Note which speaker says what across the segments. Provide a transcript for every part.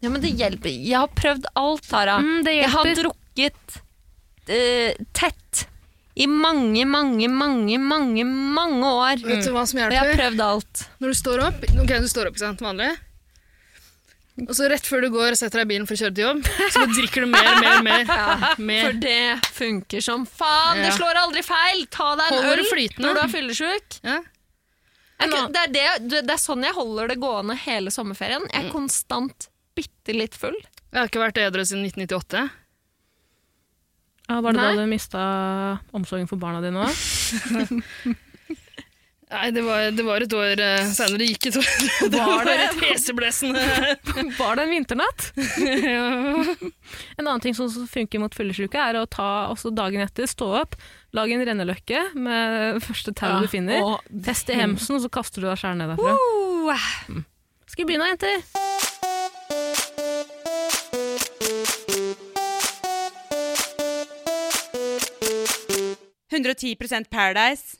Speaker 1: Ja, men det hjelper. Jeg har prøvd alt, Tara.
Speaker 2: Mm, det
Speaker 1: jeg har
Speaker 2: hjelper.
Speaker 1: drukket eh, tett i mange, mange, mange, mange, mange år.
Speaker 3: Vet du hva som
Speaker 1: Og jeg har
Speaker 3: hjelper?
Speaker 1: prøvd alt.
Speaker 3: Når du står opp, ok, du står opp, ikke sant, vanlig. Og så rett før du går og setter deg i bilen for å kjøre til jobb, så bare drikker du mer, mer, mer. mer.
Speaker 1: For det funker som faen.
Speaker 3: Ja.
Speaker 1: Det slår aldri feil. Ta deg en
Speaker 3: Holder det
Speaker 1: øl
Speaker 3: flytende.
Speaker 1: når du er fyllesyk.
Speaker 3: Ja.
Speaker 1: Jeg kan- Det er, det, det- det er sånn jeg holder det gående hele sommerferien.
Speaker 3: Mm.
Speaker 1: Jeg er konstant bitte litt full.
Speaker 3: Jeg har ikke vært edru siden 1998.
Speaker 2: Ja, var det
Speaker 1: Nei.
Speaker 2: da du mista omsorgen for barna dine òg?
Speaker 3: Nei, det var, det var et år eh, senere. Gikk et år. Det var et heseblesende
Speaker 2: Var det en vinternatt?
Speaker 3: ja.
Speaker 2: En annen ting som som funker mot fyllesyke, er å ta også dagen etter, stå opp, lage en renneløkke med første tau du finner,
Speaker 1: Og,
Speaker 2: fest i hemsen, og så kaster du deg sjæl ned derfra.
Speaker 1: Oh,
Speaker 2: Skal vi begynne, jenter?
Speaker 4: Paradise.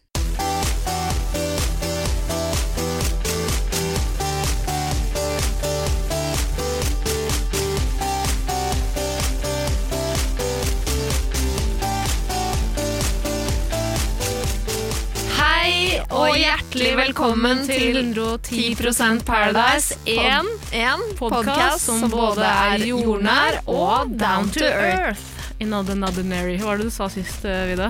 Speaker 1: hei og hjertelig velkommen til
Speaker 2: 110
Speaker 1: 10 Paradise. En, en podkast som både er jordnær og down to earth.
Speaker 2: Another Another Mary. Hva var det du sa sist, eh, Vida?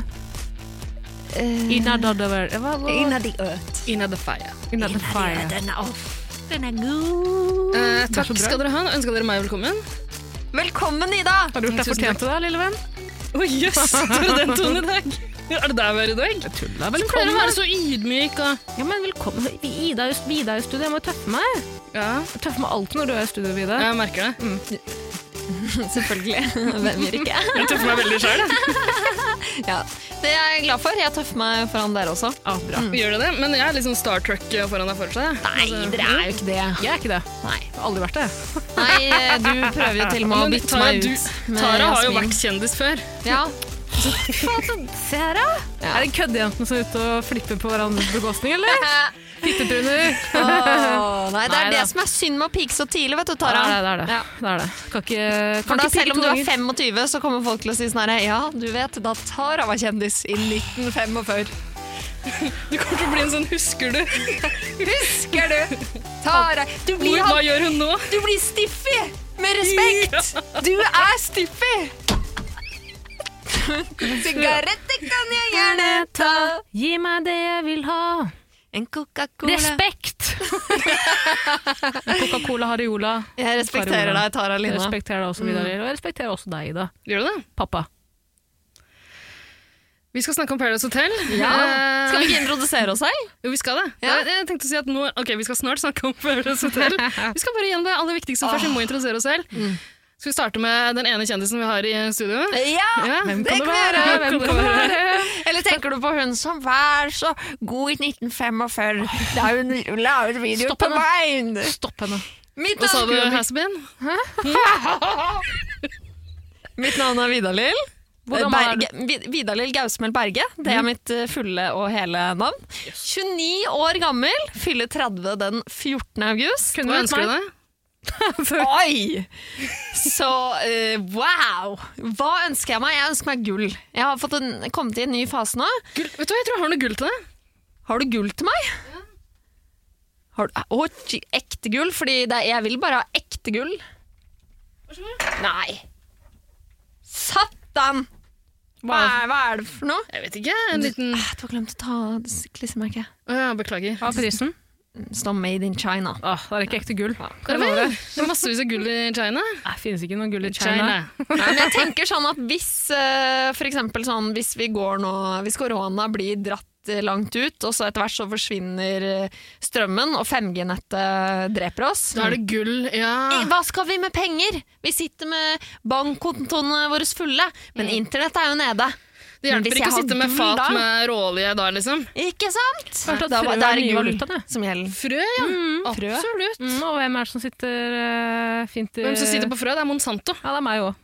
Speaker 1: Eh,
Speaker 2: In another Mary. Hva, hva?
Speaker 1: In the earth.
Speaker 3: In the fire. Eh,
Speaker 2: In another fire.
Speaker 1: Den er off. Den er god.
Speaker 3: Eh,
Speaker 2: er
Speaker 3: takk
Speaker 2: så bra.
Speaker 3: skal dere ha. Ønska dere meg velkommen?
Speaker 1: Eh, Velkommen, Ida!
Speaker 2: Har du gjort deg
Speaker 3: Tusen
Speaker 2: fortjent til det, lille venn?
Speaker 3: Å jøss, tar du den tonen i dag? Er det der vi er i dag? Jeg tuller vel. Pleier å være så ydmyk og
Speaker 2: Ja, men velkommen. Ida er jo- Vida er jo i studio, jeg må jo tøffe meg.
Speaker 3: Ja,
Speaker 2: Jeg tøffer meg alltid når du er i studio, Vida.
Speaker 3: jeg merker det.
Speaker 1: Selvfølgelig. Hvem gjør ikke?
Speaker 3: Jeg tøffer meg veldig sjøl, jeg.
Speaker 1: Ja. Det er jeg glad for. Jeg tøffer meg foran dere også.
Speaker 2: Ah, bra.
Speaker 3: Gjør du det? Men jeg er liksom Star Trek foran deg fortsatt. jeg.
Speaker 1: Nei, dere er jo ikke det.
Speaker 2: Jeg er ikke det.
Speaker 1: Nei,
Speaker 2: Jeg har aldri vært det.
Speaker 1: Nei eh, du prøver jo til og med å
Speaker 3: Men
Speaker 1: bytte
Speaker 3: Tara,
Speaker 1: meg
Speaker 3: du,
Speaker 1: ut. med
Speaker 3: Tara har jo
Speaker 1: Jasmin.
Speaker 3: vært kjendis før.
Speaker 1: Ja,
Speaker 2: Se her, da.
Speaker 1: Ja.
Speaker 2: Er det køddejentene som er ute og flipper på hverandres bekostning, eller? Fittetruner.
Speaker 1: Åh, nei, det er
Speaker 2: Nei
Speaker 1: det
Speaker 2: da.
Speaker 1: som er synd med å pike så tidlig, vet du, Tara.
Speaker 2: Ja, det er det.
Speaker 1: Ja.
Speaker 2: det, er det. Kan ikke, kan
Speaker 1: For da,
Speaker 2: ikke pike
Speaker 1: selv om
Speaker 2: to
Speaker 1: du er
Speaker 2: ganger.
Speaker 1: 25, så kommer folk til å si sånn her Ja, du vet, da Tara var kjendis i 1945.
Speaker 3: Du kommer til å bli en sånn Husker du?
Speaker 1: Husker du? Tara Du
Speaker 3: Hvor,
Speaker 1: blir,
Speaker 3: hva
Speaker 1: han,
Speaker 3: gjør hun nå?
Speaker 1: du blir stiffy! Med respekt! Du er stiffy! Sigaretter kan jeg gjerne ta.
Speaker 2: Gi meg det jeg vil ha.
Speaker 1: En Coca-Cola.
Speaker 2: Respekt! Coca-Cola, Hariola.
Speaker 1: Jeg respekterer
Speaker 2: Karola.
Speaker 1: deg, Tara
Speaker 2: Jeg
Speaker 1: Lina. Mm.
Speaker 2: respekterer deg også, Vidar. Og jeg respekterer også deg, Ida.
Speaker 3: Gjør du det?
Speaker 2: Pappa.
Speaker 3: Vi skal snakke om Paradise Hotel. Eh,
Speaker 1: Skal vi ikke introdusere oss selv?
Speaker 3: Jo, vi skal det.
Speaker 1: Ja.
Speaker 3: Jeg, jeg tenkte å si at nå, ok, Vi skal snart snakke om Paradise Hotel. Vi skal bare gjennom det aller viktigste først. Vi må introdusere oss selv. Skal vi starte med den ene kjendisen vi har i studio?
Speaker 1: Ja!
Speaker 3: Ja.
Speaker 1: det
Speaker 2: kan
Speaker 1: kan vi
Speaker 2: det være?
Speaker 1: gjøre.
Speaker 2: Hvem kan det være?
Speaker 1: Eller tenker du på hun som var så god i 1945 da hun la ut video
Speaker 2: Stopp
Speaker 1: på
Speaker 2: henne.
Speaker 1: Vine?
Speaker 2: Stopp henne.
Speaker 1: Mitt
Speaker 3: Hva sa du,
Speaker 1: navn,
Speaker 3: Hasbeen?
Speaker 1: mitt navn er Vidalil.
Speaker 2: Hvor gammel er du? Mhm.
Speaker 1: Berge- Vid- Vidalil Gausmel Berge. Det er mitt eh, fulle og hele navn. 29 år gammel, fyller 30 den 14. august.
Speaker 2: Kunne
Speaker 3: Hva
Speaker 2: vært
Speaker 3: ønsker du
Speaker 2: meg.
Speaker 3: deg?
Speaker 1: Oi! Så eh, wow! Hva ønsker jeg meg? Jeg ønsker meg gull. Jeg har fått en, kommet i en ny fase nå.
Speaker 3: Gull. Vet du hva, jeg tror jeg har noe gull til deg.
Speaker 1: Har du gull til meg? Har du, å, j- ekte gull? Fordi det, er- jeg vil bare ha ekte gull. Nei. Satan! Hva er, hva er det for noe?
Speaker 3: Jeg vet ikke. En liten
Speaker 1: Ah, Du har glemt å ta av s- klistremerket.
Speaker 3: Å ja, beklager.
Speaker 2: Hva er prisen?
Speaker 1: Står made in China.
Speaker 2: Åh, det er ikke ekte gull.
Speaker 3: Hva er det? med? Det er massevis av gull i China.
Speaker 2: Det finnes ikke noe gull i China.
Speaker 1: Nei, men jeg tenker sånn at hvis eh, for eksempel sånn, hvis vi går nå, hvis korona blir dratt eh, langt ut, og så etter hvert så forsvinner eh, strømmen, og 5G-nettet dreper oss.
Speaker 3: Da er det gull, ja.
Speaker 1: Eh, Hva skal vi med penger? Vi sitter med bankkontoene våre fulle, men internett er jo nede.
Speaker 3: Det
Speaker 1: Men hvis
Speaker 3: hjelper ikke
Speaker 1: jeg
Speaker 3: å
Speaker 1: har
Speaker 3: sitte med
Speaker 1: gull
Speaker 3: fat
Speaker 1: da-
Speaker 3: med råolje da, liksom.
Speaker 1: Ikke sant?
Speaker 2: Kanskje at
Speaker 1: Da-
Speaker 2: frø
Speaker 1: da det
Speaker 2: er den nye
Speaker 1: gull
Speaker 2: valutaen, det.
Speaker 1: som gjelder.
Speaker 3: Frø, ja.
Speaker 1: frø.
Speaker 3: Absolutt.
Speaker 2: Mm, og hvem er det som sitter eh, fint i
Speaker 3: Hvem som sitter på frø? Det er Monsanto.
Speaker 2: Ja, det er meg òg.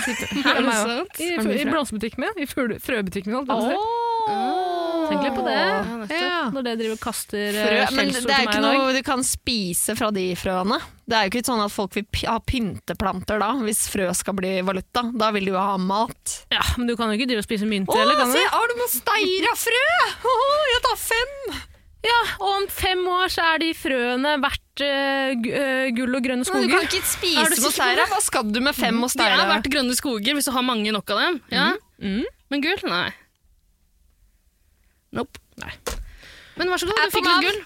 Speaker 3: Er det sant?
Speaker 2: I,
Speaker 1: Er det mye
Speaker 2: i
Speaker 1: frø?
Speaker 2: blomsterbutikken min. I frø- frøbutikken min. holdt jeg på å si.
Speaker 1: Åh!
Speaker 2: Tenk litt på det.
Speaker 1: Ja.
Speaker 2: Når det driver og kaster eh,
Speaker 1: Frø, men
Speaker 2: skjellsord
Speaker 1: det er jo
Speaker 2: til meg
Speaker 1: ikke
Speaker 2: i dag.
Speaker 1: noe du kan spise fra de frøene. Det er jo ikke sånn at folk vil py- ha pynteplanter da, hvis frø skal bli valuta. Da vil de jo ha mat.
Speaker 2: Ja, men du kan jo ikke drive og spise mynter,
Speaker 1: Å,
Speaker 2: eller kan du?
Speaker 1: se, har du noen steirafrø? Å, jeg tar fem!
Speaker 2: Ja, og om fem år så er de frøene verdt eh, gu- eh, gull og grønne
Speaker 1: Men
Speaker 2: skoger.
Speaker 1: du kan ikke spise
Speaker 3: Er
Speaker 1: noe
Speaker 3: du sikker på det?
Speaker 1: steira. Mm. Hva skal du med fem og
Speaker 3: Det er
Speaker 1: steira?
Speaker 3: verdt grønne skoger hvis du har mange nok av dem. Ja?
Speaker 2: Mm.
Speaker 3: Men gull? Nei. Nope. Men vær så god,
Speaker 1: Jeg er
Speaker 3: du fikk
Speaker 1: på
Speaker 3: litt
Speaker 1: Nav.
Speaker 3: gull.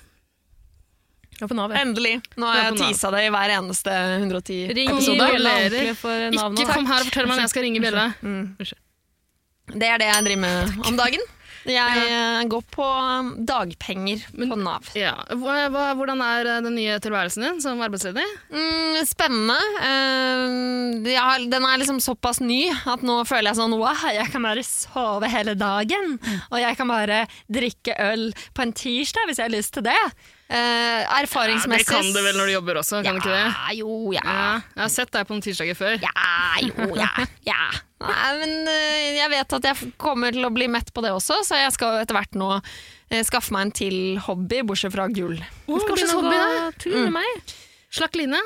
Speaker 2: Ja, på Nav, ja.
Speaker 1: Endelig. Nå har
Speaker 3: Det er
Speaker 1: jeg
Speaker 3: på Nav.
Speaker 1: tisa det i hver eneste 110
Speaker 2: Eh, Ring
Speaker 1: episode.
Speaker 3: Bjørn.
Speaker 2: bjella ordentlig for Nav nå.
Speaker 3: Ikke kom her og fortell meg når jeg skal ringe bjella.
Speaker 1: Det er det jeg driver med om dagen. Jeg eh, går på um, dagpenger på Nav.
Speaker 3: Ja. hva- hva- Hvordan er eh, den nye tilværelsen din som arbeidsledig?
Speaker 1: Mm, spennende. Eh, jeg har, den er liksom såpass ny at nå føler jeg sånn wow, jeg kan bare sove hele dagen. Og jeg kan bare drikke øl på en tirsdag hvis jeg har lyst til det. Eh, erfaringsmessig
Speaker 3: det kan du vel når du jobber også, kan du ikke det?
Speaker 1: Ja, jo, ja.
Speaker 3: Ja, jeg har sett deg på noen tirsdager før.
Speaker 1: Ja, jo, ja. ja. Nei, men eh, jeg vet at jeg kommer til å bli mett på det også, så jeg skal jo etter hvert nå eh, skaffe meg en til hobby, bortsett fra gull.
Speaker 3: Åh,
Speaker 2: Skal
Speaker 3: hva slags
Speaker 2: begynne å
Speaker 3: hobby er det?
Speaker 2: gå tur med meg.
Speaker 3: Slakk line?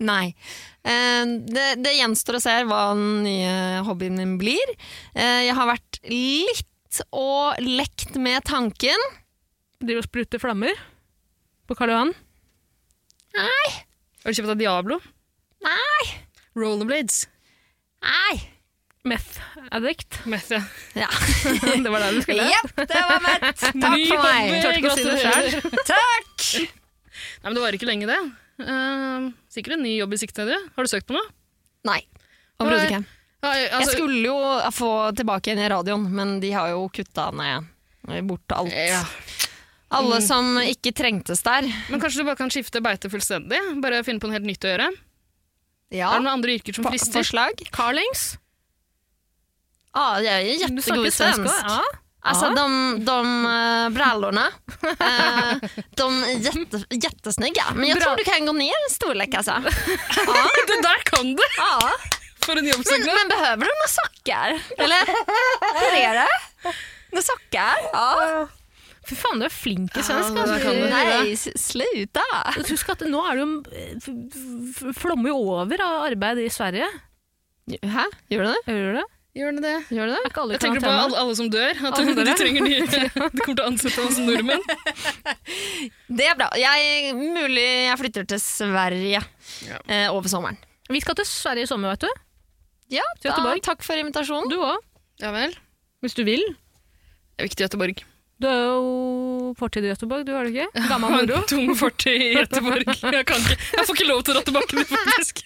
Speaker 1: Nei. Eh, Det, det gjenstår å se hva den nye hobbyen min blir. Eh, Jeg har vært litt og lekt med tanken.
Speaker 2: Driver og spruter flammer på Karl Johan.
Speaker 3: Har du kjøpt deg Diablo?
Speaker 1: Nei!
Speaker 3: Rollerblades?
Speaker 1: Nei!
Speaker 2: Meth addict.
Speaker 3: Meth, ja.
Speaker 1: Ja.
Speaker 3: Det var der du skulle?
Speaker 1: Jepp, det var mett! Takk
Speaker 3: Ny
Speaker 1: for meg.
Speaker 3: hobby,
Speaker 1: Tørte ikke å si det
Speaker 3: gratulerer.
Speaker 1: selv. Takk!
Speaker 3: Nei, men det var ikke lenge, det. Ehm, sikkert en ny jobb i sikte, du. Har du søkt på noe?
Speaker 1: Nei. Overhodet ikke.
Speaker 3: Ja, altså,
Speaker 1: jeg skulle jo få tilbake igjen i radioen, men de har jo kutta ned eh, bort alt.
Speaker 3: Ja.
Speaker 1: Alle som ikke trengtes der.
Speaker 3: Men kanskje du bare kan skifte beite fullstendig? Bare finne på noe helt nytt å gjøre?
Speaker 1: Ja,
Speaker 3: Er det noen andre yrker som
Speaker 1: for-
Speaker 3: frister?
Speaker 1: forslag.
Speaker 2: Carlings.
Speaker 1: Ja, Ah, jeg er
Speaker 2: Du snakker
Speaker 1: jättegod
Speaker 2: svensk
Speaker 1: svensk.
Speaker 2: også, Ja.
Speaker 1: Alltså
Speaker 2: Ja.
Speaker 1: de, de eh, brallorna, eh, de är jätte, jättesnygga. Men jag
Speaker 2: Bra.
Speaker 1: tror du kan gå ner en storlek altså. alltså. Ja,
Speaker 3: Det der kan du!
Speaker 1: ja.
Speaker 3: For en
Speaker 1: Men,
Speaker 3: jobbsøknad!
Speaker 1: men behöver du några sockar? Eller hur är det? Några sockar? Ja.
Speaker 2: Fy faen, du er flink i svensk.
Speaker 3: Ja, det
Speaker 2: altså.
Speaker 3: kan du.
Speaker 1: Nej, s- sluta.
Speaker 2: Husk at nå er det jo eh, f- f- flommer jo over av arbeid i Sverige.
Speaker 1: Hæ? Gjør du det?
Speaker 2: Gjør det?
Speaker 3: Gjør det det?
Speaker 1: Gjør du det?
Speaker 2: Er ikke alle
Speaker 3: Jeg tenker på
Speaker 2: karantene?
Speaker 3: alle, alle som dør. At
Speaker 2: Alle dør,
Speaker 3: de
Speaker 2: ja.
Speaker 3: trenger nye De kommer til å ansette oss som nordmenn.
Speaker 1: Det er bra. Jeg, mulig jeg flytter til Sverige
Speaker 3: Ja.
Speaker 1: eh, over sommeren.
Speaker 2: Vi skal til Sverige i sommer, vet du.
Speaker 1: Ja,
Speaker 2: Til Göteborg.
Speaker 1: takk for invitasjonen.
Speaker 2: Du òg,
Speaker 3: Ja vel.
Speaker 2: hvis du vil.
Speaker 3: Det er viktig i Göteborg.
Speaker 2: Du er jo fortid i Göteborg, du har det ikke? Gammel
Speaker 3: Jeg har
Speaker 2: moro.
Speaker 3: en tung fortid i Göteborg. Jeg, kan ikke. jeg får ikke lov til å dra tilbake dit, faktisk.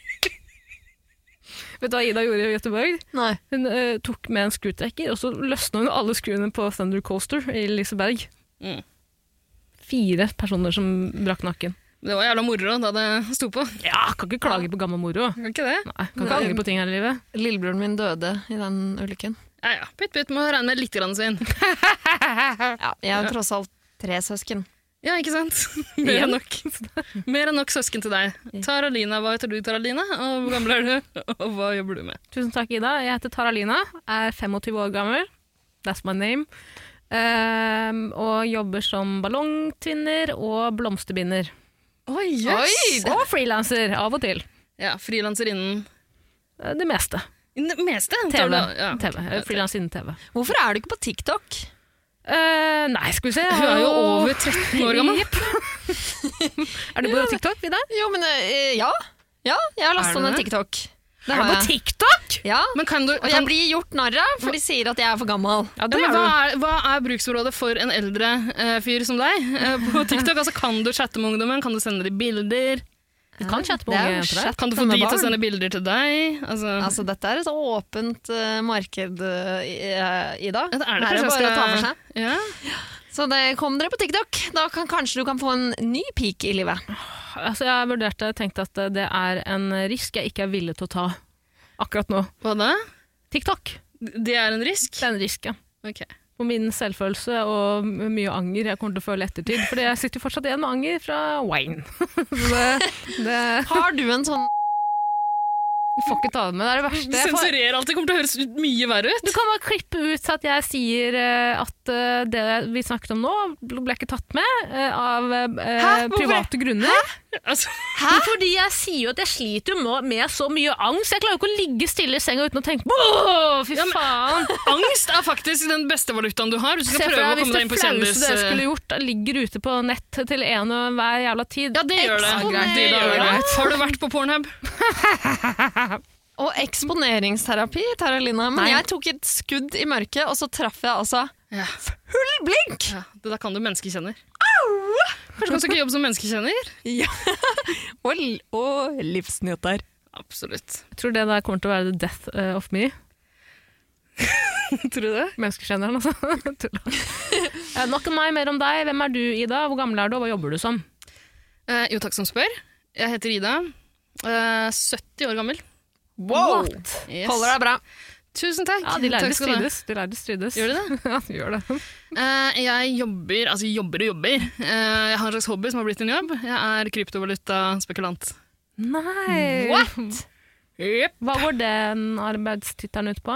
Speaker 2: Vet du hva Ida gjorde i Göteborg?
Speaker 1: Nei.
Speaker 2: Hun eh, tok med en skrutrekker, og så løsna hun alle skruene på Thunder Coaster i Liseberg.
Speaker 3: Mm.
Speaker 2: Fire personer som brakk nakken.
Speaker 3: Det var jævla moro da det sto på.
Speaker 2: Ja, kan ikke klage på gammel moro.
Speaker 3: Kan ikke det?
Speaker 2: Nei, kan ikke
Speaker 1: Nei.
Speaker 2: angre på ting her i livet.
Speaker 1: Lillebroren min døde i den ulykken.
Speaker 3: Ja ja. Pytt pytt, må regne med litt grann svinn.
Speaker 1: Ja, jeg har tross alt tre søsken.
Speaker 3: Ja, ikke sant? Mer enn nok. Mer enn nok søsken til deg. Taralina, hva heter du, Taralina? Og hvor gammel er du? Og hva jobber du med?
Speaker 2: Tusen takk, Ida. Jeg heter Taralina, er 25 år gammel. That's my name. Ehm, og jobber som ballongtvinner og blomsterbinder.
Speaker 3: Oi,
Speaker 1: jøss.
Speaker 2: Og frilanser, av og til.
Speaker 3: Ja, frilanser innen
Speaker 2: Eh, Det meste.
Speaker 3: innen det meste.
Speaker 2: TV.
Speaker 3: Ja.
Speaker 2: TV. Eh, Frilans innen TV.
Speaker 1: Hvorfor er du ikke på TikTok?
Speaker 2: Eh, nei, skal vi se.
Speaker 3: Hun er jo over 13 år gammel.
Speaker 2: Jepp. er du på TikTok, Vidar?
Speaker 1: Jo, men eh, ja. Ja, jeg har
Speaker 3: Er
Speaker 1: lastet
Speaker 3: du
Speaker 1: ned
Speaker 3: det?
Speaker 1: TikTok. Det
Speaker 2: Er du
Speaker 1: har
Speaker 2: på
Speaker 1: jeg.
Speaker 2: TikTok?
Speaker 1: Ja,
Speaker 3: Men kan du,
Speaker 1: og
Speaker 3: kan-
Speaker 1: jeg blir gjort narr av, for de sier at jeg er for gammel.
Speaker 2: Ja,
Speaker 3: ja,
Speaker 2: det
Speaker 3: men
Speaker 2: er
Speaker 3: hva,
Speaker 2: du.
Speaker 3: er, hva er bruksområdet for en eldre eh, fyr som deg eh, på TikTok? Altså, kan du chatte med ungdommen? Kan du sende dem bilder?
Speaker 2: Du kan chatte på
Speaker 1: Det er
Speaker 2: unge
Speaker 1: jo
Speaker 2: jenter. der.
Speaker 1: chat.
Speaker 3: Kan du få
Speaker 1: Med
Speaker 3: de til å
Speaker 1: barn?
Speaker 3: sende bilder til deg? Altså,
Speaker 1: Altså, dette er et åpent eh, marked, eh, Ida.
Speaker 3: ja, det er det
Speaker 1: Her er
Speaker 3: kanskje
Speaker 1: det
Speaker 3: jeg
Speaker 1: bare å ta
Speaker 3: skal-
Speaker 1: for seg.
Speaker 3: Ja.
Speaker 1: Så det, kom dere på TikTok. Da kan, kanskje du kan få en ny peak i livet.
Speaker 2: Altså, jeg vurderte tenkte at eh, det er en risk jeg ikke er villig til å ta akkurat nå.
Speaker 3: Hva da?
Speaker 2: TikTok,
Speaker 3: Det er en risk?
Speaker 2: det er en risk, ja.
Speaker 3: Ok.
Speaker 2: På min selvfølelse og m- mye anger jeg kommer til å føle i ettertid. For jeg sitter jo fortsatt igjen med anger fra Wayne. Så det, det
Speaker 1: Har du en sånn
Speaker 2: Du får ikke ta det med, det er det verste. Jeg får,
Speaker 3: Sensurer alt, det kommer til å høres ut mye verre ut.
Speaker 2: du kan bare klippe ut at jeg sier eh, at eh, det vi snakket om nå, ble ikke tatt med eh, av eh,
Speaker 1: Hæ? Hvorfor?
Speaker 2: private grunner.
Speaker 3: Altså,
Speaker 2: Hæ? Fordi jeg sier jo at jeg sliter jo med, med så mye angst. Jeg klarer jo ikke å ligge stille i senga uten å tenke på «Åh, Fy
Speaker 3: Ja, men-
Speaker 2: faen!
Speaker 3: angst er faktisk den beste valutaen du har. Hvis du
Speaker 2: Se
Speaker 3: skal
Speaker 2: for
Speaker 3: prøve å
Speaker 2: deg hvis det
Speaker 3: komme deg inn på
Speaker 2: flaueste
Speaker 3: kjendis... eh.
Speaker 2: dere skulle gjort, ligger ute på nett til en og hver jævla tid.
Speaker 3: Ja, det eh, gjør det.
Speaker 1: Eksponering.
Speaker 3: det, gjør
Speaker 1: Ja.
Speaker 3: det. Har du vært på Pornhub?
Speaker 1: Og eksponeringsterapi, Taralina. Men
Speaker 2: Nei.
Speaker 1: jeg tok et skudd i mørket, og så traff jeg altså
Speaker 3: Ja.
Speaker 1: full blink!
Speaker 3: Det der kan du menneskekjenner. Kanskje kan du ikke jobbe som menneskekjenner?
Speaker 1: Ja. og, l- og livsnyter.
Speaker 3: Absolutt.
Speaker 2: Jeg tror det der kommer til å være the death eh, of me.
Speaker 3: Tror du det?
Speaker 2: Menneskeskjenneren, altså. Tulla. Eh, Nok om meg, mer om deg. Hvem er du, Ida? Hvor gammel er du, og hva jobber du som?
Speaker 3: Eh, jo, takk som spør. Jeg heter Ida. Eh, 70 år gammel.
Speaker 1: Wow!
Speaker 2: What?
Speaker 3: Yes.
Speaker 1: Holder deg bra.
Speaker 3: Tusen takk.
Speaker 2: Ja, de lærde
Speaker 3: Takk skal du ha.
Speaker 2: strides. De lærde strides.
Speaker 3: Gjør de det?
Speaker 2: Ja, de gjør det.
Speaker 3: Eh, jeg jobber, altså jobber og jobber. Eh, jeg har en slags hobby som har blitt en jobb. Jeg er kryptovaluta-spekulant.
Speaker 2: Nei!
Speaker 1: What?
Speaker 2: Hva går den arbeidstittelen ut på?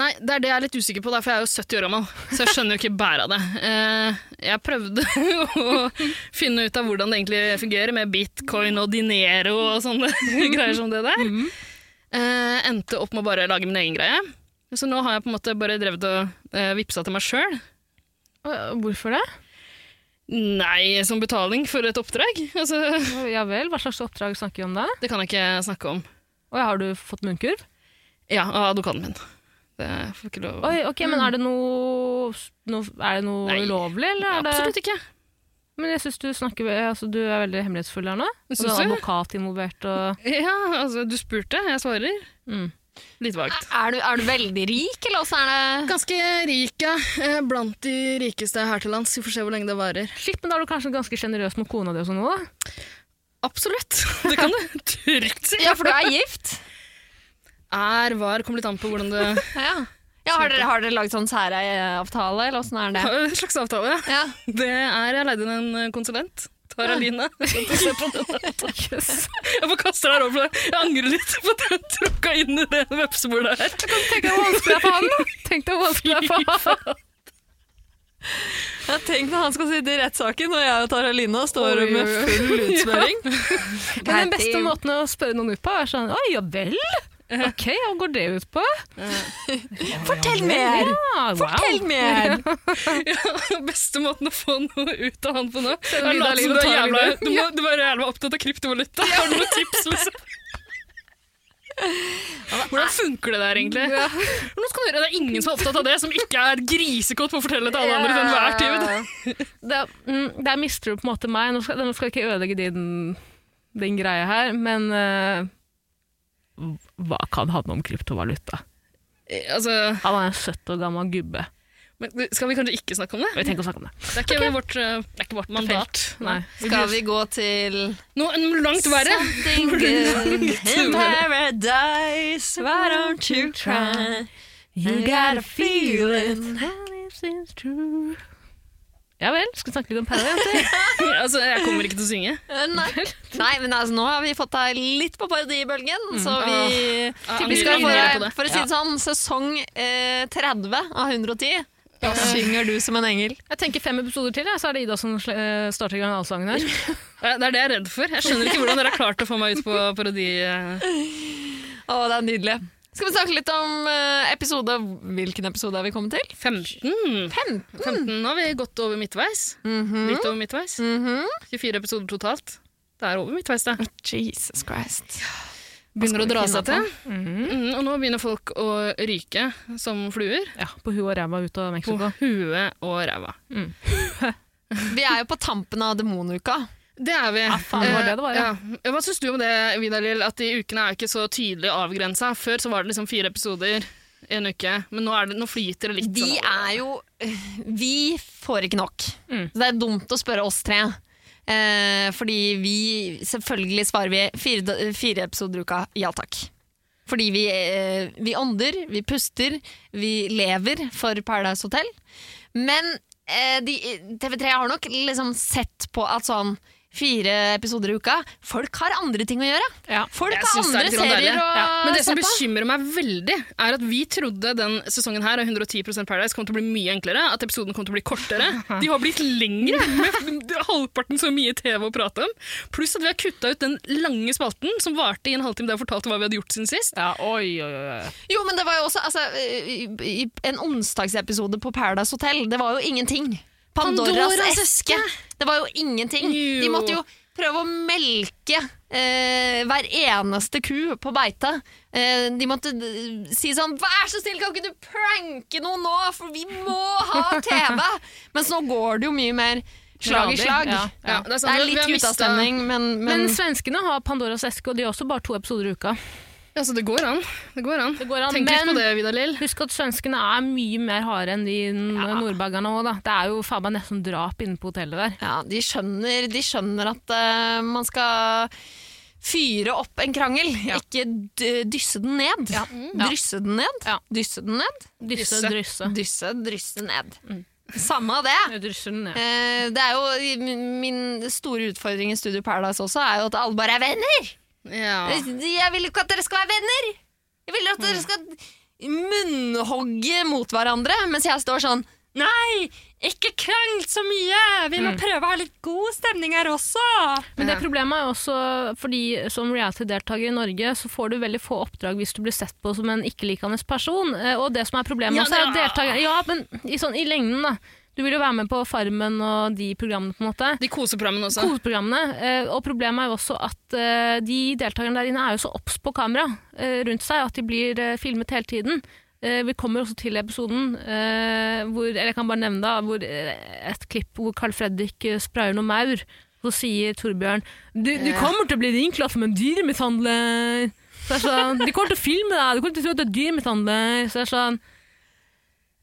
Speaker 3: Nei, det er det jeg er litt usikker på, da, for jeg er jo 70 år gammel, så jeg skjønner jo ikke bæret av det. Eh, jeg prøvde å finne ut av hvordan det egentlig fungerer med bitcoin og dinero og sånne greier som det der.
Speaker 2: Mhm.
Speaker 3: Eh, endte opp med å bare lage min egen greie. Så nå har jeg på en måte bare drevet og eh, vippsa til meg sjøl.
Speaker 2: Øh, Hvorfor det?
Speaker 3: Nei, som betaling for et oppdrag. Altså,
Speaker 2: Ja vel, hva slags oppdrag snakker vi om da?
Speaker 3: det kan jeg ikke snakke om.
Speaker 2: Og har du fått munnkurv?
Speaker 3: Ja, av advokaten min. Det får ikke lov.
Speaker 2: Oi, ok, men er det noe, noe, er det noe
Speaker 3: Mm. Nei.
Speaker 2: ulovlig? Eller er det,
Speaker 3: Absolutt ikke.
Speaker 2: Men jeg synes du snakker ve- altså, Du er veldig hemmelighetsfull her nå. Og
Speaker 3: Syns
Speaker 2: du er
Speaker 3: du?
Speaker 2: advokat involvert og
Speaker 3: Ja, altså, du spurte, jeg svarer.
Speaker 2: Mm.
Speaker 3: Litt vagt.
Speaker 1: Er du, er du veldig rik, eller også er det
Speaker 3: Ah, Ganske rik, ja. Eh, Blant de rikeste her til lands. Vi får se hvor lenge det varer.
Speaker 2: Shit, men da er du kanskje ganske sjenerøs mot kona di og sånn òg, da?
Speaker 3: Absolutt! Det kan du trygt si.
Speaker 1: Ja, for du er gift?
Speaker 3: Er, var, kommer litt an på hvordan det
Speaker 1: Ja. ja har, dere, har dere laget sånn særavtale, eller åssen er det?
Speaker 3: En slags avtale. ja.
Speaker 1: Ja.
Speaker 3: Det er Jeg leide inn en eh, konsulent. Tara Line. Jeg
Speaker 2: Yes.
Speaker 3: får kaste deg over for det. Jeg angrer litt på at jeg tråkka inn i det vepsebordet her.
Speaker 2: Tenk deg hvor vanskelig det er for han! da. Tenk deg hvor vanskelig det er for han!
Speaker 1: Jeg tenkte han skal sitte i rettssaken, og jeg og Taralina står
Speaker 2: Oi,
Speaker 1: med
Speaker 2: oi, oi.
Speaker 1: full utsmøring.
Speaker 2: Men den beste måten å spørre noen ut på, er sånn Oi, ja vel? Ok, hva går det ut på?
Speaker 1: Fortell mer!
Speaker 2: Ja, wow.
Speaker 1: Fortell mer!
Speaker 3: Ja, beste måten å få noe ut av han på nå er å
Speaker 2: Vidar
Speaker 3: late
Speaker 2: Lind
Speaker 3: som du
Speaker 2: og
Speaker 3: er
Speaker 2: Tara
Speaker 3: jævla,
Speaker 2: Line.
Speaker 3: du må, du er jævla opptatt av kryptovaluta. Har du noen tips? Liksom? Hvordan funker det der, egentlig? Hvordan skal du gjøre? Det er ingen som er opptatt av det, som ikke er grisekåt på å fortelle til alle andre til enhver tid.
Speaker 2: det, mm, der mister du på en måte meg. Nå skal, nå skal jeg ikke ødelegge din, din greie her, men eh, hva kan handle om kryptovaluta?
Speaker 3: Eh, Altså,
Speaker 2: Han er en 70 år gammel gubbe.
Speaker 3: men du, skal vi kanskje ikke snakke om det?
Speaker 2: Vi tenker å snakke om det.
Speaker 3: Det er ikke, vårt, eh, det er ikke vårt mandat.
Speaker 2: Nei.
Speaker 1: Skal vi gå til
Speaker 3: Noe en langt verre.
Speaker 1: Something good in paradise, why don't you try? You got a feeling.
Speaker 2: Ja vel, skal vi snakke litt om Perla, jenter?
Speaker 3: Altså, jeg kommer ikke til å synge.
Speaker 1: Uh, Nei, Nei men altså, nå har vi fått deg litt på parodibølgen,
Speaker 3: Mm.
Speaker 1: så vi,
Speaker 3: Ah,
Speaker 1: vi skal
Speaker 3: angrer-
Speaker 1: få
Speaker 3: angrer
Speaker 1: deg,
Speaker 3: på det.
Speaker 1: for å si det sånn, sesong eh, 30 av 110. Da synger du som en engel.
Speaker 2: Jeg tenker fem episoder til, ja, så er det Ida som sl- eh, starter i gang allsangen her.
Speaker 3: Eh, Det er det jeg er redd for. Jeg skjønner ikke hvordan dere har klart å få meg ut på parodi. eh.
Speaker 1: Å, det er nydelig. Skal vi snakke litt om eh, episode Hvilken episode er vi kommet til?
Speaker 3: 15.
Speaker 1: 15.
Speaker 3: 15, nå har vi gått over midtveis.
Speaker 2: Mm.
Speaker 3: Litt over midtveis.
Speaker 1: Mm-hmm.
Speaker 3: 24 episoder totalt. Det er over midtveis, det.
Speaker 1: Jesus Christ.
Speaker 3: Begynner å
Speaker 1: vi
Speaker 3: dra
Speaker 1: finne
Speaker 3: seg
Speaker 1: på?
Speaker 3: til. Mm, og nå begynner folk å ryke som fluer
Speaker 2: Ja, på huet og ræva ut av
Speaker 3: på
Speaker 2: Mexico.
Speaker 3: huet og ræva.
Speaker 1: Vi er jo på tampen av demonuka.
Speaker 3: Det er vi.
Speaker 2: faen, det var det det var, ja.
Speaker 3: Eh, ja. Hva syns du om det, Vidar Lill, at de ukene er jo ikke så tydelig avgrensa? Før så var det liksom fire episoder i en uke, men nå, er det, nå flyter det litt
Speaker 1: De
Speaker 3: sånn.
Speaker 1: er jo Vi får ikke nok.
Speaker 2: Mm.
Speaker 1: Så det er dumt å spørre oss tre. Eh, fordi vi Selvfølgelig svarer vi fire, fire episoder i uka. Ja takk. Fordi vi, eh, vi ånder, vi puster, vi lever for Paradise Hotel. Men eh, de, TV3 har nok liksom sett på at sånn fire episoder i uka. Folk har andre ting å gjøre.
Speaker 2: Ja.
Speaker 1: Folk
Speaker 3: Jeg
Speaker 1: har
Speaker 3: synes det er
Speaker 1: andre
Speaker 3: litt sånn deilig.
Speaker 1: serier å
Speaker 2: Ja.
Speaker 3: Men det
Speaker 1: se
Speaker 3: som
Speaker 1: på.
Speaker 3: bekymrer meg veldig, er at vi trodde den sesongen her av 110 Paradise kom til å bli mye enklere, at episoden kom til å bli kortere. De har blitt lengre, med halvparten så mye TV å prate om. Pluss at vi har kutta ut den lange spalten som varte i en halvtime der jeg fortalte hva vi hadde gjort siden sist.
Speaker 2: Ja, oi, oi, oi. oi.
Speaker 1: Jo, men det var jo også altså, i- i- En onsdagsepisode på Paradise Hotel, det var jo ingenting. Pandoras,
Speaker 3: Pandoras
Speaker 1: eske.
Speaker 3: eske.
Speaker 1: Det var jo ingenting. De
Speaker 3: Jo.
Speaker 1: måtte jo prøve å melke eh, hver eneste ku på beite. Eh, de måtte eh, si sånn Vær så snill, kan ikke du pranke noen nå, for vi må ha TV! Mens nå går det jo mye mer slag i
Speaker 2: Radig,
Speaker 1: slag.
Speaker 2: ja,
Speaker 3: ja. sånn,
Speaker 1: Det er
Speaker 3: Vi har
Speaker 1: litt
Speaker 3: mistet-
Speaker 1: guttastemning, men, men,
Speaker 2: Men svenskene har Pandoras eske, og de har også bare to episoder i uka.
Speaker 3: Ja, så det går an. Det går an.
Speaker 2: Det går an,
Speaker 3: Tenk litt
Speaker 2: men-
Speaker 3: på det, Vidar Lill.
Speaker 2: Husk at svenskene er mye mer harde enn de ja. nordbaggerne òg, da. Det er jo faen meg nesten drap inne på hotellet der.
Speaker 1: Ja, de skjønner, de skjønner at eh, man skal fyre opp en krangel, ikke d dysse den ned. Mm. Drysse den ned,
Speaker 2: Ja.
Speaker 1: dysse den ned,
Speaker 2: Dysse,
Speaker 3: Dysse.
Speaker 2: drysse.
Speaker 1: dysse, drysse ned.
Speaker 2: Mm.
Speaker 1: Samme av det.
Speaker 2: Drysse den ned.
Speaker 1: Eh, det er jo, min- min store utfordring i Studio Paradise også er jo at alle bare er venner.
Speaker 3: Ja.
Speaker 1: Jeg vil jo ikke at dere skal være venner. Jeg vil at dere skal munnhogge mot hverandre, mens jeg står sånn Nei, ikke krangl så mye! Vi må prøve å ha litt god stemning her også.
Speaker 2: Men det
Speaker 3: Ja.
Speaker 2: problemet er jo også fordi som reality-deltaker i Norge, så får du veldig få oppdrag hvis du blir sett på som en ikke-likende person. Eh, Og det som er problemet
Speaker 3: Ja,
Speaker 2: også, er at
Speaker 3: det er-
Speaker 2: deltaker- Ja, men i, sånn, i lengden, da. Du vil jo være med på Farmen og de programmene, på en måte.
Speaker 3: De koser programmen også.
Speaker 2: Koseprogrammene. eh, Og problemet er jo også at eh, de deltakerne der inne er jo så obs på kamera eh, rundt seg, at de blir eh, filmet hele tiden. Eh, Vi kommer også til episoden eh, hvor, eller jeg kan bare nevne da, hvor eh, et klipp hvor Carl Fredrik eh, sprayer noen maur. Så sier Torbjørn du, du kommer til å bli ringklatt som en dyremishandler. Så jeg er sånn, De kommer til å filme deg, du kommer til å tro at du er dyremishandler. Så jeg er sånn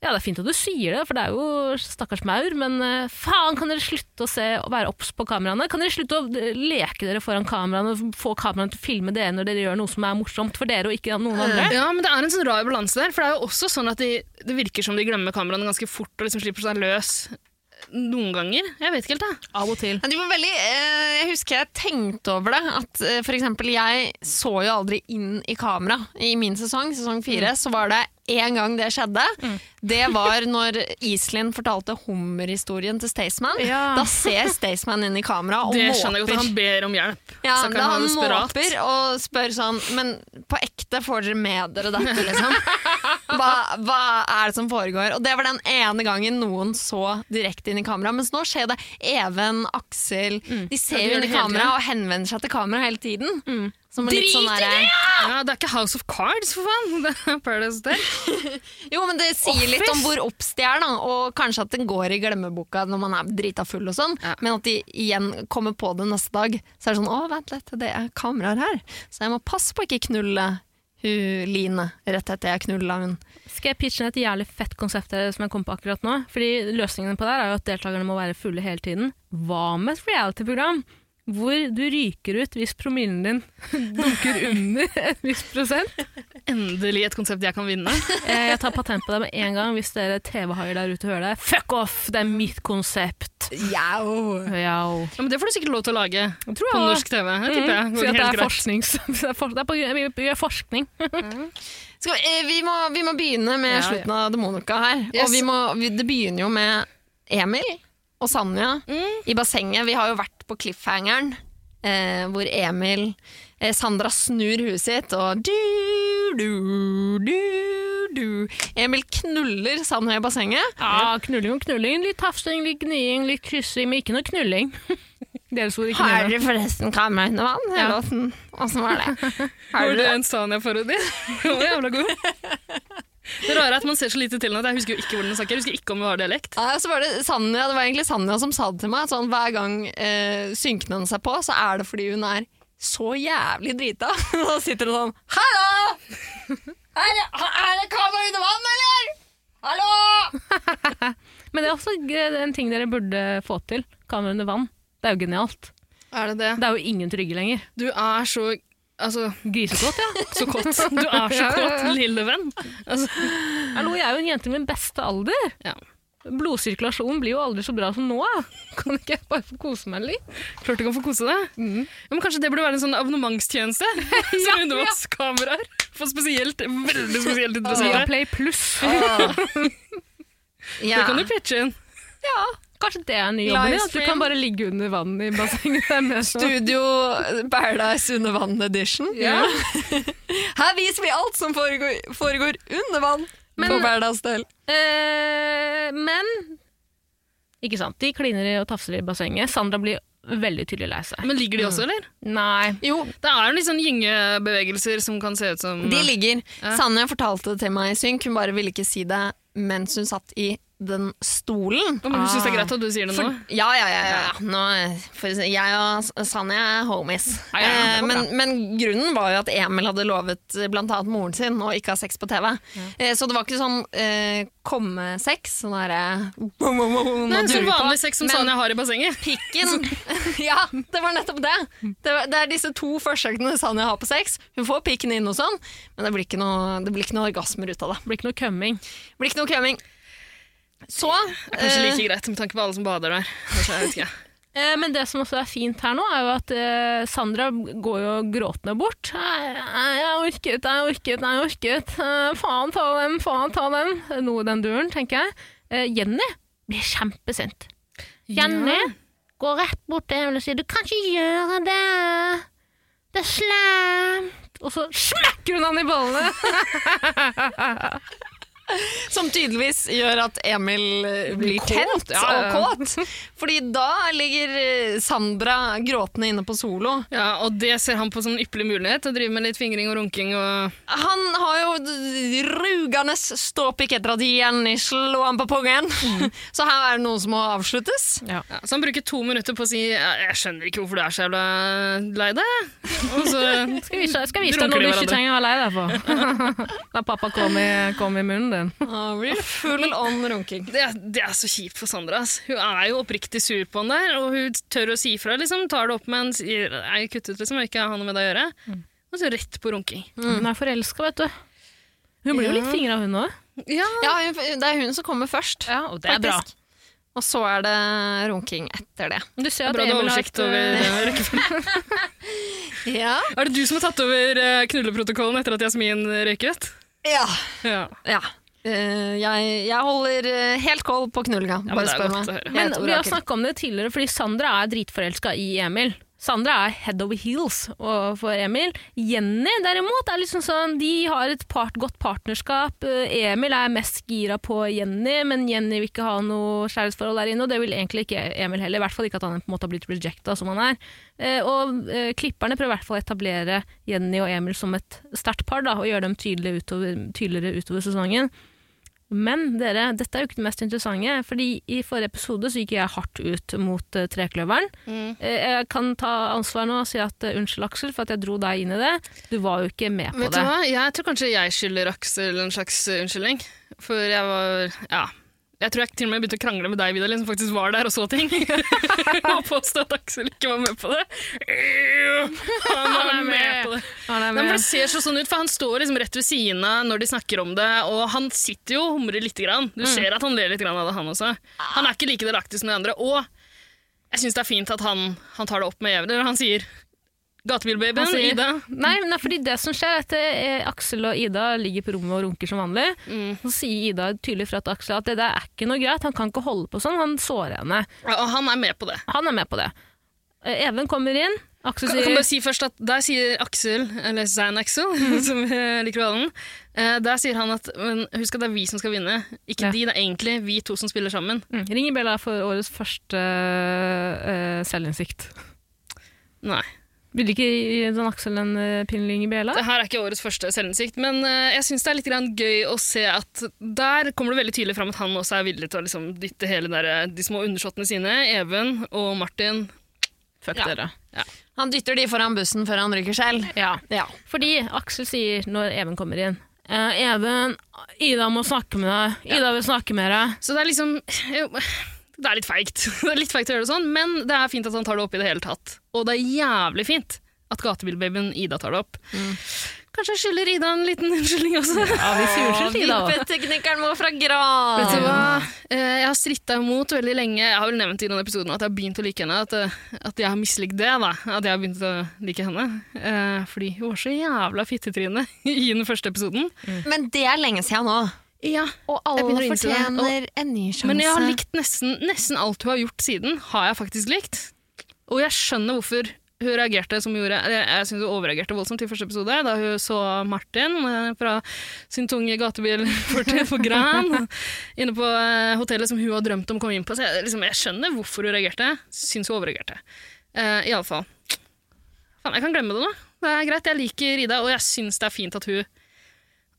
Speaker 2: ja, det er fint at du sier det, for det er jo stakkars maur, men eh, faen, kan dere slutte å se, å være obs på kameraene? Kan dere slutte å eh, leke dere foran kameraene, og få kameraene til å filme dere når dere gjør noe som er morsomt for dere og ikke noen andre?
Speaker 3: Ja, men det er en sånn rar balanse der, for det er jo også sånn at de, det virker som de glemmer kameraene ganske fort og liksom slipper seg løs noen ganger. Jeg vet ikke helt, jeg.
Speaker 2: Av og til.
Speaker 1: Men de var veldig, eh, jeg husker jeg tenkte over det. At eh, for eksempel, jeg så jo aldri inn i kamera i min sesong, sesong fire. Så var det én gang det skjedde. Det var når Iselin fortalte hummerhistorien til Staysman.
Speaker 2: Ja.
Speaker 1: Da ser Staysman inn i kamera og
Speaker 3: Det skjønner jeg
Speaker 1: måper.
Speaker 3: godt. Han ber om hjelp.
Speaker 1: Ja,
Speaker 3: Så kan
Speaker 1: da
Speaker 3: han
Speaker 1: han
Speaker 3: desperat-
Speaker 1: måper og spør sånn Men på ekte får dere med dere dette, liksom? Hva, hva er det som foregår? Og det var den ene gangen noen så direkte inn i kamera. Mens nå skjer det Even, Aksel De ser
Speaker 3: Mm.
Speaker 1: jo
Speaker 3: Ja, de gjør
Speaker 1: inn
Speaker 3: det
Speaker 1: i
Speaker 3: hele Mm.
Speaker 1: kamera og henvender seg til kamera hele tiden. Som er litt sånn
Speaker 3: Drit i
Speaker 1: derre-
Speaker 3: Ja, det er ikke House of Cards, for faen! Det er Paradise Hotel.
Speaker 1: Jo, men det sier litt
Speaker 2: Office.
Speaker 1: om hvor obs de er, da. Og kanskje at den går i glemmeboka når man er drita full og sånn.
Speaker 3: Ja.
Speaker 1: Men at de igjen kommer på det neste dag. Så er det sånn Å, vent litt, det er kameraer her. Så jeg må passe på å ikke knulle hun Line rett etter jeg knulla hun.
Speaker 2: Skal jeg pitche inn et jævlig fett konsept her som jeg kom på akkurat nå? Fordi løsningen på det her er jo at deltakerne må være fulle hele tiden. Hva med et reality-program? Hvor du ryker ut hvis promillen din dunker under en viss prosent.
Speaker 3: Endelig et konsept jeg kan vinne.
Speaker 2: Eh, Jeg tar patent på det med en gang hvis dere TV-haier der ute hører det. Fuck off! Det er mitt konsept.
Speaker 1: Jau!
Speaker 2: Yo.
Speaker 3: Ja, men det får du sikkert lov til å lage
Speaker 2: Tror
Speaker 3: på norsk TV. Jeg tipper jeg.
Speaker 2: Mm,
Speaker 3: Går
Speaker 2: si at det
Speaker 3: helt
Speaker 2: er
Speaker 3: greit.
Speaker 2: forsknings... Det er for, det er på, vi vi gjør forskning.
Speaker 1: Skal, vi- eh, vi, må, vi må begynne med
Speaker 3: Ja, ja.
Speaker 1: slutten av Demonica her.
Speaker 3: Yes.
Speaker 1: Og vi må, vi, det begynner jo med Emil og Sanja
Speaker 3: Mm.
Speaker 1: i bassenget. Vi har jo vært på cliffhangeren eh, hvor Emil eh, Sandra snur huet sitt og du, du, du, du. Emil knuller Sanja i bassenget.
Speaker 2: Ja, knulling og knulling. Litt tafsing, litt gniing, litt kyssing, men ikke noe knulling. Deres ord, ikke
Speaker 1: Har
Speaker 2: mine.
Speaker 1: dere forresten kamera under vann? Eller åssen- åssen var det? Har
Speaker 3: Var det
Speaker 1: dere
Speaker 3: en Sanja-parodi? Den var jævla god. Det rare er at man ser så lite til den at jeg husker jo ikke hvordan den snakker. Jeg husker ikke om vi har dialekt.
Speaker 1: Nei, og så var det, Sanja, det var egentlig Sanja som sa det til meg. at Sånn, hver gang eh, synkene hennes er på, så er det fordi hun er så jævlig drita. Og da sitter hun sånn Hallo! Er det, er det kamera under vann, eller? Hallo!
Speaker 2: Men det er også g- en ting dere burde få til. Kamera under vann. Det er jo genialt.
Speaker 3: Er det det?
Speaker 2: Det er jo ingen trygge lenger.
Speaker 3: Du er så Altså,
Speaker 2: Grisekåt, ja.
Speaker 3: så kåt. Du er så kåt, lille venn. Altså,
Speaker 2: Hallo, jeg er jo en jente i min beste alder.
Speaker 3: ja.
Speaker 2: Blodsirkulasjonen blir jo aldri så bra som nå. da. Kan ikke jeg bare få kose meg litt?
Speaker 3: Klart du kan få kose deg.
Speaker 1: Mm.
Speaker 3: Ja, men kanskje det burde være en sånn abonnementstjeneste? Som undervannskameraer. For spesielt, veldig spesielt interesserte.
Speaker 2: Viaplay pluss.
Speaker 1: Ja.
Speaker 3: Det kan du pitche inn.
Speaker 1: ja.
Speaker 2: Kanskje det er den nye jobben din? At du
Speaker 1: Livestream.
Speaker 2: kan bare ligge under vannet i bassenget. Det er mer sånn.
Speaker 1: Studio Paradise Under vann edition.
Speaker 2: Ja.
Speaker 1: Her viser vi alt som foregår, foregår under vann
Speaker 2: Men-
Speaker 1: på Paradise Del.
Speaker 2: Eh, men Ikke sant. De kliner og tafser i bassenget. Sandra blir veldig tydelig lei seg.
Speaker 3: Men ligger de
Speaker 1: Mm.
Speaker 3: også, eller?
Speaker 2: Nei.
Speaker 1: Jo,
Speaker 3: Det er jo litt sånn gyngebevegelser som kan se ut som
Speaker 1: de ligger.
Speaker 3: Ja.
Speaker 1: Sanja fortalte det til meg i synk, hun bare ville ikke si det mens hun satt i den stolen.
Speaker 3: Ja, men Hun syns det er greit at du sier det nå.
Speaker 1: Ah. For, ja, ja, ja. ja. Nå, for, å si- jeg og S- Sanja er homies.
Speaker 2: Ja, ja, det
Speaker 1: Eh,
Speaker 2: går bra.
Speaker 1: men, men grunnen var jo at Emil hadde lovet eh, blant annet moren sin å ikke ha sex på TV. Eh, så det var ikke sånn eh, komme-sex. Sånn derre
Speaker 3: Nei,
Speaker 1: Nei,
Speaker 3: sånn vanlig sex som
Speaker 1: Men-
Speaker 3: Sanja har i bassenget.
Speaker 1: Pikken Ja, det var nettopp det. Det, var, det er disse to forsøkene Sanja har på sex. Hun får pikken inn og sånn, men det blir ikke noe, det blir ikke noe orgasmer ut av det.
Speaker 2: Det blir ikke noe kømming.
Speaker 1: Det blir ikke noe kømming. Så
Speaker 3: Kanskje
Speaker 1: eh,
Speaker 3: like greit med tanke på alle som bader der. Kanskje, jeg vet ikke.
Speaker 2: Eh, Men det som også er fint her nå, er jo at eh, Sandra går jo gråtende bort. «Nei, nei, Jeg orket, jeg orket, jeg orket. Eh, Faen ta dem, faen ta dem. Noe i den duren, tenker jeg. Eh, Jenny blir kjempesint. Jenny går rett bort til henne og sier 'du kan ikke gjøre det', 'det er slemt'. Og så smekker hun han i ballene!
Speaker 1: Som tydeligvis gjør at Emil eh, blir tent
Speaker 3: ja, ja, ja.
Speaker 1: og kåt. Fordi da ligger eh, Sandra gråtende inne på solo.
Speaker 3: Ja, og det ser han på som en ypperlig mulighet. Å drive med litt fingring og runking og
Speaker 1: Han har jo d- rugende ståpikk etter at Jenny slo ham på pungen.
Speaker 3: Mm.
Speaker 1: Så her er det noe som må avsluttes.
Speaker 3: ja, Så han bruker to minutter på å si «Ja, 'jeg skjønner ikke hvorfor du er så jævla lei deg'. Og så
Speaker 2: Skal vise, jeg skal vise deg
Speaker 3: Drunker
Speaker 2: noe du ikke
Speaker 3: de hverandre?
Speaker 2: trenger å være lei deg for. Da pappa kom i, kom i munnen din.
Speaker 1: Han blir full on runking.
Speaker 3: det, er- det er så kjipt for Sandra. ass. Hun er jo oppriktig sur på han der, og hun tør å si fra. liksom, Tar det opp med en sier 'jeg er kuttet', liksom, og ikke har noe med det å gjøre. Og så rett på runking.
Speaker 2: Hun er forelska, vet du. Hun blir jo
Speaker 3: Ja.
Speaker 2: litt fingra, hun òg.
Speaker 3: Ja,
Speaker 1: Ja, hun- det er hun som kommer først.
Speaker 2: Ja, og
Speaker 1: faktisk. Og så er det runking etter det.
Speaker 2: Du ser
Speaker 3: det er
Speaker 2: at
Speaker 3: bra du har
Speaker 2: Emil har
Speaker 3: oversikt
Speaker 2: et,
Speaker 3: over
Speaker 2: eh,
Speaker 3: eh, rekkefølgen.
Speaker 1: Ja.
Speaker 3: Er det du som har tatt over eh, knulleprotokollen etter at Jasmin røyket?
Speaker 1: Ja.
Speaker 3: Ja.
Speaker 1: Eh, jeg, jeg holder eh, helt koll på knullinga.
Speaker 3: Ja, men
Speaker 1: Bare
Speaker 3: det er
Speaker 1: spør
Speaker 3: godt
Speaker 1: meg.
Speaker 3: å høre.
Speaker 1: Jeg
Speaker 2: Men
Speaker 1: heter
Speaker 2: vi har
Speaker 1: Orakel.
Speaker 2: snakka om det tidligere, fordi Sandra er dritforelska i Emil. Sandra er head over heels og- for Emil. Jenny derimot er liksom sånn De har et part, godt partnerskap. Eh, Emil er mest gira på Jenny, men Jenny vil ikke ha noe kjærlighetsforhold der inne. Og det vil egentlig ikke Emil heller. I hvert fall ikke at han på en måte har blitt rejecta som han er. Eh, Og eh, klipperne prøver i hvert fall å etablere Jenny og Emil som et sterkt par, da, og gjøre dem tydelige utover, tydeligere utover sesongen. Men dere, dette er jo ikke det mest interessante, fordi i forrige episode så gikk jeg hardt ut mot eh, trekløveren.
Speaker 3: Mm.
Speaker 2: Eh, jeg kan ta ansvar nå og si at eh, unnskyld Aksel for at jeg dro deg inn i det. Du var jo ikke med på
Speaker 3: Vet du
Speaker 2: det.
Speaker 3: hva? Jeg tror kanskje jeg skylder Aksel en slags eh, unnskyldning. For jeg var Ja. Jeg tror jeg til og med begynte å krangle med deg, Vidalin, som faktisk var der og så ting. og påstå at Aksel ikke var med på det. Han er med på det.
Speaker 2: Han er
Speaker 3: Nei,
Speaker 2: med.
Speaker 3: men det ser så sånn ut, for Han står liksom rett ved siden av når de snakker om det, og han sitter jo og humrer litt. Grann.
Speaker 2: Mm.
Speaker 3: Du ser at han ler litt grann av det, han også. Han er ikke like delaktig som de andre. Og jeg syns det er fint at han, han tar det opp med Even. Han sier 'Gatebilbabyen',
Speaker 2: Han sier-
Speaker 3: Ida.
Speaker 2: Nei, nei, fordi det som skjer er at eh, Aksel og Ida ligger på rommet og runker som vanlig. Så sier Ida tydelig fra til Aksel at det der er ikke noe greit, han kan ikke holde på sånn, han sårer henne.
Speaker 3: Ja, Og han er med på det.
Speaker 2: Han er med på det. Eh, Even kommer inn, Aksel
Speaker 3: Kan, kan
Speaker 2: sier
Speaker 3: bare si først at Der sier Aksel, eller Zan Axel, som jeg liker å kalle den, eh, der sier han at men husk at det er vi som skal vinne, ikke
Speaker 2: Ja.
Speaker 3: de. Det er egentlig vi to som spiller sammen.
Speaker 2: Mm. Ringer Bella for årets første eh, selvinnsikt.
Speaker 3: Nei.
Speaker 2: Vil du ikke gi Dan Aksel en uh, pinlig Ingebella?
Speaker 3: Det her er ikke årets første selvinnsikt, men eh, jeg syns det er litt grann gøy å se at der kommer det veldig tydelig fram at han også er villig til å liksom dytte hele der, de små undersåttene sine, Even og Martin.
Speaker 2: Fuck
Speaker 3: Ja.
Speaker 2: dere.
Speaker 1: Han dytter de foran bussen før han ryker selv.
Speaker 2: Ja.
Speaker 1: Ja.
Speaker 2: Fordi Aksel sier når Even kommer inn «Eh, Even, Ida må snakke med deg. Ida vil snakke med deg.
Speaker 3: Så det er liksom jo, Det er litt feigt. Det er litt feigt å gjøre det sånn, men det er fint at han tar det opp i det hele tatt. Og det er jævlig fint at gatebilbabyen Ida tar det opp. Kanskje jeg skylder Ida en liten unnskyldning også.
Speaker 2: Ja, vi sier unnskyld til Ida også.
Speaker 1: Vippeteknikeren vår fra
Speaker 3: Vet du
Speaker 1: Gran.
Speaker 3: hva? Eh, Jeg har stritta imot veldig lenge. Jeg har vel nevnt i noen episoder nå at jeg har begynt å like henne. At, eh, at jeg har mislikt det. da. At jeg har begynt å like henne. Eh, Fordi hun var så jævla fittetryne i den første episoden.
Speaker 1: Men det er lenge siden nå.
Speaker 3: Ja,
Speaker 1: Og alle
Speaker 3: Jeg begynner å innse det.
Speaker 1: fortjener en ny sjanse.
Speaker 3: Men jeg har likt nesten, nesten alt hun har gjort siden, har jeg faktisk likt. Og jeg skjønner hvorfor hun reagerte som hun gjorde. Eller, Jeg synes hun overreagerte voldsomt i første episode, da hun så Martin eh, fra sin tunge gatebil for, for Gran, inne på eh, hotellet som hun har drømt om å komme inn på. Så jeg, liksom, jeg skjønner hvorfor hun reagerte. Syns hun overreagerte. Eh, Iallfall. Faen, jeg kan glemme det nå. Det er greit, jeg liker Ida, og jeg syns det er fint at hun,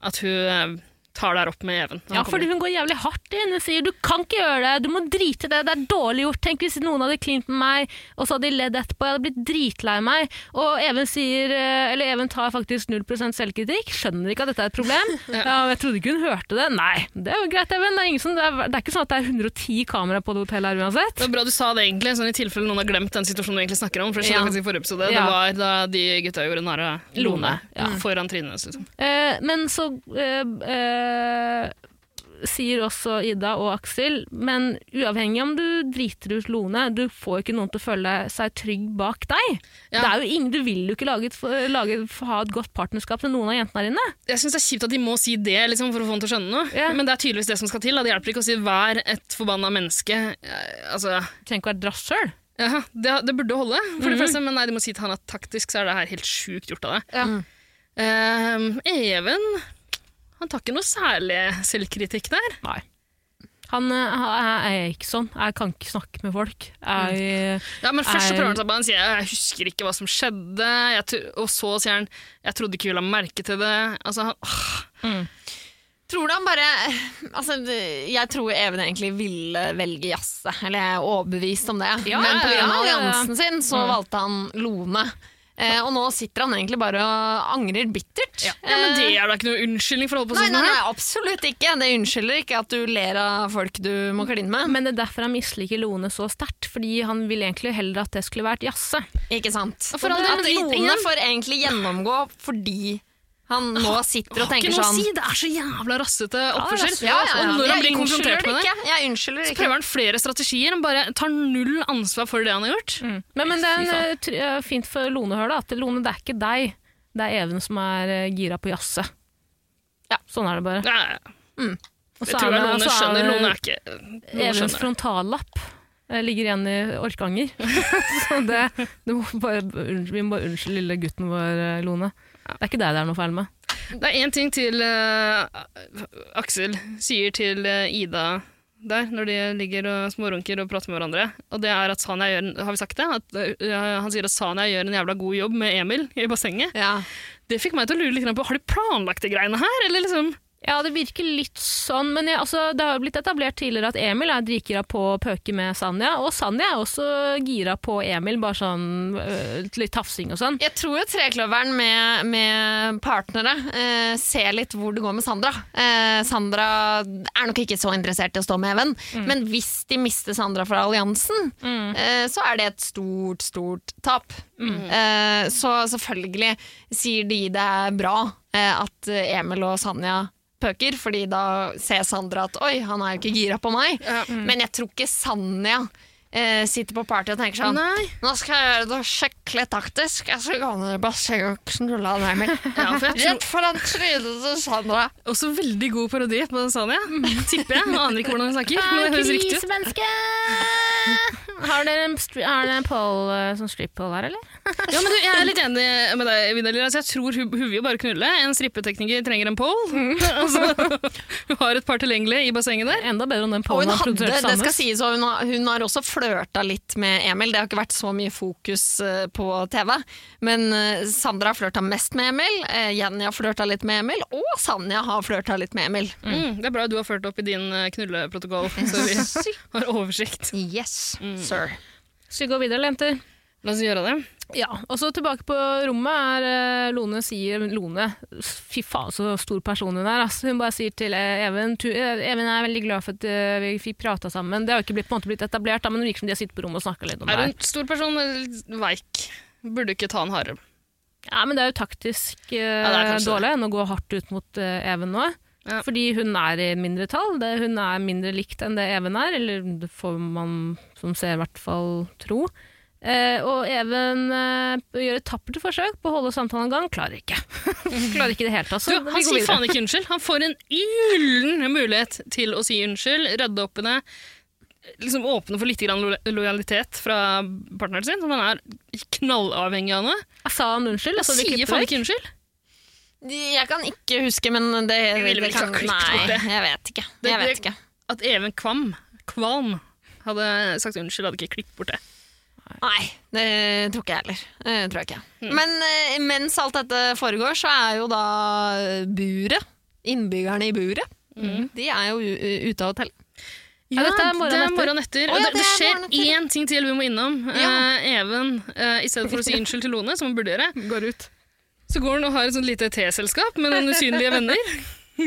Speaker 3: at hun eh, tar der opp med Even.
Speaker 2: Ja,
Speaker 3: når han kommer
Speaker 2: fordi hun går jævlig hardt inn og sier du kan ikke gjøre det, du må drite i det, det er dårlig gjort. Tenk hvis noen hadde klint med meg, og så hadde de ledd etterpå, jeg hadde blitt dritlei meg. Og Even sier, eh, eller Even tar faktisk 0 selvkritikk, skjønner ikke at dette er et problem. ja. men jeg trodde ikke hun hørte det. Nei, det er jo greit, Even. Det er, ingen som, det er, det er ikke sånn at det er 110 kameraer på det hotellet her uansett.
Speaker 3: Det var bra du sa det, egentlig, sånn i tilfelle noen har glemt den situasjonen du egentlig snakker om. For det skjedde
Speaker 1: Ja.
Speaker 3: faktisk i forrige episode.
Speaker 2: Ja.
Speaker 3: Det var da de gutta gjorde narr av Lone
Speaker 2: Lone, ja.
Speaker 3: foran trynet hennes. Liksom.
Speaker 2: Eh, men så eh, eh, sier også Ida og Aksel, men uavhengig om du driter ut Lone, du får ikke noen til å føle seg trygg bak deg.
Speaker 3: Ja.
Speaker 2: Det er jo ingen, Du vil jo ikke lage et, lage, ha et godt partnerskap til noen av jentene her inne.
Speaker 3: Jeg syns det er kjipt at de må si det liksom, for å få henne til å skjønne noe.
Speaker 2: Ja.
Speaker 3: Men det er tydeligvis det som skal til. Da. Det hjelper ikke å si 'vær et forbanna menneske'. Eh, Altså,
Speaker 2: Du trenger ikke være drasshøl.
Speaker 3: ja, det, det burde holde, for det første, men nei, de må si til han at taktisk så er det her helt sjukt gjort av deg.
Speaker 1: Ja. Mm.
Speaker 3: Eh, Even han tar ikke noe særlig selvkritikk der.
Speaker 2: Nei. Han eh, er, er ikke sånn. Jeg kan ikke snakke med folk. Jeg,
Speaker 3: Ja, men først så
Speaker 2: Er-
Speaker 3: prøver han seg på det. Han sier jeg husker ikke hva som skjedde, jeg tro- og så sier han jeg trodde ikke hun la merke til det. Altså, han, åh,
Speaker 1: Tror du han bare altså, det- Jeg tror Even egentlig ville velge jazze, eller jeg er overbevist om det.
Speaker 2: Ja,
Speaker 1: Men pga.
Speaker 2: ja, ja, ja.
Speaker 1: alliansen sin så
Speaker 3: Mm.
Speaker 1: valgte han Lone. Eh, og nå sitter han egentlig bare og angrer bittert. Eh,
Speaker 3: ja, men det er da ikke noe unnskyldning for å holde på
Speaker 1: Nei,
Speaker 3: sånn.
Speaker 1: nei,
Speaker 3: her.
Speaker 1: nei, absolutt ikke. Det unnskylder ikke at du ler av folk du må kline med.
Speaker 2: men det er derfor han misliker Lone så sterkt, fordi han ville egentlig heller at det skulle vært jazze.
Speaker 1: Ikke sant?
Speaker 3: for all del,
Speaker 1: at
Speaker 3: men det er
Speaker 1: Lone
Speaker 3: ingen-
Speaker 1: får egentlig gjennomgå fordi han nå sitter og
Speaker 3: Ikke
Speaker 1: tenker
Speaker 3: noe å
Speaker 1: sånn
Speaker 3: si, det er så jævla rassete oppførsel.
Speaker 1: Ja, ja, ja.
Speaker 3: Og når han
Speaker 1: Jeg
Speaker 3: blir
Speaker 1: unnskylder
Speaker 3: konfrontert med det,
Speaker 1: ikke. Jeg unnskylder
Speaker 3: så
Speaker 1: ikke.
Speaker 3: prøver han flere strategier. Han bare tar null ansvar for det han har gjort.
Speaker 2: Mm. Men, men det er
Speaker 3: Fy
Speaker 2: en,
Speaker 3: faen.
Speaker 2: eh, tr- eh, fint for Lone å høre, da. At Lone, det er ikke deg. Det er Even som er eh, gira på jazze.
Speaker 1: Ja.
Speaker 2: Sånn er det
Speaker 1: Mm.
Speaker 2: bare.
Speaker 3: Ja, ja.
Speaker 2: Og
Speaker 3: Jeg
Speaker 2: så
Speaker 3: tror det
Speaker 2: er
Speaker 3: er
Speaker 2: det-
Speaker 3: noen
Speaker 2: så er
Speaker 3: skjønner,
Speaker 2: det
Speaker 3: noen er ikke noen
Speaker 2: Evens
Speaker 3: skjønner.
Speaker 2: frontallapp eh, ligger igjen i Orkanger. så det, du må bare, unnskyld, vi må bare unnskylde lille gutten vår, eh, Lone. Det er ikke deg det er noe feil med.
Speaker 3: Det er én ting til eh, Aksel sier til eh, Ida der, når de ligger og smårunker og prater med hverandre. Og det er at Sanja gjør en- Har vi sagt det? At, eh, han sier at Sanja gjør en jævla god jobb med Emil i bassenget.
Speaker 1: Ja.
Speaker 3: Det fikk meg til å lure litt grann på har de planlagt de greiene her, eller liksom
Speaker 2: Ja, det virker litt sånn, men jeg, altså, det har jo blitt etablert tidligere at Emil er dritgira på å pøke med Sanja, og Sanja er også gira på Emil, bare sånn eh, litt tafsing og sånn.
Speaker 1: Jeg tror jo trekløveren med, med partnere eh, ser litt hvor det går med Sandra. Eh, Sandra er nok ikke så interessert i å stå med Even, men hvis de mister Sandra fra alliansen, eh, så er det et stort, stort tap. Eh, så selvfølgelig sier de det er bra eh, at Emil og Sanja pøker, fordi da ser Sandra at oi, han er jo ikke gira på meg. Men jeg tror ikke Sanja eh, sitter på party og tenker sånn
Speaker 3: Nei.
Speaker 1: nå skal jeg gjøre det skikkelig taktisk. Jeg skal gå ned i bassenget og knulle han Emil.
Speaker 3: Ja, for jeg tror-
Speaker 1: Rett foran trynet til Sandra.
Speaker 3: Også veldig god parodi på den Sanja, tipper jeg. Jeg aner ikke hvordan hun snakker, men det høres riktig ut.
Speaker 2: Krisemenneske! Har dere en, stri- har dere en poll eh, som strip-poll her, eller?
Speaker 3: Ja, men du, jeg er litt enig med deg, Vidar Lilla. Altså, jeg tror hun, hun vil jo bare knulle. En strippetekniker trenger en pole. altså, hun har et par tilgjengelige i bassenget der.
Speaker 2: Enda bedre om den
Speaker 1: Og
Speaker 2: pollen
Speaker 1: hun
Speaker 2: er
Speaker 1: hadde,
Speaker 2: produsert
Speaker 1: det skal
Speaker 2: sammen.
Speaker 1: sies, og hun har, hun har også flørta litt med Emil. Det har ikke vært så mye fokus eh, på TV. Men eh, Sandra har flørta mest med Emil, eh, Jenny har flørta litt med Emil, og Sanja har flørta litt med Emil.
Speaker 3: Mm, det er bra du har ført opp i din eh, knulleprotokoll, så vi har oversikt.
Speaker 1: Yes,
Speaker 3: Mm.
Speaker 1: sir.
Speaker 2: Skal vi gå videre, eller, jenter?
Speaker 3: La oss gjøre det.
Speaker 2: Ja, og så tilbake på rommet er eh, Lone sier Lone, fy faen så stor person hun er. ass. Hun bare sier til eh, Even tu, eh, Even er veldig glad for at eh, vi fikk prata sammen. Det har jo ikke blitt, på en måte blitt etablert, da, men det virker som de har sittet på rommet og snakka litt om
Speaker 3: Er
Speaker 2: det.
Speaker 3: du
Speaker 2: her.
Speaker 3: en stor person eller veik? Burde du ikke ta en hardere?
Speaker 2: Ja, men det er jo taktisk eh,
Speaker 3: det er kanskje
Speaker 2: dårlig enn å gå hardt ut mot eh, Even nå.
Speaker 3: Ja.
Speaker 2: Fordi hun er i mindretall. det- Hun er mindre likt enn det Even er, eller det får man som ser i hvert fall tro. Eh, og Even eh, gjør et tappert forsøk på å holde samtalen i gang, klarer ikke. klarer ikke i det hele tatt.
Speaker 3: Du,
Speaker 2: Så
Speaker 3: han sier faen ikke unnskyld. Han får en ullen mulighet til å si unnskyld, rydde opp i det. Liksom åpne for litt grann lo- lojalitet fra partneren sin, som han er knallavhengig av nå.
Speaker 2: Sa han unnskyld?
Speaker 3: Han
Speaker 2: Altså, det
Speaker 3: sier
Speaker 2: klippet
Speaker 3: faen
Speaker 2: vekk?
Speaker 3: ikke unnskyld.
Speaker 1: Jeg kan ikke huske, men det,
Speaker 3: ville vel
Speaker 1: det
Speaker 3: ikke
Speaker 1: kan
Speaker 3: ha klippet bort
Speaker 1: Nei,
Speaker 3: det.
Speaker 1: jeg vet ikke.
Speaker 3: Det-
Speaker 1: Jeg vet
Speaker 3: det-
Speaker 1: ikke.
Speaker 3: At Even Kvam, Kvalm hadde sagt unnskyld, hadde ikke klippet bort det.
Speaker 1: Nei, det tror ikke jeg heller. Det tror jeg ikke. Men eh, mens alt dette foregår, så er jo da buret, innbyggerne i buret, de er jo u- u- ute av hotellet.
Speaker 2: Ja, dette er morgenen
Speaker 3: det er
Speaker 2: etter.
Speaker 3: morgenen etter.
Speaker 1: Å,
Speaker 3: og
Speaker 1: ja,
Speaker 3: det,
Speaker 1: det
Speaker 3: det
Speaker 1: er
Speaker 3: skjer
Speaker 1: morgenen etter.
Speaker 3: én ting til vi må innom.
Speaker 1: Ja.
Speaker 3: Eh, Even, eh, i stedet for å si unnskyld til Lone, som hun burde gjøre,
Speaker 1: Går ut.
Speaker 3: Så går han og har et sånt lite teselskap med noen usynlige venner,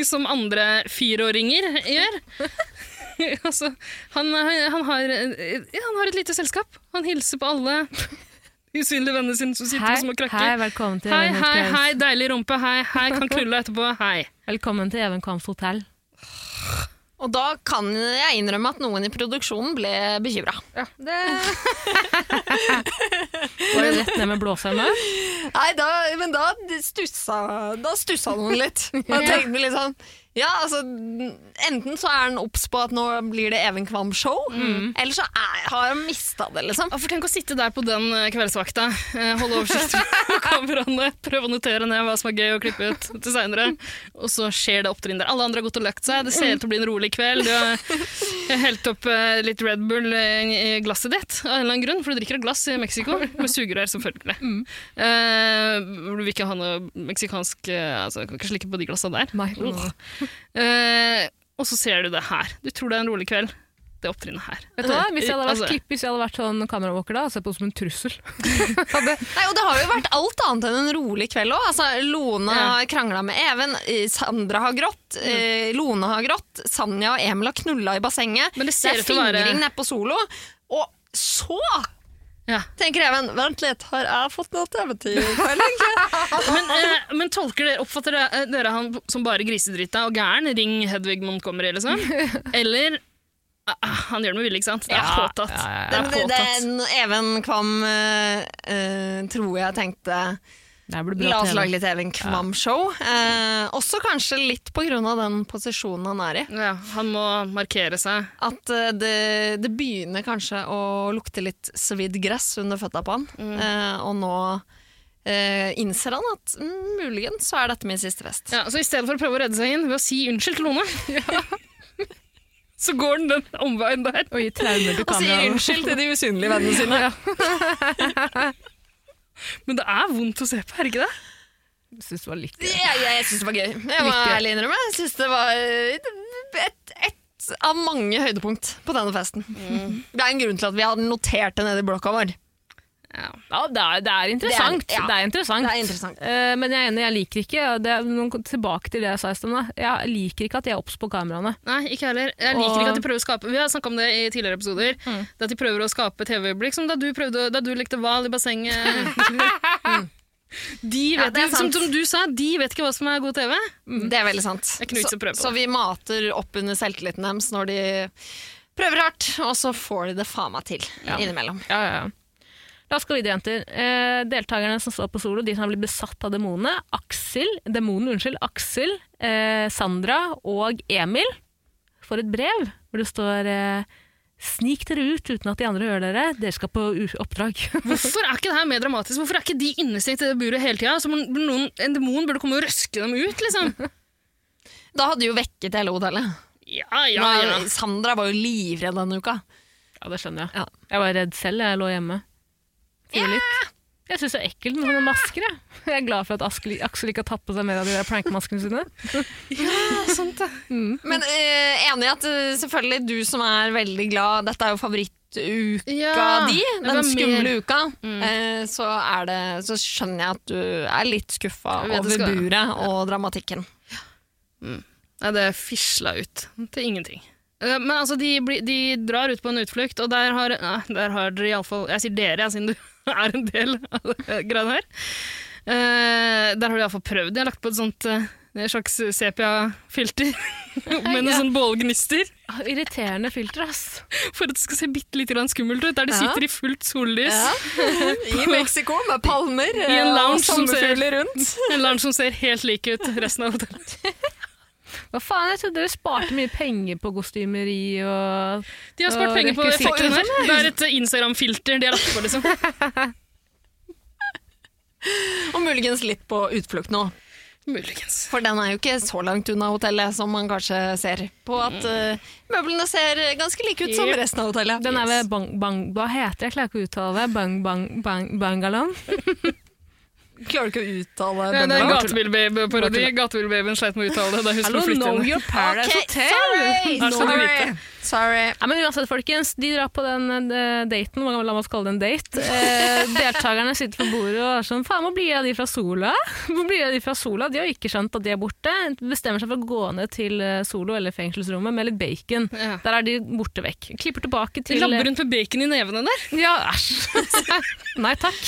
Speaker 3: som andre fireåringer gjør. altså, han, han, har, ja, han har et lite selskap. Han hilser på alle usynlige vennene sine som sitter
Speaker 2: Hei,
Speaker 3: på små
Speaker 2: hei,
Speaker 3: krakker.
Speaker 2: velkommen til
Speaker 3: Hei,
Speaker 2: Even
Speaker 3: hei,
Speaker 2: Kams-
Speaker 3: hei, deilig rumpe. Hei, hei, kan knulle deg etterpå. Hei.
Speaker 2: Velkommen til Even Kams hotell.
Speaker 1: Og da kan jeg innrømme at noen i produksjonen ble bekymra.
Speaker 2: Var det rett ned med blåsearmen?
Speaker 1: Nei, da, men da stussa, da stussa noen litt. Da tenkte litt sånn ja, altså, Enten så er han obs på at nå blir det Even Kvam-show, eller så er, har han mista det, liksom.
Speaker 3: Ja, for tenk å sitte der på den eh, kveldsvakta, eh, holde oversikt over kameraene, prøve å notere ned hva som er gøy å klippe ut til seinere, og så skjer det opptrinn der. Alle andre har gått og lagt seg, det ser ut til å bli en rolig kveld. Du har helt opp eh, litt Red Bull eh, i glasset ditt av en eller annen grunn, for du drikker et glass i Mexico med sugerør, selvfølgelig.
Speaker 2: Mm.
Speaker 3: Eh, du vil ikke ha noe meksikansk eh, altså, Kan ikke slikke på de glassa der.
Speaker 2: Nei.
Speaker 3: Eh, og så ser du det her. Du tror det er en rolig kveld. Det opptrinnet her.
Speaker 2: Vet du hva? Hvis jeg hadde vært
Speaker 3: Altså-
Speaker 2: klipp, hvis jeg hadde vært sånn kamerawalker da, hadde jeg sett på det som en trussel.
Speaker 1: Nei, og det har jo vært alt annet enn en rolig kveld òg. Altså, Lone
Speaker 3: Ja. Mm.
Speaker 1: har krangla med Even, eh, Sandra har grått, eh, Lone har grått, Sanja og Emil har knulla i bassenget.
Speaker 3: Men det ser
Speaker 1: er
Speaker 3: ut til å være-
Speaker 1: fingring nede på solo. Og så
Speaker 3: Ja.
Speaker 1: tenker Even Vent litt, har jeg fått noe TV-tid i kveld, egentlig?
Speaker 3: Men, eh, men tolker dere, oppfatter dere, eh, dere han som bare grisedrita og gæren? Ring Hedvig Montgomery, liksom? Eller ah, ah, Han gjør det med vilje, ikke sant? Det er
Speaker 2: Ja,
Speaker 3: påtatt.
Speaker 2: ja, ja, ja.
Speaker 3: Det
Speaker 1: Men det,
Speaker 3: er
Speaker 1: det,
Speaker 3: påtatt.
Speaker 1: Even Kvam eh, eh, tror jeg tenkte
Speaker 2: Det blir bra
Speaker 1: La oss
Speaker 2: TV.
Speaker 1: lage litt Even Kvam-show. Eh, også kanskje litt på grunn av den posisjonen han er i.
Speaker 3: Ja, han må markere seg.
Speaker 1: At eh, det, det begynner kanskje å lukte litt svidd gress under føtta på han. Eh, og nå eh, innser han at mm, muligens så er dette min siste fest.
Speaker 3: Ja, så i stedet for å prøve å redde seg inn ved å si unnskyld til Lone, så går han den omveien der.
Speaker 2: Og gi traumer til
Speaker 1: Og sier
Speaker 2: kameraet.
Speaker 1: unnskyld til de usynlige vennene sine.
Speaker 3: Men det er vondt å se på, er det ikke det?
Speaker 2: Jeg synes det var litt gøy.
Speaker 1: Jeg, jeg syns det var gøy. Jeg må
Speaker 2: Litt gøy.
Speaker 1: ærlig innrømme. Jeg synes det var eh, et, et av mange høydepunkt på denne festen. Det er en grunn til at vi hadde notert det nede i blokka vår.
Speaker 3: Ja.
Speaker 2: Ja, det er, det er interessant. Det
Speaker 1: Det
Speaker 2: er,
Speaker 1: er- ja.
Speaker 2: interessant.
Speaker 1: Det er interessant.
Speaker 2: Eh, men jeg er enig, jeg liker ikke og det, er- noen- Tilbake til det jeg sa i sted. da. Jeg liker ikke at de er obs på kameraene.
Speaker 3: Nei, ikke heller. Jeg liker
Speaker 2: Og-
Speaker 3: ikke at de prøver å skape Vi har snakka om det i tidligere episoder.
Speaker 1: Mm.
Speaker 3: Det At de prøver å skape TV-øyeblikk. Som da du, prøvde, da du lekte hval i bassenget. Mm. De
Speaker 1: Ja,
Speaker 3: vet,
Speaker 1: det er
Speaker 3: jo- som,
Speaker 1: sant.
Speaker 3: som du sa, de vet ikke hva som er god TV.
Speaker 1: Det er veldig sant.
Speaker 3: Mm. er ikke noe vits
Speaker 1: så,
Speaker 3: å prøve på
Speaker 1: så vi mater opp under selvtilliten deres når de prøver hardt, og så får de det faen meg til innimellom.
Speaker 2: Ja, ja, ja. La oss gå videre, jenter. Eh, deltakerne som står på solo, de som har blitt besatt av demonene, Aksel, demonen, unnskyld, Aksel, eh, Sandra og Emil, får et brev hvor det står eh, Snik dere ut uten at de andre hører dere. Dere skal på u- oppdrag.
Speaker 3: Hvorfor er ikke det her mer dramatisk? Hvorfor er ikke de innestengt i det buret hele tida? Som om noen- En demon burde komme og røske dem ut, liksom.
Speaker 1: Da hadde de jo vekket hele hotellet.
Speaker 3: Ja, ja, ja.
Speaker 1: Nei, Sandra var jo livredd denne uka.
Speaker 2: Ja, det skjønner jeg.
Speaker 1: Ja.
Speaker 2: Jeg var redd selv, jeg lå hjemme. Fy litt. Jeg syns det er ekkelt med sånne masker. Jeg. jeg er glad for at Aksel, Aksel ikke har tatt på seg mer av de der prankmaskene sine.
Speaker 3: ja sant det.
Speaker 1: Men eh, enig i at eh, selvfølgelig du som er veldig glad Dette er jo favorittuka
Speaker 3: Ja,
Speaker 1: di,
Speaker 3: det var Mm.
Speaker 1: den skumle
Speaker 3: mer-
Speaker 1: uka. eh, så, er det, så skjønner jeg at du er litt skuffa
Speaker 3: Jeg vet det
Speaker 1: over
Speaker 3: skal jeg.
Speaker 1: buret og dramatikken.
Speaker 3: Nei, det fisla ut til ingenting. Eh, Men altså, de, blir- de drar ut på en utflukt, og der har, nei, der har dere iallfall Jeg sier dere, jeg, siden du er en del av det greiene her. Eh, der har de iallfall prøvd. De har lagt på et sånt eh, en slags sepia-filter med noen
Speaker 2: Ja.
Speaker 3: sånne bålgnister
Speaker 2: Ah, Irriterende filter, ass.
Speaker 3: for at det skal se bitte litt grann skummelt ut. Der de
Speaker 1: Ja.
Speaker 3: sitter i fullt sollys.
Speaker 1: I Mexico, med palmer
Speaker 3: en
Speaker 1: eh, og
Speaker 3: lounge som ser-
Speaker 1: sommerfugler rundt.
Speaker 3: En larm som ser helt lik ut resten av hotellet.
Speaker 2: Hva faen, jeg trodde dere sparte mye penger på kostymeri og
Speaker 3: De har spart
Speaker 2: Og
Speaker 3: penger på
Speaker 2: rekvisitter.
Speaker 3: filteren her. Det er et eh, Instagram-filter de har lagt på, liksom.
Speaker 1: Og muligens litt på utflukt nå.
Speaker 3: Muligens.
Speaker 1: For den er jo ikke så langt unna hotellet som man kanskje ser på at
Speaker 2: Mm.
Speaker 1: eh, møblene ser ganske like ut som
Speaker 3: Yep.
Speaker 1: resten av hotellet.
Speaker 2: Den er ved bang, bang, Hva heter det? Jeg klarer ikke å uttale det. Bang, bang, bang, bangalong?
Speaker 1: Klarer du ikke å uttale
Speaker 3: Ja, det er en
Speaker 1: Bøndelaget?
Speaker 3: gatebilbaby-parodi. Gatebilbabyen sleit med å uttale det da hun
Speaker 2: Hallo,
Speaker 3: skulle flytte
Speaker 2: know
Speaker 3: inn.
Speaker 2: your paradise
Speaker 1: Ok, sorry!
Speaker 2: hotel!
Speaker 3: skal du
Speaker 1: Sorry!
Speaker 3: vite.
Speaker 1: sorry.
Speaker 2: Ja, men uansett, folkens. De drar på den eh, daten. Hvor gammel la meg kalle det en date? Eh, deltakerne sitter på bordet og er sånn Faen, hvor blir det av de fra Sola? Hvor blir det av de fra Sola? De har jo ikke skjønt at de er borte. Bestemmer seg for å gå ned til eh, Solo eller fengselsrommet med litt bacon.
Speaker 3: Ja. eh,
Speaker 2: Der er de borte vekk. Klipper tilbake
Speaker 3: De
Speaker 2: til
Speaker 3: labber rundt med bacon i nevene der.
Speaker 2: Ja, æsj. Nei takk.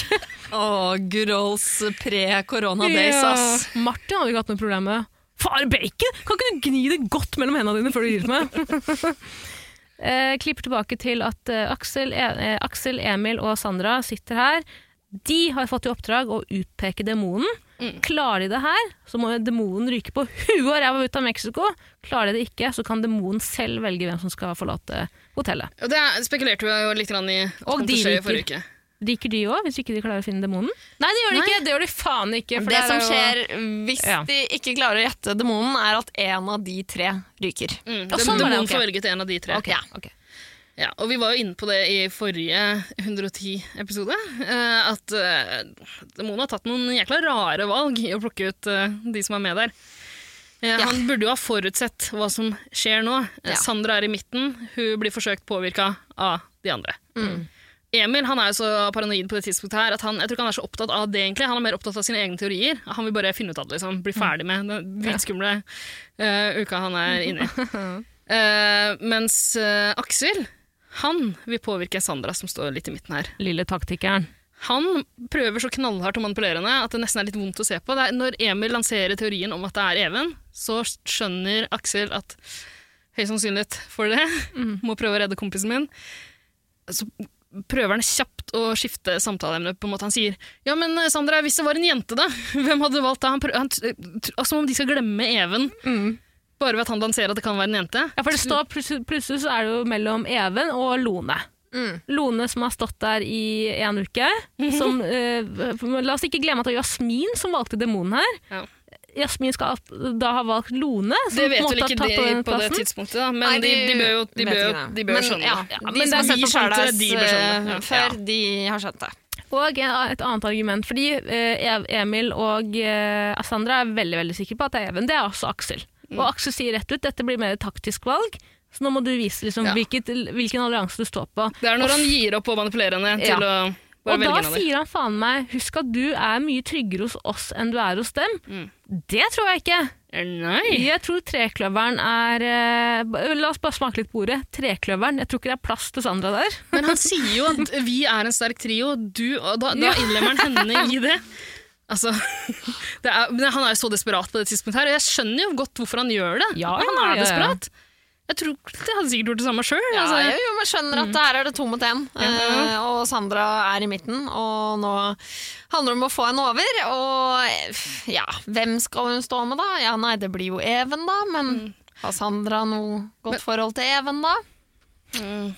Speaker 1: Å, good olds pre-corona days,
Speaker 3: Ja.
Speaker 1: ass.
Speaker 2: Martin hadde ikke hatt noe problem med Far, bacon! Kan ikke du gni det godt mellom hendene dine før du gir det til meg? Eh, klipper tilbake til at eh, Aksel, E- eh, Aksel, Emil og Sandra sitter her. De har fått i oppdrag å utpeke demonen.
Speaker 1: Mm.
Speaker 2: Klarer de det her, så må jo demonen ryke på huet og ræva ut av Mexico. Klarer de det ikke, så kan demonen selv velge hvem som skal forlate hotellet.
Speaker 3: Og det er- spekulerte vi jo litt grann i at
Speaker 2: Og
Speaker 3: kom
Speaker 2: de
Speaker 3: til å skje i
Speaker 2: liker.
Speaker 3: forrige uke.
Speaker 2: Liker de òg, hvis ikke de klarer å finne demonen? Nei, det gjør de
Speaker 3: Nei.
Speaker 2: ikke! Det gjør de faen ikke.
Speaker 1: Det
Speaker 2: for der
Speaker 1: som
Speaker 2: er jo-
Speaker 1: skjer hvis
Speaker 2: Ja.
Speaker 1: de ikke klarer å gjette demonen, er at en av de tre ryker.
Speaker 3: Mm,
Speaker 2: Ja,
Speaker 3: den-
Speaker 2: sånn var det,
Speaker 3: Demonen
Speaker 2: ok.
Speaker 3: får velge ut en av de tre.
Speaker 2: Ok,
Speaker 1: Ja.
Speaker 2: ok.
Speaker 3: Ja, og vi var jo inne på det i forrige 110-episode, at eh, Demonen har tatt noen jækla rare valg i å plukke ut eh, de som er med der. Eh,
Speaker 1: Ja.
Speaker 3: Han burde jo ha forutsett hva som skjer nå. Eh,
Speaker 1: Ja.
Speaker 3: Sandra er i midten, hun blir forsøkt påvirka av de andre.
Speaker 1: Mm.
Speaker 3: Emil han er jo så paranoid på det tidspunktet her, at han, jeg tror ikke han er så opptatt av det egentlig. Han er mer opptatt av sine egne teorier. Han vil bare finne ut av det, liksom.
Speaker 1: Mm.
Speaker 3: Bli ferdig med den dritskumle eh, uka han er inne i. Eh, mens eh, Aksel, han vil påvirke Sandra, som står litt i midten her.
Speaker 2: Lille taktikeren.
Speaker 3: Han prøver så knallhardt å manipulere henne at det nesten er litt vondt å se på. Det er, når Emil lanserer teorien om at det er Even, så skjønner Aksel at høy sannsynlighet for det, må prøve å redde kompisen min. Så prøver han kjapt å skifte samtaleemne på en måte. Han sier ja, men eh, Sandra, hvis det var en jente, da, hvem hadde du valgt da? Han prøver, han, t- t- altså, som om de skal glemme Even, bare ved at han lanserer at det kan være en jente.
Speaker 2: Ja, for det står plutselig, plutselig så er det jo mellom Even og Lone.
Speaker 1: Mm.
Speaker 2: Lone som har stått der i en uke. Som, eh, la oss ikke glemme at det var Jasmin som valgte demonen her.
Speaker 3: Ja.
Speaker 2: Jasmin skal alt- da ha valgt Lone. Som
Speaker 3: Det vet
Speaker 2: på en
Speaker 3: vel
Speaker 2: måte
Speaker 3: ikke
Speaker 2: har
Speaker 3: de
Speaker 2: tatt over den
Speaker 3: på det
Speaker 2: plassen.
Speaker 3: tidspunktet, da, men
Speaker 1: Nei,
Speaker 3: de, de bør jo, de
Speaker 1: vet
Speaker 3: bør,
Speaker 1: ikke det.
Speaker 3: de bør jo
Speaker 1: Men,
Speaker 3: skjønne.
Speaker 1: Ja,
Speaker 3: det.
Speaker 1: ja,
Speaker 3: de
Speaker 1: men det er
Speaker 3: som
Speaker 1: sett
Speaker 3: gir
Speaker 1: på
Speaker 3: skjønn til det,
Speaker 1: Paradise
Speaker 3: de bør skjønne.
Speaker 1: eh,
Speaker 3: det. Ja.
Speaker 1: før de har skjønt det.
Speaker 2: Og en- et annet argument, fordi eh, Ev- Emil og eh, Sandra er veldig veldig sikre på at det er Even. Det er også Aksel.
Speaker 3: Mm.
Speaker 2: Og Aksel sier rett ut dette blir mer et taktisk valg, så nå må du vise liksom,
Speaker 3: Ja.
Speaker 2: hvilket, hvilken allianse du står på.
Speaker 3: Det er når han gir opp å manipulere henne til
Speaker 2: Ja.
Speaker 3: å bare
Speaker 2: Og da
Speaker 3: velge henne.
Speaker 2: sier han faen meg 'husk at du er mye tryggere hos oss enn du er hos dem'.
Speaker 3: Mm.
Speaker 2: Det tror jeg ikke.
Speaker 3: Nei.
Speaker 2: Jeg tror trekløveren er eh, b- La oss bare smake litt på ordet. Trekløveren. Jeg tror ikke det er plass til Sandra der.
Speaker 3: Men han sier jo at vi er en sterk trio, du, og da, da
Speaker 2: Ja.
Speaker 3: innlemmer han henne i det. Altså, det er, men han er jo så desperat på det tidspunktet her, og jeg skjønner jo godt hvorfor han gjør det.
Speaker 2: Ja,
Speaker 3: han
Speaker 2: ja,
Speaker 3: er
Speaker 2: ja, ja.
Speaker 3: desperat. Jeg tror jeg hadde sikkert gjort det samme sjøl.
Speaker 1: Ja,
Speaker 3: altså.
Speaker 1: jo, jo, men skjønner at her er det to mot én. Eh, og Sandra er i midten, og nå handler det om å få henne over. Og eh, ja, hvem skal hun stå med, da? Ja, nei, det blir jo Even, da. Men
Speaker 3: Mm.
Speaker 1: har Sandra noe godt forhold til Even, da?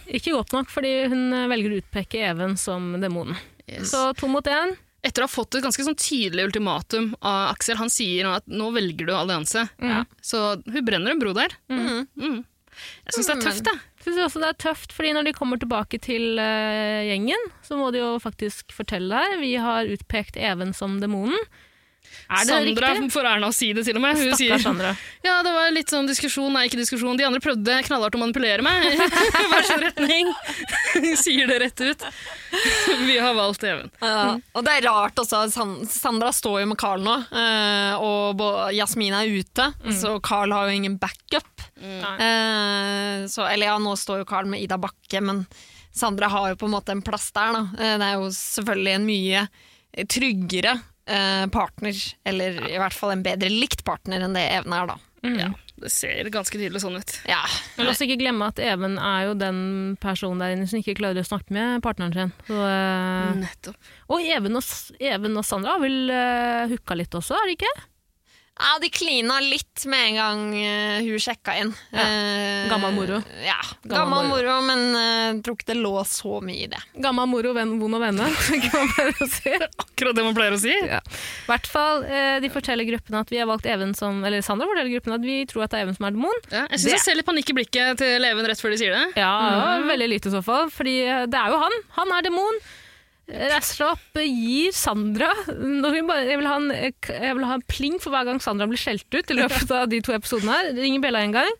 Speaker 2: Ikke godt nok, fordi hun eh, velger å utpeke Even som demonen. Så to mot én.
Speaker 3: Etter å ha fått et ganske sånn tydelig ultimatum av Aksel, han sier nå at nå velger du allianse.
Speaker 2: Ja.
Speaker 3: Så hun brenner en bro der. Mm. Jeg syns det
Speaker 2: Mm,
Speaker 3: er tøft, jeg.
Speaker 2: Syns også det er tøft, fordi når de kommer tilbake til eh, gjengen, så må de jo faktisk fortelle det her. Vi har utpekt Even som demonen. Er det
Speaker 3: Sandra
Speaker 2: riktig?
Speaker 3: får æren av å si det, til og med. Hun
Speaker 2: Stakkars
Speaker 3: sier
Speaker 2: Sandra.
Speaker 3: Ja, det var litt sånn diskusjon, nei, ikke diskusjon. De andre prøvde knallhardt å manipulere meg. I hver sin retning. Sier det rett ut. Vi har valgt Even.
Speaker 1: Ja, og det er rart også. San- Sandra står jo med Carl nå, eh, og bo- Jasmin er ute, så Carl har jo ingen backup. Eh, så, eller ja, nå står jo Carl med Ida Bakke, men Sandra har jo på en måte en plass der. Da. Eh, det er jo selvfølgelig en mye tryggere eh, partner, eller i hvert fall en bedre likt partner enn det Even er, da.
Speaker 2: Mm.
Speaker 3: Ja, det ser ganske tydelig sånn ut.
Speaker 1: Ja.
Speaker 2: Men la oss ikke glemme at Even er jo den personen der inne som ikke klarer å snakke med partneren sin. Så, eh,
Speaker 3: Nettopp.
Speaker 2: og Even og, S- Even og Sandra har vel eh, hooka litt også, er det ikke?
Speaker 1: Ja, de klina litt med en gang eh, hun sjekka inn.
Speaker 2: Ja.
Speaker 1: Eh,
Speaker 2: Gammel moro.
Speaker 1: Ja,
Speaker 2: Gammel
Speaker 1: gammel moro, men eh, tror ikke det lå så mye i det.
Speaker 2: Gamma moro, venn, vond og venne. kan man bare si.
Speaker 3: Akkurat det man pleier å si.
Speaker 2: I hvert fall, eh, de forteller gruppen at vi har valgt Even som, eller Sandra forteller gruppen at vi tror at det er Even som er demon.
Speaker 3: Ja, jeg
Speaker 1: Det-
Speaker 3: syns jeg ser litt panikk i blikket til Even rett før de sier det.
Speaker 2: Ja, veldig lite i så fall, fordi eh, det er jo han. Han er demon. Reiser opp, eh, gir Sandra når vi bare, jeg, vil ha en, eh, jeg vil ha en pling for hver gang Sandra blir skjelt ut i løpet av de to episodene her. Ringer bjella en gang.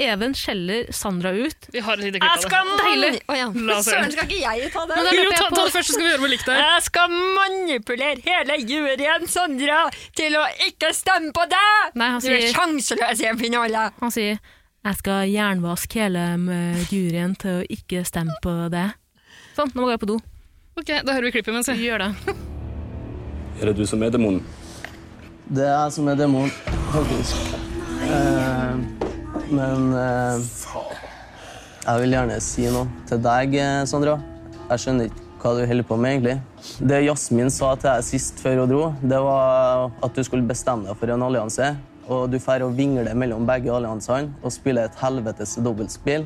Speaker 2: Even skjeller Sandra ut.
Speaker 3: Vi har et lite klipp av det.
Speaker 1: Deilig!
Speaker 2: Deilig!
Speaker 1: Å ja.
Speaker 3: La oss høre.
Speaker 1: Søren, skal ikke jeg ta
Speaker 2: Men
Speaker 1: den?
Speaker 2: da
Speaker 3: Jo,
Speaker 2: løper
Speaker 3: ta,
Speaker 2: jeg
Speaker 3: ta det
Speaker 2: på.
Speaker 3: først, så skal vi høre hvor likt det er.
Speaker 1: Jeg skal manipulere hele juryen, Sandra, til å ikke stemme på deg!
Speaker 2: Nei, han
Speaker 1: Du er
Speaker 2: sier,
Speaker 1: sjanseløs i en finale!
Speaker 2: han sier jeg skal jernvaske hele eh, juryen til å ikke stemme på det. Sånn, nå må jeg på do.
Speaker 3: Ok, Da hører vi klippet imens. jeg.
Speaker 2: Gjør det.
Speaker 4: Er det du som er demonen?
Speaker 5: Det er som en demon, faktisk. Eh, men eh, jeg vil gjerne si noe til deg, eh, Sandra. Jeg skjønner ikke hva du holder på med, egentlig. Det Jasmin sa til deg sist før hun dro, det var at du skulle bestemme deg for en allianse. Og du drar og vingler mellom begge alliansene og spiller et helvetes dobbeltspill.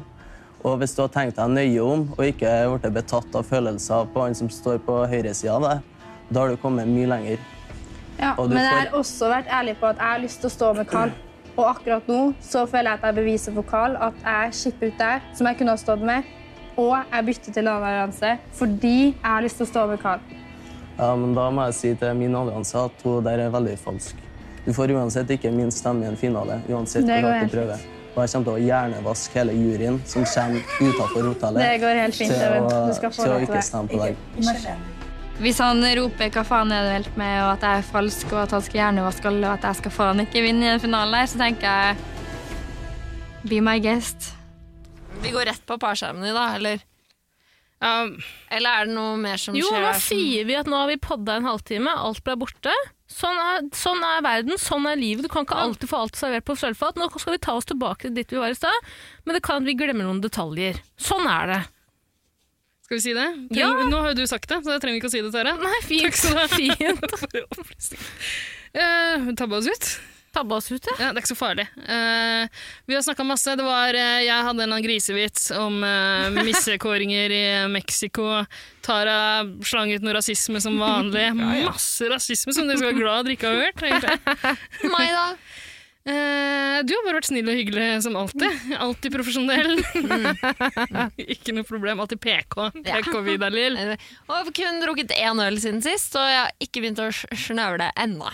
Speaker 5: Og hvis du har tenkt deg nøye om og ikke blitt betatt av følelser på han som står på høyresida av deg, da har du kommet mye lenger.
Speaker 6: Ja,
Speaker 5: Og du
Speaker 6: men jeg
Speaker 5: får-
Speaker 6: har også vært ærlig på at jeg har lyst til å stå med Carl. Og akkurat nå så føler jeg at jeg beviser for Carl at jeg skipper ut der, som jeg kunne ha stått med, og jeg bytter til en annen allianse fordi jeg har lyst til å stå med Carl.
Speaker 5: Ja, men da må jeg si til min allianse at hun der er veldig falsk. Du får uansett ikke min stemme i en finale, uansett
Speaker 6: Det
Speaker 5: hvor
Speaker 6: går
Speaker 5: hardt
Speaker 6: helt
Speaker 5: du prøver. Og jeg kommer til å hjernevaske hele juryen som kommer utenfor hotellet
Speaker 6: Det går helt fint.
Speaker 5: til,
Speaker 6: Even. Du
Speaker 5: å,
Speaker 6: skal få
Speaker 5: til å
Speaker 6: lov til
Speaker 5: ikke
Speaker 6: det.
Speaker 5: stemme på deg.
Speaker 7: Hvis han roper 'hva faen er det du helt med', og at jeg er falsk, og at han skal hjernevaske alle, og at jeg skal faen ikke vinne i den finalen her, så tenker jeg Be my guest.
Speaker 1: Vi går rett på parskjermen i dag, eller?
Speaker 3: Ja,
Speaker 1: Eller er det noe mer som
Speaker 2: Jo,
Speaker 1: skjer?
Speaker 2: nå
Speaker 1: her som-
Speaker 2: sier vi at nå har vi podda en halvtime, alt ble borte. Sånn er, sånn er verden, sånn er livet. Du kan ikke alltid få alt servert på sølvfat. Nå skal vi ta oss tilbake til dit vi var i stad, men det kan at vi glemmer noen detaljer. Sånn er det.
Speaker 3: skal vi si det? Treng,
Speaker 2: Ja.
Speaker 3: Nå har jo du sagt det, så da trenger vi ikke å si det, Tara.
Speaker 2: Nei, fint.
Speaker 3: Takk skal du ha.
Speaker 2: fint.
Speaker 3: For opplysning. Eh, tabba oss ut.
Speaker 2: Tabba oss ut, ja.
Speaker 3: Ja, det er ikke så farlig. Eh, vi har snakka masse. Det var, eh, jeg hadde en eller annen grisevits om uh, missekåringer i Mexico. Tara slang ut noe rasisme som vanlig. Masse rasisme som dere skal være glad dere ikke har hørt. egentlig.
Speaker 1: Meg, da?
Speaker 3: Eh, du har bare vært snill og hyggelig som alltid. Alltid profesjonell. ikke noe problem. Alltid PK. PK Vidar Lill.
Speaker 1: Eller- Og jeg har kun drukket én øl siden sist, og jeg har ikke begynt å sj- snøvle ennå.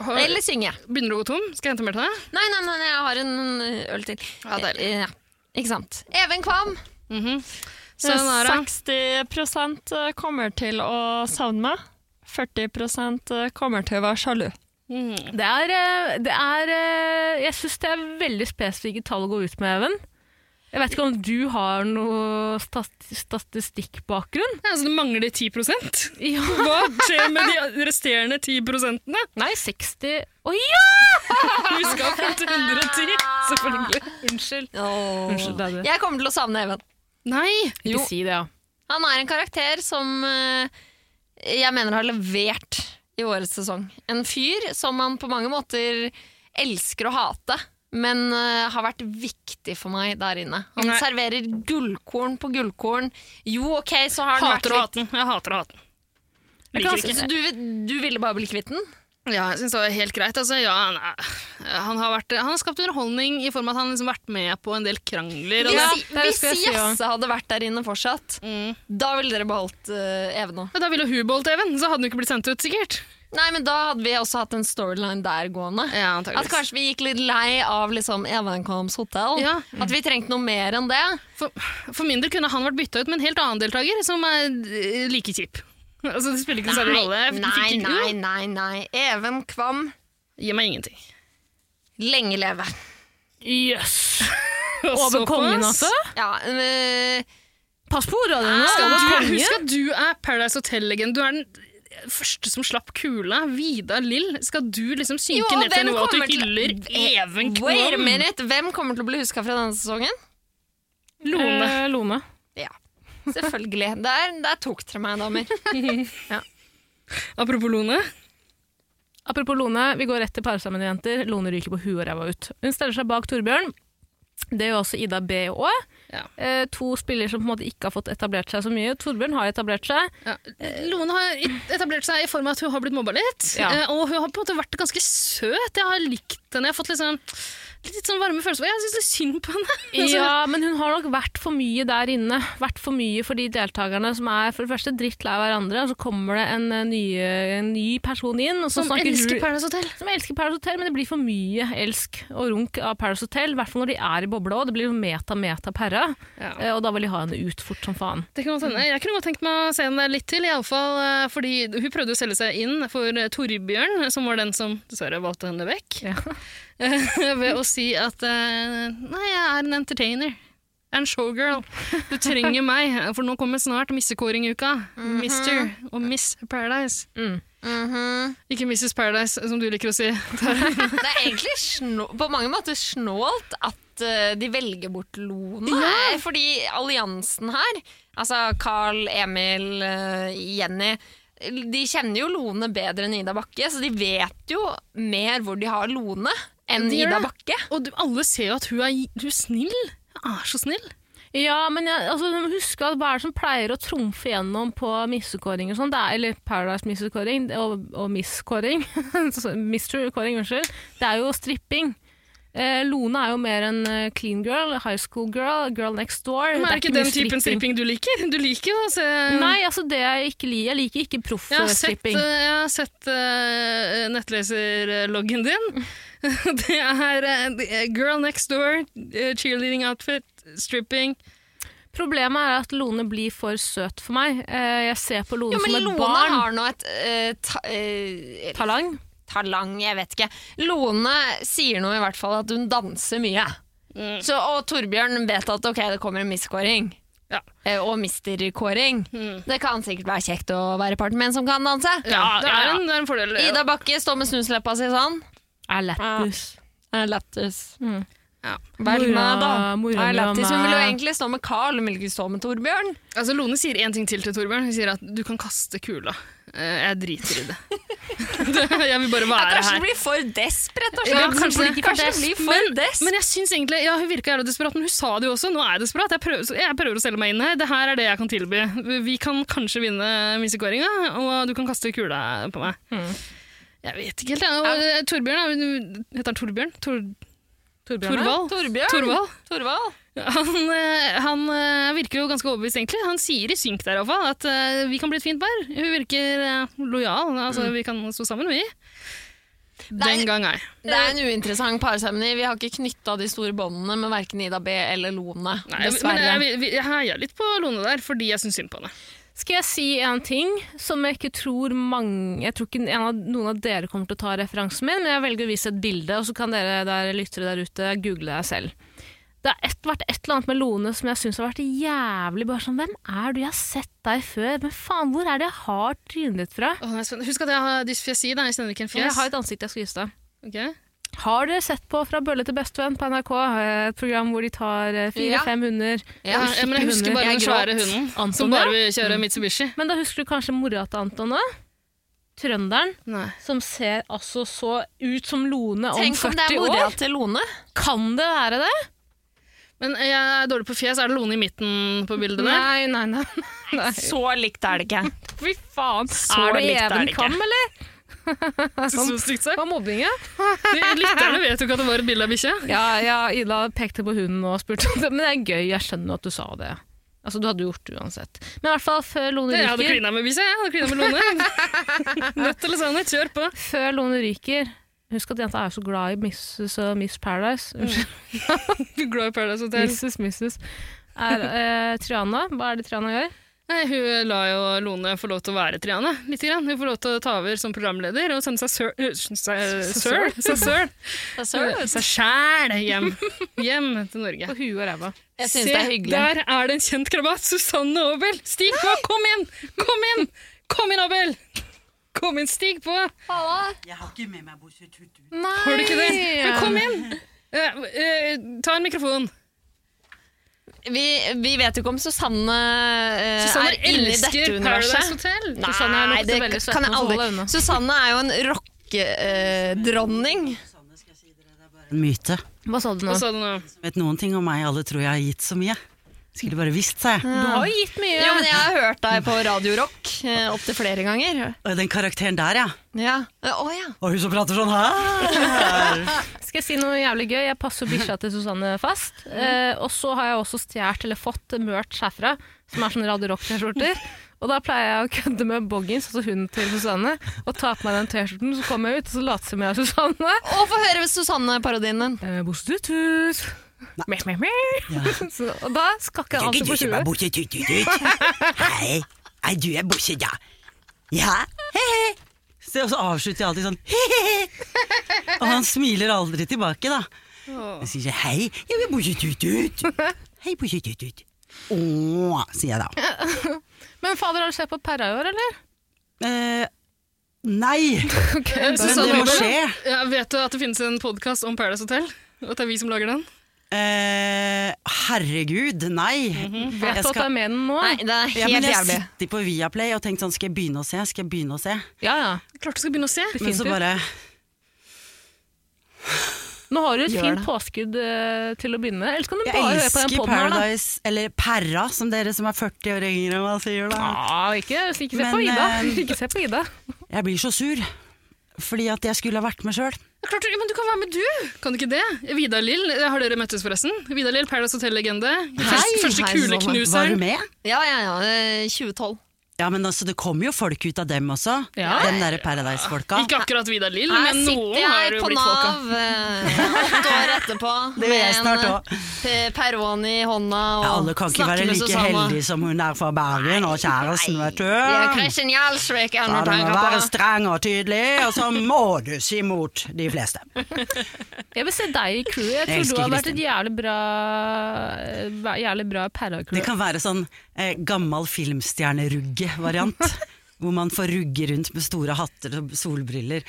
Speaker 1: Eller synge.
Speaker 3: Begynner du å gå tom? Skal jeg hente mer til deg?
Speaker 1: Nei, nei, nei, nei, jeg har en ø, øl til.
Speaker 3: Ja, deilig.
Speaker 1: Eh, ja. Ikke sant. Eh, Even Kvam.
Speaker 3: Sayonara.
Speaker 1: 60 eh, kommer til å savne meg. 40 kommer til å være sjalu.
Speaker 3: Mm.
Speaker 2: Det er, eh, det er eh, Jeg syns det er veldig spesifikke tall å gå ut med, Even. Jeg vet ikke om du har noe stat statistikkbakgrunn?
Speaker 3: Ja, så Altså, det mangler 10
Speaker 2: Ja.
Speaker 3: Hva skjer med de resterende 10 prosentene?
Speaker 2: Nei, 60 Å ja!
Speaker 3: Vi skal frem til 110, selvfølgelig.
Speaker 2: Unnskyld. Unnskyld,
Speaker 1: Unnskyld,
Speaker 2: det er det.
Speaker 1: Jeg kommer til å savne Even.
Speaker 3: Nei!
Speaker 2: Ikke
Speaker 1: Jo.
Speaker 2: si det, ja.
Speaker 1: Han er en karakter som eh, jeg mener har levert i årets sesong. En fyr som man på mange måter elsker å hate, men eh, har vært viktig for meg der inne. Han
Speaker 3: Nei.
Speaker 1: serverer gullkorn på gullkorn. Jo, ok, så har han
Speaker 3: Hater å hate den. Jeg hater å hate den.
Speaker 1: litt
Speaker 3: Liker
Speaker 1: Så
Speaker 3: ikke.
Speaker 1: du, du ville bare bli kvitt den?
Speaker 3: Ja, jeg synes det var helt greit. Altså, ja, han, er- han, har vært, han har skapt underholdning i form av at han har liksom vært med på en del krangler. Og
Speaker 1: Hvis,
Speaker 3: det.
Speaker 2: Ja, det er det
Speaker 1: hvis
Speaker 2: skal jeg si, ja.
Speaker 1: Jasse hadde vært der inne fortsatt,
Speaker 3: Mm.
Speaker 1: da ville dere beholdt uh, Even òg.
Speaker 3: Ja, Da ville hun beholdt Even, så hadde hun ikke blitt sendt ut, sikkert.
Speaker 1: Nei, men da hadde vi også hatt en storyline der gående.
Speaker 3: Ja,
Speaker 1: At kanskje vi gikk litt lei av liksom Evenkoms hotell.
Speaker 3: Ja.
Speaker 1: At vi trengte noe mer enn det.
Speaker 3: For, for min del kunne han vært bytta ut med en helt annen deltaker, som er eh, like kjip. Altså, det spiller ikke noe særlig rolle. Jeg fikk
Speaker 1: nei,
Speaker 3: ikke-
Speaker 1: nei, nei, nei. Even Kvam,
Speaker 3: Gi meg ingenting.
Speaker 1: lenge leve.
Speaker 2: Jøss! Yes.
Speaker 3: Og
Speaker 2: Over
Speaker 3: såpass.
Speaker 2: kongen, altså?
Speaker 1: Ja, øh,
Speaker 2: Pass på radioen!
Speaker 3: Skal
Speaker 2: Over
Speaker 3: du,
Speaker 2: kongen!
Speaker 3: husk at du er Paradise Hotel-legenden. Du er den første som slapp kula, Vidar Lill, skal du liksom synke
Speaker 1: Jo, og
Speaker 3: ned til
Speaker 1: hvem
Speaker 3: nivå at du
Speaker 1: kommer til-
Speaker 3: hyller Even
Speaker 1: Wait a
Speaker 3: Kvam?
Speaker 1: minute! Hvem kommer til å bli huska fra denne sesongen?
Speaker 3: Lone.
Speaker 2: Eh, Lone.
Speaker 1: Selvfølgelig. Der, der tok dere meg, damer.
Speaker 3: Apropos Lone.
Speaker 2: Apropos Lone, vi går rett til par sammen, jenter. Lone ryker på huet og ræva ut. Hun steller seg bak Torbjørn. Det gjør også Ida B og Å.
Speaker 3: Ja.
Speaker 2: Eh, to spillere som på en måte ikke har fått etablert seg så mye. Torbjørn har etablert seg.
Speaker 3: Ja. Lone har i- etablert seg i form av at hun har blitt mobba litt.
Speaker 2: Eh. Ja.
Speaker 3: eh, Og hun har på en måte vært ganske søt. Jeg har likt henne. Jeg har fått litt sånn, litt sånn varme følelser. Jeg syns litt synd på henne. Sånn,
Speaker 2: Ja, men hun har nok vært for mye der inne. Vært for mye for de deltakerne som er for det første drittlei av hverandre, og så kommer det en, eh, nye, en ny person inn, og så
Speaker 3: Som
Speaker 2: snakker
Speaker 3: sånn, elsker
Speaker 2: hun
Speaker 3: Paradise Hotel.
Speaker 2: som elsker Paradise Hotel, men det blir for mye elsk og runk av Paradise Hotel. I hvert fall når de er i bobla òg. Det blir jo meta-meta-perra.
Speaker 3: Ja.
Speaker 2: Eh, Og da vil de ha henne ut fort som faen.
Speaker 3: Det kan godt hende. Jeg kunne godt tenkt meg å se henne litt til, iallfall eh, fordi hun prøvde å selge seg inn for eh, Torbjørn, som var den som dessverre valgte henne vekk,
Speaker 2: Ja.
Speaker 3: ved å si at eh, nei, jeg er en entertainer. Jeg er En showgirl. Du trenger meg, for nå kommer snart missekåringuka. Mister og Miss Paradise.
Speaker 1: Mhm.
Speaker 3: Ikke Mrs. Paradise, som du liker å si.
Speaker 1: Det er egentlig snå, på mange måter snålt at eh, de velger bort Lone. her, Fordi alliansen her, altså Carl, Emil, eh, Jenny De kjenner jo Lone bedre enn Ida Bakke, så de vet jo mer hvor de har Lone enn
Speaker 3: De gjør
Speaker 1: Ida
Speaker 3: det.
Speaker 1: Bakke.
Speaker 3: Og du, alle ser jo at hun er, hun er snill. Hun er så snill.
Speaker 2: Ja, men jeg, altså, du må huske at hva er det som pleier å trumfe gjennom på missekåring og sånn? Det er- Eller Paradise-missekåring og, og misskåring. Så- Mister-kåring, unnskyld. Det er jo stripping. Eh, Lone er jo mer en eh, clean girl, high school girl, girl next door.
Speaker 3: Men er det ikke den
Speaker 2: mye
Speaker 3: typen stripping du liker? Du liker jo å se
Speaker 2: Nei, altså det jeg ikke liker. Jeg liker ikke
Speaker 3: Jeg har sett,
Speaker 2: proff-stripping.
Speaker 3: eh, jeg har sett eh, nettleserloggen din. det er eh, det er girl next door, eh, cheerleading outfit, stripping. eh,
Speaker 2: Problemet er at Lone blir for søt for meg. Eh, jeg ser på Lone
Speaker 1: Jo,
Speaker 2: som
Speaker 1: men
Speaker 2: et
Speaker 1: Lone
Speaker 2: barn.
Speaker 1: har nå et eh, ta, eh,
Speaker 2: Talang.
Speaker 1: talang, jeg vet ikke. Lone sier nå i hvert fall at hun danser mye.
Speaker 3: Mm.
Speaker 1: Så, og Torbjørn vet at ok, det kommer en misskåring.
Speaker 3: Ja. Mm.
Speaker 1: Eh, Og misterkåring. Det kan sikkert være kjekt å være i parten med en som kan danse.
Speaker 3: det, er En, det er en fordel.
Speaker 1: Ida Bakke står med snusleppa si sånn.
Speaker 2: Er lættis.
Speaker 1: Er lættis.
Speaker 3: Ja.
Speaker 1: Vel
Speaker 2: Mora-
Speaker 1: med, da.
Speaker 2: mora
Speaker 1: Er
Speaker 2: mi og
Speaker 1: lættis. Hun vil jo
Speaker 2: meg.
Speaker 1: egentlig stå med Carl, hun vil ikke stå med Torbjørn.
Speaker 3: Altså, Lone sier én ting til til Torbjørn. Hun sier at du kan kaste kula. Eh, jeg driter i det. Det- jeg vil
Speaker 1: Ja,
Speaker 3: bare være
Speaker 1: kanskje
Speaker 3: her.
Speaker 1: det blir for desperat. og
Speaker 3: Ja,
Speaker 1: slett.
Speaker 3: kanskje
Speaker 1: Kanskje det
Speaker 3: det.
Speaker 1: blir- kanskje det blir for dess.
Speaker 3: Men jeg synes egentlig, ja, Hun virka jævla desperat, men hun sa det jo også. Nå er jeg desperat. Jeg prøver, så jeg prøver å selge meg inn her. Det her er det jeg kan tilby. Vi kan kanskje vinne musikåringa, og du kan kaste kula på meg.
Speaker 1: Hmm.
Speaker 3: Jeg vet ikke helt, jeg. Og, eh, Torbjørn er- Heter han Torbjørn? Tor, Torvald?
Speaker 1: Torbjørn.
Speaker 3: Torvald.
Speaker 1: Torvald.
Speaker 3: Han, eh, han eh, virker jo ganske overbevist, egentlig. Han sier i synk der iallfall at eh, vi kan bli et fint par. Hun virker eh, lojal. Altså, Vi kan stå sammen, vi. Den
Speaker 1: Hmm. Nei.
Speaker 3: gang, ei.
Speaker 1: Det er en uinteressant parseremoni. Vi har ikke knytta de store båndene med verken Ida B eller Lone.
Speaker 3: Nei,
Speaker 1: dessverre.
Speaker 3: Men jeg, jeg, jeg heier litt på Lone der, fordi jeg syns synd på henne.
Speaker 2: Skal jeg si en ting som jeg ikke tror mange Jeg tror ikke en av, noen av dere kommer til å ta referansen min, men jeg velger å vise et bilde, og så kan dere der, lyttere der ute google deg selv. Det har et, vært et eller annet med Lone som jeg syns har vært jævlig bare sånn Hvem er du? Jeg har sett deg før. Men faen, hvor er det jeg har trynet ditt fra?
Speaker 3: Å, det er spennende. Husk at jeg har dysfjesi. da, Jeg kjenner ikke en fjes.
Speaker 2: Jeg har et ansikt jeg skal vise deg.
Speaker 3: Ok.
Speaker 2: Har dere sett på Fra bølle til bestevenn på NRK? eh, Et program hvor de tar
Speaker 1: Ja.
Speaker 2: fire-fem hunder.
Speaker 3: ja,
Speaker 2: og
Speaker 3: ja, men
Speaker 2: skikkelig
Speaker 3: jeg husker
Speaker 2: hunder.
Speaker 3: bare
Speaker 2: Jeg
Speaker 3: den svære
Speaker 2: gråt.
Speaker 3: hunden
Speaker 2: Anton,
Speaker 3: som bare
Speaker 2: Sånn, ja.
Speaker 3: vil kjøre Mitsubishi.
Speaker 2: Men da husker du kanskje mora til Anton òg? Trønderen.
Speaker 3: Nei.
Speaker 2: Som ser altså så ut som Lone om
Speaker 1: eh, Tenk om det
Speaker 2: 40
Speaker 1: er mora
Speaker 2: år.
Speaker 1: til Lone.
Speaker 2: Kan det være det?
Speaker 3: Men jeg er dårlig på fjes. Er det Lone i midten på bildet der?
Speaker 2: Nei, nei, nei. nei.
Speaker 1: Så likt er det ikke.
Speaker 2: Fy faen.
Speaker 1: Så
Speaker 2: er du
Speaker 1: likt er det
Speaker 2: Even
Speaker 1: ikke.
Speaker 2: Kam, eller?
Speaker 3: Så stygt sagt.
Speaker 2: Var mobbing, ja?
Speaker 3: De Lytterne vet jo ikke at det var et bilde av bikkja.
Speaker 2: Ja, ja, Ida pekte på hunden og spurte om det. Men det er gøy, jeg skjønner at du sa det. Altså, Du hadde gjort det uansett. Men i hvert fall før Lone
Speaker 3: Jeg hadde
Speaker 2: ryker,
Speaker 3: klina med bikkja. Jeg hadde klina med Lone. Nødt eller sannhet, kjør på.
Speaker 2: før Lone ryker Husk at jenta er jo så glad i Mrs. og Miss Paradise. Unnskyld,
Speaker 3: Glow Paradise Hotel.
Speaker 2: Mrs. Mrs. Er eh, Triana Hva er det Triana gjør?
Speaker 3: Nei, hun la jo Lone få lov til å være Triane litt. Grann. Hun får lov til å ta over som programleder og sende seg sør... øh, seg- Sør? Seg søl. Seg sjæl hjem. Hjem til Norge.
Speaker 2: På huet og ræva.
Speaker 1: Jeg synes det er hyggelig.
Speaker 3: der er det en kjent krabat! Susanne Aabel! Stig, hva? kom inn! Kom inn! Kom inn, Aabel! Kom inn, stig på!
Speaker 8: Jeg har ikke med meg bortsett tut ut.
Speaker 2: Nei!
Speaker 3: Har du ikke det? Men kom inn! Eh, eh, ta en mikrofon.
Speaker 1: Eh, Vi, vi vet jo ikke om Susanne, eh,
Speaker 3: Susanne
Speaker 1: er inne i dette
Speaker 3: elsker Paradise
Speaker 1: universet.
Speaker 3: Hotel.
Speaker 2: Susanne er nok
Speaker 1: Nei, det
Speaker 2: veldig søt,
Speaker 1: kan
Speaker 2: men
Speaker 1: jeg
Speaker 2: så hold deg
Speaker 1: aldri.
Speaker 2: unna.
Speaker 1: Susanne er jo en eh, rockedronning.
Speaker 8: Sanne, skal jeg si dere, det er bare en myte.
Speaker 2: Hva sa du nå?
Speaker 3: Hva sa du nå?
Speaker 8: Vet noen ting om meg, alle tror jeg har gitt så mye. Skulle bare visst seg.
Speaker 2: Du har jo gitt mye.
Speaker 1: Jo, men jeg har hørt deg på Radio Rock eh, opptil flere ganger.
Speaker 8: Og den karakteren der, ja.
Speaker 1: Ja. Eh, Å ja.
Speaker 8: Og hun som prater sånn her.
Speaker 2: Skal jeg si noe jævlig gøy? Jeg passer bikkja til Susanne fast.
Speaker 8: Mm.
Speaker 2: Eh, og så har jeg også stjålet eller fått merch herfra, som er sånne Radio Rock-T-skjorter. Og da pleier jeg å kødde med Boggins, altså hunden til Susanne, og ta på meg den T-skjorten. Så kommer jeg ut, og så later som jeg er Susanne.
Speaker 1: Og få høre Susanne-parodien din.
Speaker 2: Eh, Bostutut. Meh, meh, meh. Så, og da skal ikke han
Speaker 8: Ikke
Speaker 2: alltid
Speaker 8: du
Speaker 2: på
Speaker 8: som er
Speaker 2: huet.
Speaker 8: bortsett tut ut. Hei, er du er bortsett, ja. Ja, he-he. Så- Og så avslutter jeg alltid sånn he-he. Og han smiler aldri tilbake, da. Jeg sier hei, jeg vil bortsett tut ut. Hei, bortsett tut ut. Åh, sier jeg da.
Speaker 2: Men fader, har du sett på Perra i år, eller?
Speaker 8: Eh, nei,
Speaker 3: Eh,
Speaker 8: men
Speaker 2: sånn
Speaker 3: Susanne
Speaker 8: det må
Speaker 3: Røbel,
Speaker 8: skje.
Speaker 3: ja, vet du at det finnes en podkast om Paradise Hotel? Og at det er vi som lager den?
Speaker 8: Eh, herregud, nei.
Speaker 2: Vet du
Speaker 8: Jeg
Speaker 2: at du
Speaker 8: skal-
Speaker 2: er med i den nå?
Speaker 1: Nei, det er
Speaker 8: Ja, men
Speaker 1: helt
Speaker 8: jeg
Speaker 1: jævlig.
Speaker 8: sitter på Viaplay og tenker sånn, skal jeg begynne å se? Skal jeg begynne å se?
Speaker 2: Ja, ja.
Speaker 3: Klart du skal begynne å se.
Speaker 8: Men så
Speaker 2: Definitivt.
Speaker 8: bare
Speaker 2: Nå har du et
Speaker 1: Gjør
Speaker 2: fint
Speaker 1: det.
Speaker 2: påskudd eh, til å begynne. Eller så kan du
Speaker 8: Jeg
Speaker 2: bare høre på den
Speaker 8: elsker
Speaker 2: podden her, da.
Speaker 8: Paradise, eller Perra, som dere som er 40 år yngre enn meg sier da.
Speaker 2: Ja, Ah, ikke, ikke se
Speaker 8: Men,
Speaker 2: på Ida.
Speaker 8: eh,
Speaker 2: Ikke se på Ida.
Speaker 8: Jeg blir så sur, fordi at jeg skulle ha vært med sjøl.
Speaker 3: Ja, Klart, du- men du kan være med, du! Kan du ikke det? Vidar Lill, eh, har dere møttes forresten? Vidar Lill, Paradise Hotel-legende. Første, første
Speaker 1: hei,
Speaker 8: Var du
Speaker 3: kuleknuseren.
Speaker 8: med?
Speaker 1: Ja, ja, ja. eh, 2012.
Speaker 8: Ja, men altså, det kommer jo folk ut av dem også.
Speaker 3: Ja.
Speaker 8: Den derre Paradise-folka.
Speaker 3: Ikke akkurat Vidar Lill,
Speaker 1: Her
Speaker 3: men noen
Speaker 1: sitter
Speaker 3: har
Speaker 1: jeg
Speaker 3: jo
Speaker 1: på
Speaker 3: blitt folka.
Speaker 1: Nav eh, åtte år etterpå
Speaker 8: Det gjør jeg snart
Speaker 1: eh,
Speaker 8: også.
Speaker 1: pe- Perron i hånda og
Speaker 8: Ja, alle kan ikke
Speaker 1: snakker
Speaker 8: være
Speaker 1: med
Speaker 8: like
Speaker 1: Susanne.
Speaker 8: heldige som hun der fra Bergen og kjæresten, vet du.
Speaker 1: Ja, Kristin Gjelsvik er
Speaker 8: Da
Speaker 1: under
Speaker 8: du må være
Speaker 1: tanker på.
Speaker 8: streng og tydelig, og så må du si mot de fleste.
Speaker 2: Jeg vil se deg i crewet. Jeg tror
Speaker 8: elsker
Speaker 2: du hadde vært
Speaker 8: Kristin.
Speaker 2: et jævlig bra, eh, jævlig bra
Speaker 8: Det
Speaker 2: para-crew.
Speaker 8: kan være sånn eh, gammel filmstjernerugge-variant. Hvor man får rugge rundt med store hatter og solbriller.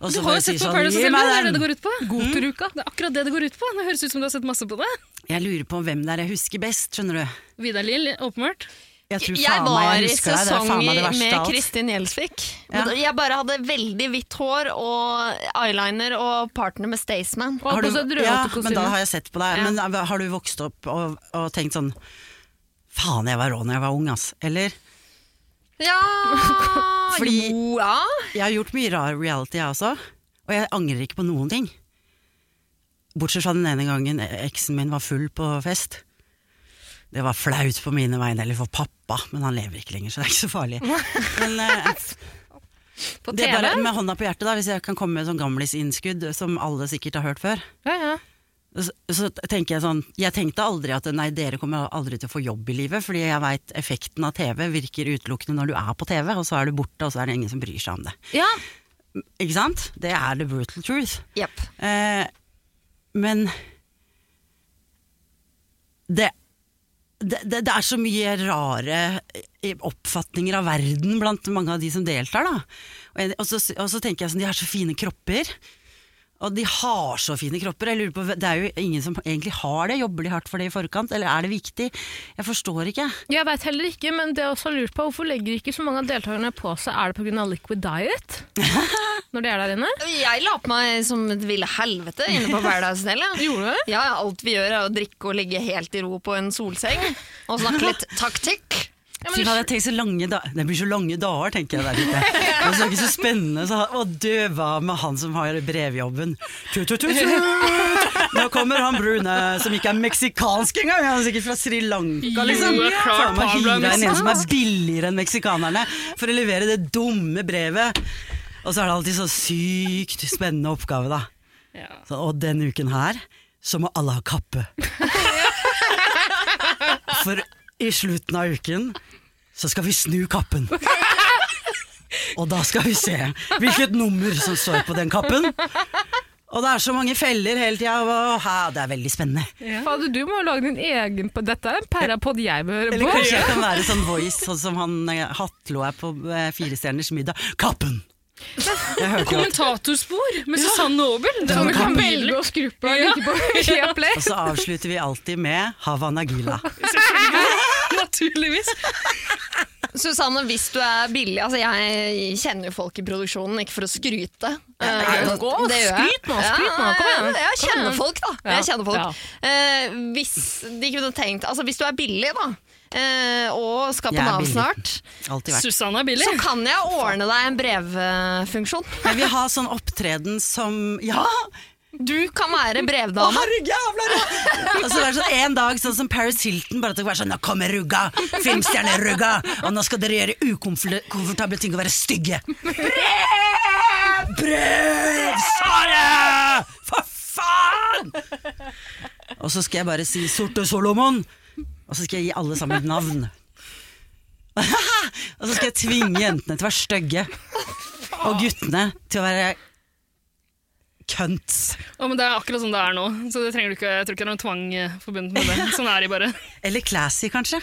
Speaker 8: Og
Speaker 3: Du
Speaker 8: så
Speaker 3: har
Speaker 8: bare
Speaker 3: jo sett
Speaker 8: sier
Speaker 3: på
Speaker 8: sånn,
Speaker 3: Paradise
Speaker 8: «Gi
Speaker 3: Hotel, det
Speaker 8: meg
Speaker 3: er det
Speaker 8: den!»
Speaker 3: det går ut på. Mm.
Speaker 2: Godteruka.
Speaker 3: Det er akkurat det det går ut på. Det høres ut som du har sett masse på det.
Speaker 8: Jeg lurer på hvem det er jeg husker best, skjønner du.
Speaker 3: Vidar Lill, åpenbart.
Speaker 8: Jeg tror
Speaker 1: Jeg
Speaker 8: faen meg
Speaker 1: var
Speaker 8: jeg
Speaker 1: i
Speaker 8: husker deg, det er faen meg det
Speaker 1: sesonger
Speaker 8: verste
Speaker 1: med
Speaker 8: av alt.
Speaker 1: Kristin Gjelsvik.
Speaker 8: Ja.
Speaker 1: Men Jeg bare hadde veldig hvitt hår og eyeliner og partner med Staysman.
Speaker 2: Og
Speaker 8: Har
Speaker 2: på seg
Speaker 8: du- ja,
Speaker 2: drømmekostyme.
Speaker 8: men da har jeg sett på deg. Men eh, har du vokst opp og, og tenkt sånn Faen, jeg var rå når jeg var ung, ass. Eller?
Speaker 1: Ja
Speaker 8: Fordi-
Speaker 1: Jo, ja.
Speaker 8: Jeg har gjort mye rar reality, jeg også. Og jeg angrer ikke på noen ting. Bortsett fra den ene gangen eksen min var full på fest. Det var flaut på mine vegne, eller for pappa, men han lever ikke lenger, så det er ikke så farlig. Men, eh,
Speaker 2: På
Speaker 8: det
Speaker 2: TV.
Speaker 8: er bare med hånda på hjertet, da, hvis jeg kan komme med sånn gamlisinnskudd som alle sikkert har hørt før.
Speaker 2: Ja, ja.
Speaker 8: Så, så tenker jeg sånn Jeg tenkte aldri at nei, dere kommer aldri til å få jobb i livet, fordi jeg veit effekten av TV virker utelukkende når du er på TV, og så er du borte, og så er det ingen som bryr seg om det.
Speaker 2: ja.
Speaker 8: Ikke sant? Det er the brutal truth.
Speaker 1: Jepp.
Speaker 8: Eh, men det, det, det, det er så mye rare eh, oppfatninger av verden blant mange av de som deltar. Da. Og, jeg, og, så, og så tenker jeg sånn, de har så fine kropper. Og de har så fine kropper. Jeg lurer på, det er jo ingen som egentlig har det. Jobber de hardt for det i forkant, eller er det viktig? Jeg forstår ikke.
Speaker 2: Jeg veit heller ikke, men det jeg også har lurt på, hvorfor legger ikke så mange av deltakerne på seg Er det pga. liquid diet? Når de er der inne?
Speaker 1: Jeg la på meg som et ville helvete inne på Paradise Hotel. jeg.
Speaker 2: Gjorde du?
Speaker 1: Ja, alt vi gjør er å drikke og ligge helt i ro på en solseng og snakke litt taktikk.
Speaker 2: Ja,
Speaker 8: Fy
Speaker 2: men,
Speaker 8: faen, jeg tenker så lange da Det blir så lange dager, tenker jeg der ute. Og så er det ikke så spennende så, å døve av med han som har brevjobben. Tut, tut, tut, tut. Nå kommer han brune, som ikke er meksikansk engang. Han er sikkert fra Sri Lanka, liksom.
Speaker 3: Jo, det er klart
Speaker 8: Faen meg
Speaker 3: han liksom-
Speaker 8: hyre
Speaker 3: ble
Speaker 8: inn en som er billigere enn meksikanerne, for å levere det dumme brevet. Og så er det alltid så sykt spennende oppgave, da. Så, og denne uken her, så må alle ha kappe. For i slutten av uken så skal vi snu kappen. Og da skal vi se hvilket nummer som står på den kappen. Og det er så mange feller hele tida. og hæ, Det er veldig spennende.
Speaker 2: Fader, du må jo lage din egen på Dette er en pærapod jeg bør høre
Speaker 8: Eller
Speaker 2: på.
Speaker 8: kanskje jeg kan være sånn voice, sånn som han eh, Hatlo er på eh, Firestjerners middag. Kappen! Jeg hørte jo at
Speaker 3: Kommentatorspor med Susanne Aabel. Det
Speaker 2: Så
Speaker 3: var
Speaker 2: du kan
Speaker 3: helt
Speaker 2: velge
Speaker 3: nydelig.
Speaker 2: å skru på og like på Viaplay.
Speaker 8: Og så avslutter vi alltid med Havana Gila.
Speaker 3: Naturligvis.
Speaker 1: Susanne, hvis du er billig altså Jeg kjenner jo folk i produksjonen, ikke for å skryte. Eh,
Speaker 2: jo gå,
Speaker 1: det gjør jeg.
Speaker 2: skryt nå, skryt nå, kom
Speaker 1: Ja,
Speaker 2: igjen,
Speaker 1: Jeg
Speaker 2: kom igjen.
Speaker 1: kjenner folk, da.
Speaker 2: Ja,
Speaker 1: Jeg kjenner folk.
Speaker 2: ja.
Speaker 1: Eh, hvis de kunne tenkt Altså, hvis du er billig, da, eh, og skal på
Speaker 8: Jeg er
Speaker 1: Nav
Speaker 8: billig.
Speaker 1: snart,
Speaker 8: Alltid vært.
Speaker 3: Susanne er billig.
Speaker 1: så kan jeg ordne deg en brevfunksjon.
Speaker 8: Jeg vil ha sånn opptreden som Ja!
Speaker 1: Du kan være
Speaker 8: Å,
Speaker 1: brevdame.
Speaker 8: herregud, jævla rå! Og så være sånn en dag sånn som Paris Hilton, bare at det kan være sånn Nå kommer rugga! Filmstjerne-rugga! Og nå skal dere gjøre ukomfortable ting og være stygge! Brev! Brev! Sara! For faen! Og så skal jeg bare si Sorte Solomon! Og så skal jeg gi alle sammen et navn. og så skal jeg tvinge jentene til å være stygge. Og guttene til å være cunts.
Speaker 3: Å, men det er akkurat sånn det er nå, så det trenger du ikke, jeg tror ikke det er noen tvang eh, forbundet med det. Sånn er de bare.
Speaker 8: Eller classy, kanskje.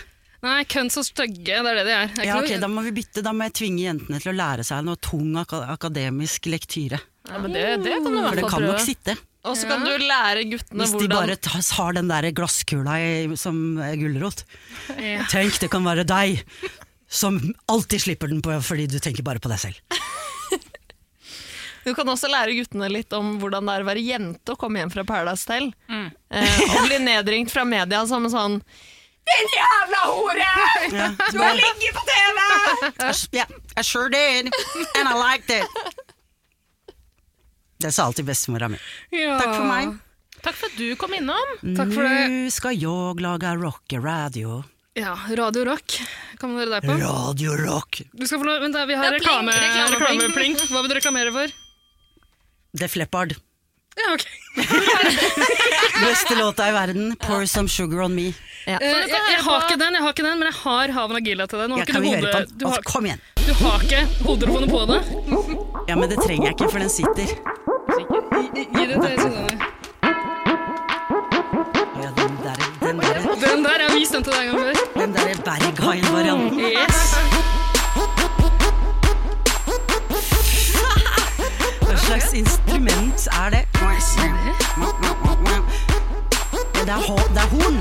Speaker 8: Nei,
Speaker 3: Nei, kønt og stygge, det er det de er. Det er
Speaker 8: Ja, ok,
Speaker 3: ikke
Speaker 8: Da
Speaker 3: noe-
Speaker 8: må vi bytte, da må jeg tvinge jentene til å lære seg noe tung ak akademisk lektyre.
Speaker 2: Ja, men det, det kan du i hvert
Speaker 8: For det
Speaker 2: fall
Speaker 8: kan nok
Speaker 2: prøve.
Speaker 8: sitte,
Speaker 1: Og så kan du lære guttene
Speaker 8: hvis de
Speaker 1: hvordan
Speaker 8: bare tas, har den der glasskula i, som eh, gulrot. Tenk, det kan være deg som alltid slipper den på fordi du tenker bare på deg selv.
Speaker 1: Du kan også lære guttene litt om hvordan det er å være jente og komme hjem fra Paradise Hotel.
Speaker 2: Mm.
Speaker 1: Eh, og bli nedringt fra media som en sånn Din jævla hore!
Speaker 8: Ja,
Speaker 1: Du har ligget på TV!
Speaker 8: yeah, I sure did, and I liked it. Det sa alltid bestemora mi.
Speaker 3: Ja.
Speaker 8: Takk for meg. Mm.
Speaker 2: Takk for at du kom innom.
Speaker 3: Takk for det.
Speaker 8: Nå skal jeg lage rockeradio.
Speaker 3: Ja, Radio Rock. Kan man høre deg på?
Speaker 8: Radio rock.
Speaker 3: Du skal få lov, vent da, vi har
Speaker 1: Det er plink,
Speaker 3: reklame,
Speaker 1: reklameplink.
Speaker 3: reklameplink. Hva vil du reklamere for?
Speaker 8: Def Leppard.
Speaker 3: Ja, ok.
Speaker 8: Beste låta i verden, Pour Some Sugar On Me.
Speaker 1: Ja.
Speaker 3: Eh, jeg, jeg har ikke den, jeg har ikke den, men jeg har Haven Agila til deg. Nå har
Speaker 8: Jeg
Speaker 3: ikke
Speaker 8: kan
Speaker 3: du
Speaker 8: vi høre på
Speaker 3: hode...
Speaker 8: den.
Speaker 3: Du
Speaker 8: Altså,
Speaker 3: har,
Speaker 8: Kom igjen.
Speaker 3: du har ikke hodetelefonen på deg?
Speaker 8: Ja, men det trenger jeg ikke, for den sitter.
Speaker 3: Gi- Gi det til Susanne.
Speaker 8: Å Ja, den der, den der,
Speaker 3: Den der, jeg har vist den til deg en gang før.
Speaker 8: den der Berghain-varianten.
Speaker 3: Yes.
Speaker 8: Hva slags instrument er det? Ja, Det er, ho det er horn.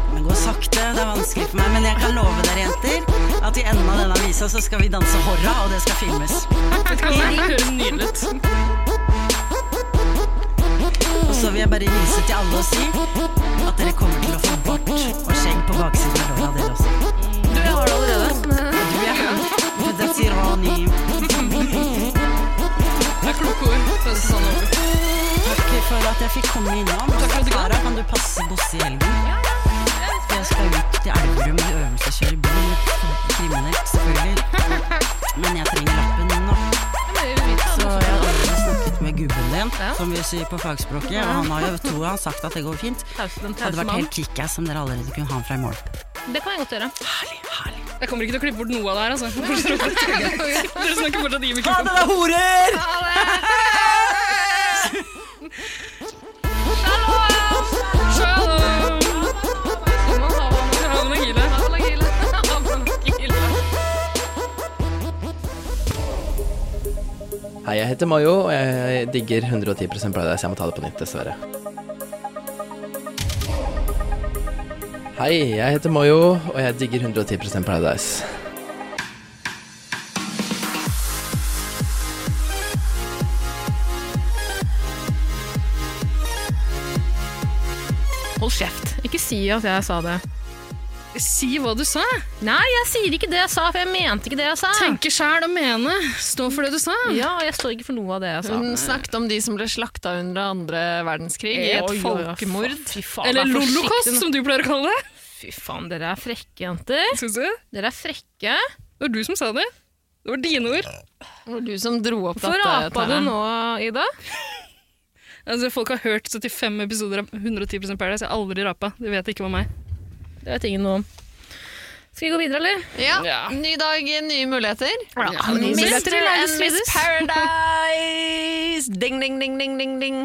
Speaker 8: Det går sakte, det er vanskelig for meg, men jeg kan love dere, jenter, at i enden av denne visa så skal vi danse horra, og det skal filmes.
Speaker 3: Vet du hva, Det høres nydelig ut.
Speaker 8: Og så vil jeg bare hilse til alle og si at dere kommer til å få bort og skjegg på baksiden av låra dere også. Du, jeg har det allerede. Du, jeg Det sier Ronny.
Speaker 3: Det er kloke ord fra Susanne Aabel.
Speaker 8: Takk for at jeg fikk komme innom. Sara, kan du passe Bosse i helgen? For jeg skal ut til Elverum i øvelse og kjøre bil. Kriminelt, selvfølgelig. Men jeg trenger lappen nå. Så jeg har allerede snakket med gubben din, som vi sier på fagspråket. Og han har jo, tror han, sagt at det går fint. Det hadde vært helt kickass om dere allerede kunne ha han fra i morgen.
Speaker 2: Det kan jeg godt gjøre.
Speaker 8: Herlig, herlig.
Speaker 3: Jeg kommer ikke til å klippe bort noe av det her, altså. Dere snakker fortsatt i
Speaker 8: Ha
Speaker 3: mikrofonen.
Speaker 8: det, da, horer!
Speaker 3: Shalom! Shalom! Shalom!
Speaker 9: Hei, jeg heter Mayo, og jeg digger 110 Paradise. Jeg må ta det på nytt, dessverre. Hei, jeg heter Mayo, og jeg digger 110 Paradise.
Speaker 2: Hold kjeft. Ikke si at jeg sa det.
Speaker 3: Si hva du sa.
Speaker 2: Nei, jeg sier ikke det jeg sa, for jeg mente ikke det jeg sa.
Speaker 3: Tenke sjæl og mene. Stå for det du sa.
Speaker 2: Ja, og jeg står ikke for noe av det jeg sa.
Speaker 1: Hun snakket om de som ble slakta under andre verdenskrig i et
Speaker 2: Oi, oi, oi,
Speaker 1: folkemord.
Speaker 2: Fy faen,
Speaker 3: Eller
Speaker 2: vær forsiktig
Speaker 3: lolokost,
Speaker 2: nå.
Speaker 3: som du pleier å kalle det.
Speaker 2: Fy faen, dere er frekke, jenter.
Speaker 3: Syns du? Det
Speaker 2: Dere er frekke.
Speaker 3: var du som sa det. Det var dine ord.
Speaker 1: Det var du som dro opp
Speaker 2: Hvorfor apa du
Speaker 1: Tara.
Speaker 2: nå, Ida?
Speaker 3: Altså, folk har hørt 75 episoder av 110 Paradise. Jeg har aldri rapa. Det vet ikke om meg.
Speaker 2: Det vet ingen noe om. Skal vi gå videre, eller?
Speaker 1: Ja.
Speaker 3: Ja.
Speaker 1: Ny dag, nye muligheter.
Speaker 3: Ja,
Speaker 2: nye
Speaker 1: Mister
Speaker 2: muligheter i
Speaker 1: and
Speaker 2: Alice
Speaker 1: Miss
Speaker 2: Swedish.
Speaker 1: Paradise! Ding, ding, ding, ding, ding, ding.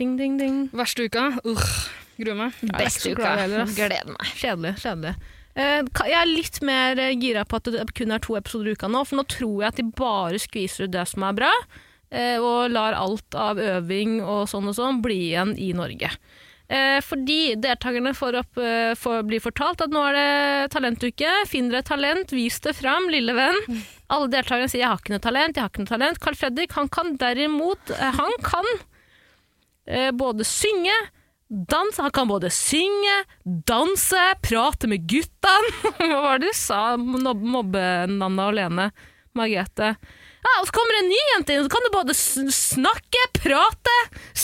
Speaker 2: Ding, ding, ding.
Speaker 3: Verste uka. Urgh, gruer meg.
Speaker 1: Beste
Speaker 2: så
Speaker 1: uka.
Speaker 2: glad i det, ass.
Speaker 1: Gleder meg.
Speaker 2: Kjedelig. kjedelig. Eh, ka- jeg er litt mer eh, gira på at det kun er to episoder i uka nå, for nå tror jeg at de bare skviser ut det som er bra, eh, og lar alt av øving og sånn og sånn bli igjen i Norge. Eh, fordi deltakerne får opp, eh, får, blir fortalt at nå er det talentuke. Finn dere et talent, vis det fram, lille venn. Alle deltakerne sier 'jeg har ikke noe talent', 'jeg har ikke noe talent'. Carl Fredrik han kan derimot eh, Han kan eh, både synge, danse Han kan både synge, danse, prate med guttene. Hva var det du sa? Mob- Mobbenanna Olene. Margrethe. Ja, og så kommer det en ny jente inn, så kan du både s- snakke, prate,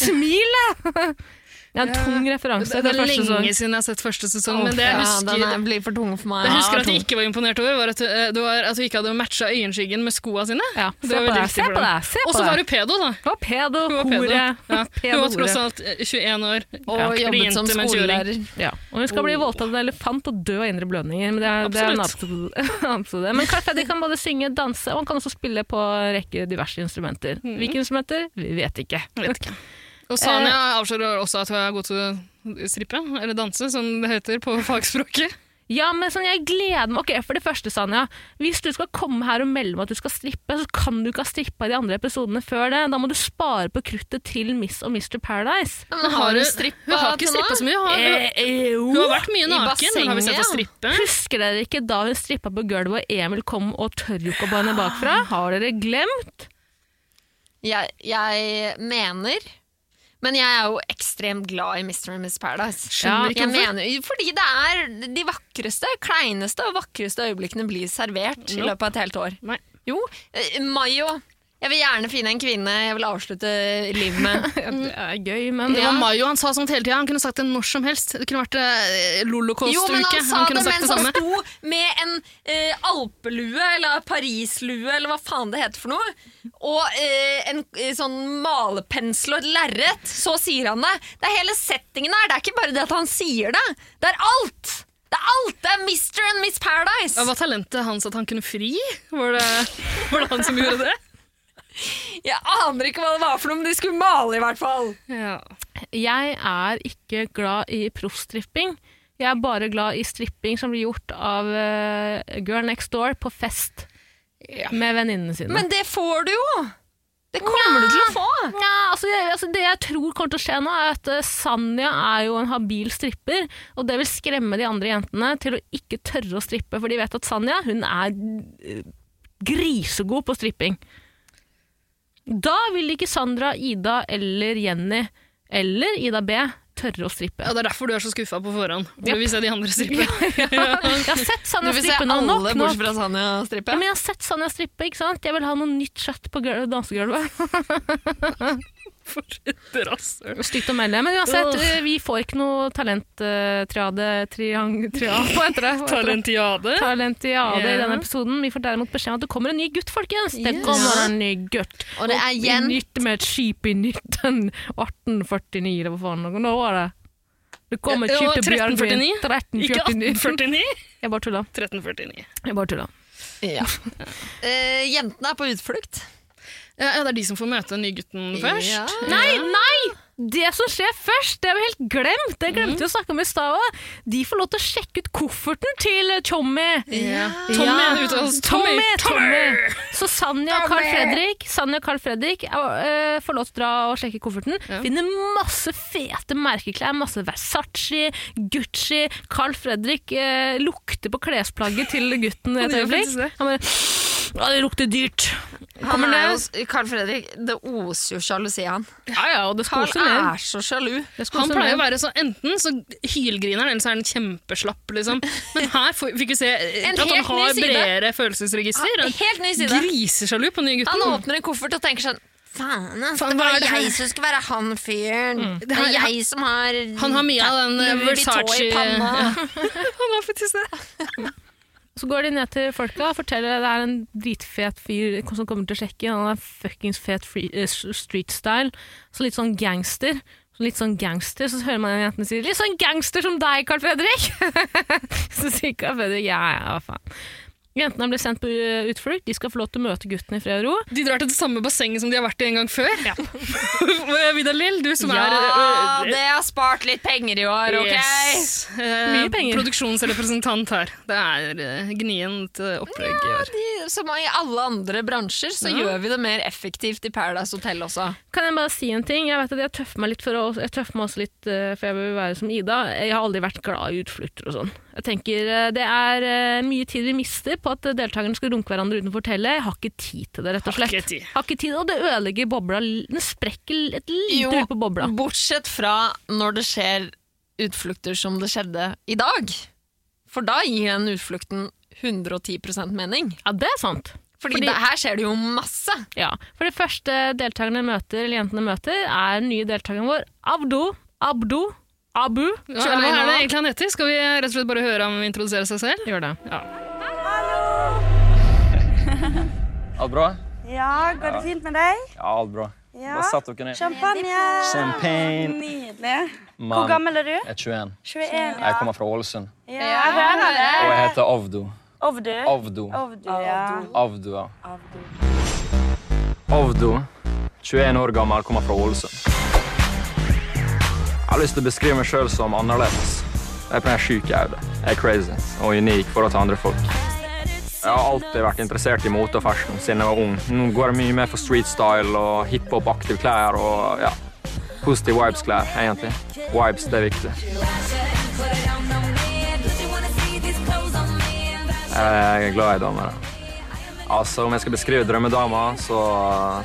Speaker 2: smile. Det er en tung referanse.
Speaker 3: Det
Speaker 2: til
Speaker 3: er lenge
Speaker 2: første sesong.
Speaker 3: siden jeg har sett første sesong, men det jeg
Speaker 1: ja,
Speaker 3: husker
Speaker 1: den er, blir for tung for meg.
Speaker 3: Det jeg husker at jeg ikke var imponert over, var at, eh, det var at hun ikke hadde matcha øyenskyggen med skoa sine.
Speaker 2: Ja,
Speaker 3: Det
Speaker 2: se
Speaker 3: var
Speaker 2: på
Speaker 3: veldig
Speaker 2: deg,
Speaker 3: viktig
Speaker 2: se
Speaker 3: for
Speaker 2: på
Speaker 3: dem.
Speaker 2: deg, se på
Speaker 3: Og så var
Speaker 2: deg.
Speaker 3: hun pedo, da.
Speaker 2: Hun var pedo,
Speaker 3: Hun var pedo.
Speaker 2: hore.
Speaker 3: Ja.
Speaker 2: Pedo,
Speaker 3: Hun var tross
Speaker 2: hore.
Speaker 3: alt eh, 21 år.
Speaker 1: Og
Speaker 3: Ja. Bli
Speaker 1: jobbet som
Speaker 3: jente, men 20 år.
Speaker 1: skolelærer.
Speaker 2: Ja. Og hun skal bli voldtatt av en elefant og dø av indre blødninger. Men det er, det er en absolutt- absolutt det. Men Carl Freddy kan både synge, danse, og han kan også spille på en rekke diverse instrumenter. Hvilke instrumenter? Mhm. Vi vet ikke.
Speaker 3: Og Sanja
Speaker 1: Eh.
Speaker 3: avslører også at hun er god til å strippe, eller danse, som det heter på fagspråket.
Speaker 2: Ja, men sånn, jeg gleder meg. Ok, For det første, Sanja. Hvis du skal komme her og melde meg at du skal strippe, så kan du ikke ha strippa i de andre episodene før det. Da må du spare på kruttet til Miss og Mr. Paradise.
Speaker 1: Men har hun
Speaker 3: Hun
Speaker 1: strippa
Speaker 3: har ikke
Speaker 1: til nå?
Speaker 3: strippa så mye. Hun har,
Speaker 2: Eh, jo.
Speaker 3: hun har vært mye
Speaker 1: I
Speaker 3: naken, men har vi sett henne
Speaker 1: bassenget,
Speaker 3: strippe?
Speaker 2: Husker dere ikke da hun strippa på gulvet og Emil kom og tørrjokka på henne bakfra? Har dere glemt?
Speaker 1: Jeg, jeg mener Men jeg er jo ekstremt glad i Mr. and Miss Paradise.
Speaker 2: Skjønner ikke
Speaker 1: jeg
Speaker 2: hvorfor.
Speaker 1: mener, fordi det er de vakreste, kleineste og vakreste øyeblikkene blir servert i løpet av et helt år.
Speaker 3: Nei.
Speaker 1: Jo, eh, Mayo. Jeg vil gjerne finne en kvinne jeg vil avslutte livet med.
Speaker 2: Det er gøy, men
Speaker 3: Det var Mayo, han sa sånt hele tida. Han kunne sagt det når som helst. Det kunne vært eh, Lolocost-uke.
Speaker 1: Jo, men han sa
Speaker 3: han
Speaker 1: det
Speaker 3: kunne sagt
Speaker 1: mens
Speaker 3: det
Speaker 1: han
Speaker 3: samme.
Speaker 1: sto med en eh, alpelue, eller parislue, eller hva faen det heter for noe, og eh, en eh, sånn malepensel og et lerret. Så sier han det. Det er hele settingen her. Det er ikke bare det at han sier det. Det er alt! Det er alt! Det er Mr. and Miss Paradise!
Speaker 3: Ja, var talentet hans at han kunne fri? Var det, var det han som gjorde det?
Speaker 1: Jeg aner ikke hva det var for noe, men de skulle male i hvert fall.
Speaker 3: Ja.
Speaker 2: jeg er ikke glad i proffstripping. Jeg er bare glad i stripping som blir gjort av eh, Girl Next Door på fest med venninnene sine.
Speaker 1: Men det får du jo! Det kommer du til å få.
Speaker 2: Nja, altså, jeg, altså Det jeg tror kommer til å skje nå, er at eh, Sanja er jo en habil stripper, og det vil skremme de andre jentene til å ikke tørre å strippe, for de vet at Sanja hun er eh, grisegod på stripping. Da vil ikke Sandra, Ida eller Jenny eller Ida B tørre å strippe.
Speaker 3: Ja, Det er derfor du er så skuffa på forhånd. Du
Speaker 2: Japp.
Speaker 3: vil se de andre strippe.
Speaker 2: Jeg har sett Sanja strippe nå nok. nå.
Speaker 1: bortsett fra Sanja
Speaker 2: Ja,
Speaker 1: strippe.
Speaker 2: men jeg har sett Sanja strippe, ikke sant? Jeg vil ha noe nytt kjøtt på gul- dansegulvet.
Speaker 3: For et rasshøl.
Speaker 2: Stygt å melde, men uansett, eh, vi får ikke noe talenttriade triang... Triang, hva heter det? Hva heter det?
Speaker 3: Talentiade.
Speaker 2: Talentiade i
Speaker 3: Ja.
Speaker 2: denne episoden. Vi får derimot beskjed om at det kommer en ny gutt, folkens! Det kommer en ny gutt!
Speaker 1: Og det er
Speaker 2: I
Speaker 1: igjen
Speaker 2: nytt med et skip i 19... 1849, eller hva faen noe nå var det? Det kommer et
Speaker 3: Ja,
Speaker 2: skip til Bjørgvin.
Speaker 3: 1349. Ikke
Speaker 2: 1349.
Speaker 3: 1849.
Speaker 2: Jeg bare tulla.
Speaker 3: 1349.
Speaker 2: Jeg bare tulla.
Speaker 1: ja. Eh, Jentene er på utflukt.
Speaker 3: Ja, ja, det er de som får møte nygutten først.
Speaker 1: Ja.
Speaker 2: Nei, nei! Det som skjer først, det har vi helt glemt. Det glemte vi å snakke om i stad òg. De får lov til å sjekke ut kofferten til Tjommi.
Speaker 3: Ja. Tommy er ute hos Tommy.
Speaker 2: Tommy, Tommy! Så Sanja og Carl Fredrik, Sanja og Carl Fredrik eh, får lov til å dra og sjekke kofferten. Finner masse fete merkeklær. Masse Versace, Gucci. Carl Fredrik eh, lukter på klesplagget til gutten et
Speaker 3: gjør
Speaker 2: øyeblikk.
Speaker 3: faktisk det.
Speaker 2: Han bare «Å, Det lukter dyrt.
Speaker 1: Han
Speaker 2: Kommer
Speaker 1: er
Speaker 2: ned.
Speaker 1: jo, Carl Fredrik, det oser jo sjalusi av han.
Speaker 2: Ja, ja, og det skal
Speaker 1: Carl
Speaker 2: også ned.
Speaker 1: er så sjalu.
Speaker 2: Det skal
Speaker 1: Sånn
Speaker 3: Han
Speaker 2: også
Speaker 3: pleier
Speaker 2: ned.
Speaker 3: å være så Enten så hylgriner han, eller så er han kjempeslapp. liksom. Men her får, fikk vi se eh,
Speaker 1: En
Speaker 3: at han
Speaker 1: helt ny
Speaker 3: har
Speaker 1: side.
Speaker 3: bredere følelsesregister. og
Speaker 1: Helt ny side.
Speaker 3: Grisesjalu på nygutten.
Speaker 1: Han åpner en koffert og tenker sånn Faen, ass, det
Speaker 3: Faen, hva
Speaker 1: var
Speaker 3: er det
Speaker 1: jeg
Speaker 3: her?»
Speaker 1: som skulle være han fyren. Det
Speaker 3: her-
Speaker 1: er jeg som har
Speaker 3: Han har mye av den eh,
Speaker 1: Nøvel i tå i
Speaker 3: Versace
Speaker 1: panna.
Speaker 3: Han har faktisk det.
Speaker 2: Så går de ned til folka og forteller at det er en dritfet fyr som kommer til å sjekke. Han er fuckings fet free, eh, street style. Så litt sånn gangster. sånn litt sånn gangster, så hører man en jente si 'litt sånn gangster som deg, Carl Fredrik'. så sier Carl Fredrik 'ja, ja, hva faen'. Jentene blir sendt på eh, utflukt, de skal få lov til å møte guttene i fred og ro.
Speaker 3: De drar til det samme bassenget som de har vært i en gang før. Vidar Lill, du som er
Speaker 1: Ja,
Speaker 3: øh, øh,
Speaker 1: det har spart litt penger i år, OK?
Speaker 3: Yes. Eh,
Speaker 2: Mye penger.
Speaker 3: Produksjonsrepresentant her. Det er eh, gnient eh, opplegg i år.
Speaker 1: I- Som i alle andre bransjer så gjør vi det mer effektivt i Paradise Hotel også.
Speaker 2: Kan jeg bare si en ting? Jeg vet at jeg tøffer meg litt, for å, jeg tøffer meg også litt eh, for jeg vil være som Ida. Jeg har aldri vært glad i utflukter og sånn. Jeg tenker eh, Det er eh, mye tid vi mister på at eh, deltakerne skal runke hverandre uten å fortelle. Jeg har ikke tid til det, rett og
Speaker 3: Har
Speaker 2: slett.
Speaker 3: ikke tid.
Speaker 2: Har ikke tid, Og det ødelegger bobla. l- Den sprekker et lite hull på bobla.
Speaker 1: bortsett fra når det skjer utflukter som det skjedde i dag. For da gir den utflukten 110 mening.
Speaker 2: Ja, det er sant.
Speaker 1: Fordi,
Speaker 2: Fordi-
Speaker 1: det, her skjer det jo masse.
Speaker 2: Ja, For det første deltakerne møter, eller jentene møter, er den nye deltakeren vår Abdo. Abdo. Abu.
Speaker 3: Ja, eller hva er det egentlig han heter? Skal vi rett og slett bare høre ham introdusere seg selv?
Speaker 2: Gjør det.
Speaker 10: Alt bra?
Speaker 11: Ja, går det fint med deg?
Speaker 10: Ja, alt bra.
Speaker 11: Ja.
Speaker 10: Bare satt dere ned.
Speaker 11: Champagne!
Speaker 10: Champagne.
Speaker 11: Nydelig. Hvor
Speaker 10: Mann,
Speaker 11: gammel er du?
Speaker 10: jeg er 21.
Speaker 11: 21.
Speaker 10: Jeg kommer fra Ålesund.
Speaker 11: Ja, jeg hører det.
Speaker 10: Og jeg heter Avdo.
Speaker 11: Ovdu.
Speaker 10: Avdo.
Speaker 11: Ovdu, ja.
Speaker 10: Avdo, ja. Avdo, 21 år gammel, kommer fra Ålesund. Jeg har lyst til å beskrive meg sjøl som annerledes. Jeg er på den sjuke hodet. Jeg er crazy og unik i forhold til andre folk. Jeg har alltid vært interessert i mote og fashion siden jeg var ung. Nå går jeg mye mer for street style og hiphop-aktive klær og ja, positive vibes-klær, egentlig. Vibes, det er viktig. Jeg er glad i damer. da. Altså, Om jeg skal beskrive drømmedama, så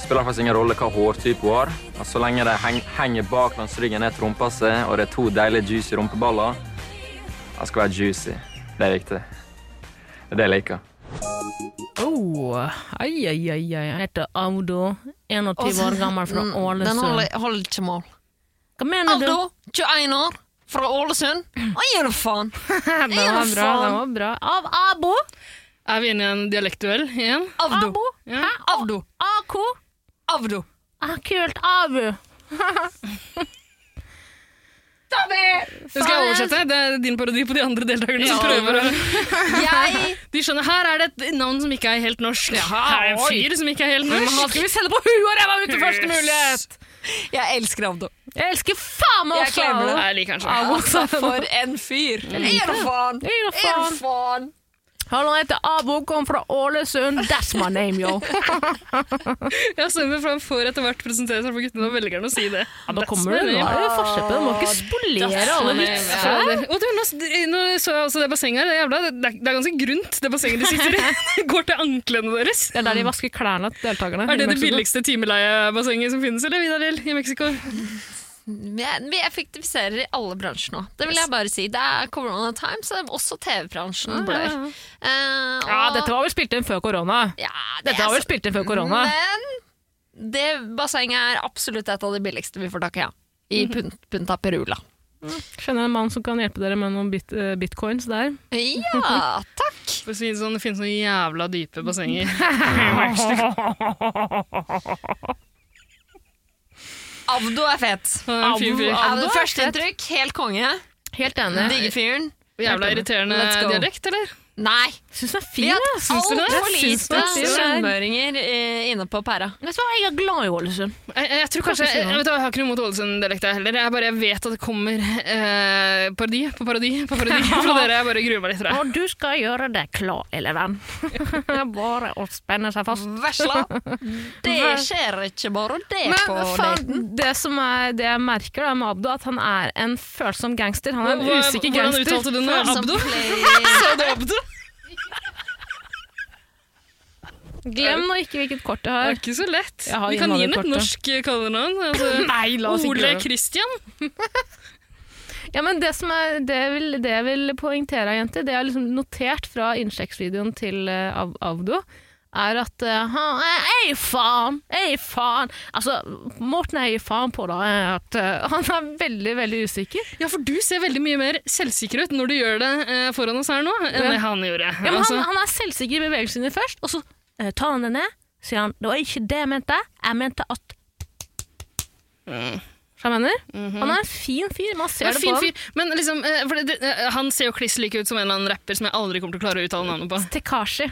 Speaker 10: spiller det faktisk ingen rolle hva hårtype hun har. Og Så lenge det heng henger bak langs ryggen ned til rumpa si, og det er to deilige juicy rumpeballer Jeg skal være juicy. Det er viktig. Det er det jeg liker.
Speaker 2: Oh, ai, ai, ai, ai. Jeg heter Audo, 21 år gammel fra
Speaker 1: Den- Mm,
Speaker 3: Mm.
Speaker 1: Den
Speaker 2: Ålesund.
Speaker 1: holder, holder ikke mål.
Speaker 2: Hva mener du?
Speaker 1: Aldo, 21 år, fra Ålesund. Hva gjør du faen?
Speaker 2: Den var bra, den var bra. Av Abo?
Speaker 3: Er vi inne i en dialektduell igjen?
Speaker 1: Avdo.
Speaker 2: Abo?
Speaker 3: Ja.
Speaker 2: Hæ?
Speaker 1: Avdo.
Speaker 2: AK?
Speaker 1: Avdo.
Speaker 2: Ah, kult, Abu.
Speaker 3: Det skal jeg oversette. Det er din parodi på de andre deltakerne som prøver å
Speaker 1: Jeg
Speaker 3: De skjønner, her er det et navn som ikke er helt norsk. her er en fyr som ikke er helt
Speaker 2: Men han
Speaker 3: norsk.
Speaker 2: skal vi selge på huet og ræva ut til første mulighet!
Speaker 1: Jeg elsker Avdo.
Speaker 2: Jeg elsker faen meg
Speaker 1: Jeg
Speaker 2: også
Speaker 1: klemmer
Speaker 2: Abo.
Speaker 3: Nei, Jeg liker han sånn.
Speaker 1: Altså, for en fyr! Gir du faen?
Speaker 2: Gir du
Speaker 1: Gir
Speaker 2: faen?
Speaker 1: du Mm. faen?
Speaker 2: Hallo, jeg heter Abo, kom fra Ålesund. That's my name, yo.
Speaker 3: Jeg stemmer, for han får etter hvert presentere seg for guttene og velger han å si det.
Speaker 2: Ja, da kommer det, nå er det forskjell på det. Du må
Speaker 3: Ah,
Speaker 2: ikke spolere alle vitser.
Speaker 3: Og du, nå, nå så jeg også det bassenget her. Det, er jævla, det, er- det er ganske grunt, det bassenget de sitter i. Det går til anklene deres.
Speaker 2: Det er der de vasker klærne til deltakerne.
Speaker 3: Er det
Speaker 2: i
Speaker 3: det
Speaker 2: Mexico.
Speaker 3: billigste timeleiebassenget som finnes, eller, Vidar Lill, i Mexico?
Speaker 1: Jeg- Vi effektiviserer i alle bransjer nå. Det vil jeg bare si. Det er corona time, så også TV-bransjen blør. Eh,
Speaker 2: Ja,
Speaker 1: og-
Speaker 2: dette var vel spilt inn før korona.
Speaker 1: ja, det
Speaker 2: Dette
Speaker 1: er
Speaker 2: har vel
Speaker 1: så-
Speaker 2: spilt inn før korona.
Speaker 1: Men det bassenget er absolutt et av de billigste vi får tak i, ja. I Pun- Punta Perula.
Speaker 2: Kjenner en mann som kan hjelpe dere med noen bit, eh, bitcoins der.
Speaker 1: Ja, takk!
Speaker 3: For å si det sånn, det finnes noen jævla dype bassenger.
Speaker 1: Avdo er fet.
Speaker 3: Han er en fin fyr.
Speaker 1: Avdo er Førsteinntrykk, helt konge.
Speaker 2: Helt enig.
Speaker 1: Digger fyren.
Speaker 3: Eh, Jævla irriterende
Speaker 1: Let's go.
Speaker 3: dialekt, eller?
Speaker 1: Nei!
Speaker 2: Syns den er altså. fin,
Speaker 1: Vi har
Speaker 2: jeg.
Speaker 1: hatt
Speaker 3: du det?
Speaker 1: altfor
Speaker 3: Jeg syns
Speaker 1: lite
Speaker 3: det. Jeg syns det.
Speaker 1: sunnmøringer eh, inne på pæra.
Speaker 2: Vet du hva, jeg er glad i Ålesund.
Speaker 3: Jeg, jeg, jeg tror kanskje,
Speaker 2: Kanskje si
Speaker 3: jeg,
Speaker 2: noe.
Speaker 3: vet du hva, jeg har ikke noe imot Ålesund-dialekta heller. Jeg bare jeg vet at det kommer eh, parodi på parodi på parodi fra dere. Jeg bare gruer meg litt. tror jeg.
Speaker 2: Når du skal gjøre deg klar, eleven. Bare å spenne seg fast.
Speaker 1: Vesla! Det skjer ikke bare det på
Speaker 2: Men
Speaker 1: daten.
Speaker 2: faen, det som er det jeg merker da med Abdo, at han er en følsom gangster. Han er en
Speaker 3: Hva-
Speaker 2: usikker
Speaker 3: Hvordan
Speaker 2: gangster.
Speaker 3: uttalte du nå? Abdo?
Speaker 1: Sa du Abdo?
Speaker 2: Glem nå ikke hvilket kort jeg
Speaker 3: Det
Speaker 2: har.
Speaker 3: er ikke så lett.
Speaker 2: Jeg har
Speaker 3: Vi kan gi den et
Speaker 2: innvandrerkortet.
Speaker 3: norsk kallenavn. Altså,
Speaker 2: Nei, la oss ikke
Speaker 3: Ole
Speaker 2: gjøre det.
Speaker 3: Christian.
Speaker 2: Ja, men det, som er, det, jeg vil, det jeg vil poengtere, jenter, det jeg har liksom notert fra innsjekksvideoen til eh, Av Avdo, er at eh, han Ei, faen! Ei, faen! Altså, Morten er i faen på da, er at eh, han er veldig, veldig usikker.
Speaker 3: Ja, for du ser veldig mye mer selvsikker ut når du gjør det eh, foran oss her nå, enn
Speaker 2: Ja.
Speaker 3: det han gjorde.
Speaker 2: Ja, men
Speaker 3: altså,
Speaker 2: han, han er selvsikker i bevegelsene sine først, og så eh, tar han det ned, sier han 'det var ikke det jeg mente, jeg mente at' Skjønner du hva jeg mener? Han er en fin fyr. Man ser
Speaker 3: Han
Speaker 2: det
Speaker 3: Mm. Mhm. er fin
Speaker 2: på ham.
Speaker 3: fyr, men liksom, eh, for det, det, han ser jo kliss like ut som en eller annen rapper som jeg aldri kommer til å klare å uttale navnet på.
Speaker 2: Tekashi.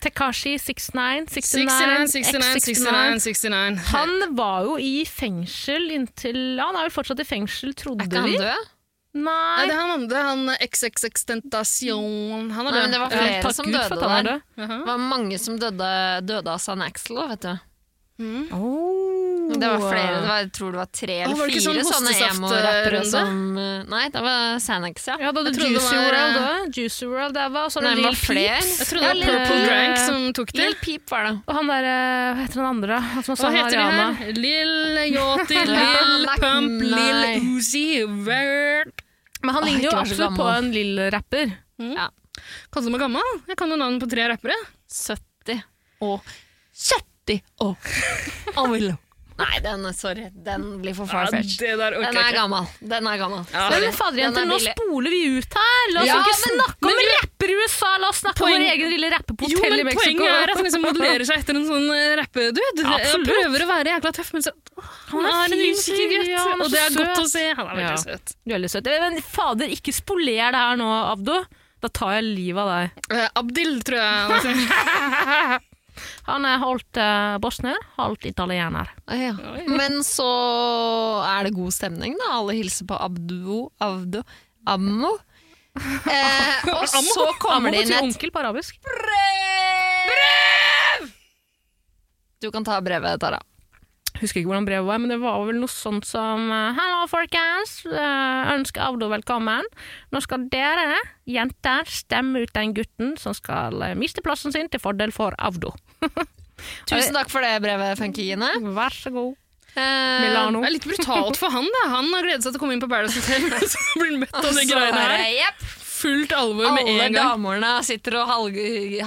Speaker 2: Tekashi 69, 69,
Speaker 3: 69, 69, 69, 69.
Speaker 2: Han var jo i fengsel inntil Han er vel fortsatt i fengsel, trodde vi.
Speaker 3: ikke han død?
Speaker 2: Nei.
Speaker 3: Nei, det er han andre. Han XXXTentacion Han er
Speaker 1: Nei,
Speaker 3: død.
Speaker 1: men det var
Speaker 3: Ja.
Speaker 1: flere
Speaker 3: Takk
Speaker 1: som
Speaker 3: Gud
Speaker 1: døde
Speaker 3: for at han er
Speaker 1: der.
Speaker 3: død.
Speaker 1: Det var mange som døde, døde av San Axel, vet du. Det var flere, det var, jeg tror det var tre
Speaker 3: Å,
Speaker 1: eller
Speaker 3: var det ikke
Speaker 1: fire
Speaker 3: sånn
Speaker 1: sånne
Speaker 3: hostesaft,
Speaker 1: emo-rappere
Speaker 3: runde?
Speaker 2: sånn?
Speaker 1: som eh, Nei, det var Sanax, ja.
Speaker 2: Ja, da hadde
Speaker 1: Jeg trodde det
Speaker 2: Juicy
Speaker 1: var,
Speaker 2: World
Speaker 1: eh,
Speaker 2: òg. Juicy World Altså, der var, og så var
Speaker 1: Nei,
Speaker 2: det
Speaker 1: det var
Speaker 2: Lill
Speaker 1: flere.
Speaker 2: Peeps.
Speaker 3: eh?
Speaker 1: Jeg trodde det var Purple
Speaker 2: Lil-
Speaker 1: Drank som tok det.
Speaker 2: Lil
Speaker 1: Peep var det.
Speaker 2: Og han der, eh, hva heter han andre? Han som var
Speaker 3: Hva
Speaker 2: sammen med
Speaker 3: heter de
Speaker 2: Ariana.
Speaker 3: her? Lill Yachty, Lill
Speaker 2: Ja,
Speaker 3: Pump,
Speaker 2: nei.
Speaker 3: Lill Uzi Vert.
Speaker 2: Men han ligner jo absolutt på en lill rapper.
Speaker 1: Ja.
Speaker 3: Kaller du meg gammel? Jeg kan jo navn på tre rappere.
Speaker 1: 70 og 70 og Nei, den er sorry. Den blir for
Speaker 3: Ja,
Speaker 1: farfetched.
Speaker 3: det der orker
Speaker 1: den
Speaker 3: jeg
Speaker 1: er
Speaker 3: ikke.
Speaker 1: gammel. Den er gammel.
Speaker 3: Ja.
Speaker 1: Sorry.
Speaker 2: Men faderjenter,
Speaker 1: Den er
Speaker 2: nå
Speaker 1: billig.
Speaker 2: spoler vi ut her! La oss
Speaker 1: Ja,
Speaker 2: ikke
Speaker 1: men-
Speaker 2: snakke om
Speaker 1: men du-
Speaker 2: rapper i USA! La oss snakke om
Speaker 3: Poeng-
Speaker 2: vår egen lille rapper på
Speaker 3: Jo,
Speaker 2: hotell i
Speaker 3: men
Speaker 2: Mexico!
Speaker 3: poenget er at han liksom modellerer seg etter en sånn eh, rappedude.
Speaker 2: Ja,
Speaker 3: Jeg
Speaker 2: absolutt.
Speaker 3: prøver å være jækla tøff, men så
Speaker 2: Han er
Speaker 3: en
Speaker 2: fin
Speaker 3: usikker
Speaker 2: fyr,
Speaker 3: gutt,
Speaker 2: ja, han er
Speaker 3: og
Speaker 2: så
Speaker 3: det er godt
Speaker 2: søt.
Speaker 3: å se. Han er veldig
Speaker 2: Ja.
Speaker 3: søt.
Speaker 2: Du er veldig søt. Men fader, ikke spoler det her nå, Abdo. Da tar jeg livet av deg.
Speaker 3: Eh, Abdil, tror jeg. han heter.
Speaker 2: Han er halvt eh, bosnier, halvt italiener.
Speaker 1: Ah, ja. Men så er det god stemning, da. Alle hilser på Abduo, Avdo, Ammo. Eh, og
Speaker 2: Ammo?
Speaker 1: så kommer
Speaker 2: Ammo
Speaker 1: det inn
Speaker 2: betyr
Speaker 1: et
Speaker 2: onkel på arabisk.
Speaker 1: Du kan ta brevet, Tara.
Speaker 2: Husker ikke hvordan brevet var, men det var vel noe sånt som eh, Hallo, folkens. Eh, Ønsker Avdo velkommen. Nå skal dere, jenter, stemme ut den gutten som skal eh, miste plassen sin til fordel for Avdo.
Speaker 1: Tusen takk for det brevet, Funkygine.
Speaker 2: Vær så god. Eh,
Speaker 1: Milano.
Speaker 3: Det er litt brutalt for han, da. Han har gledet seg til å komme inn på Paradise Hotel, og så blir han møtt av
Speaker 2: Altså,
Speaker 3: de greiene her. Fullt alvor med
Speaker 1: Alle
Speaker 3: en gang.
Speaker 1: damene sitter og halg,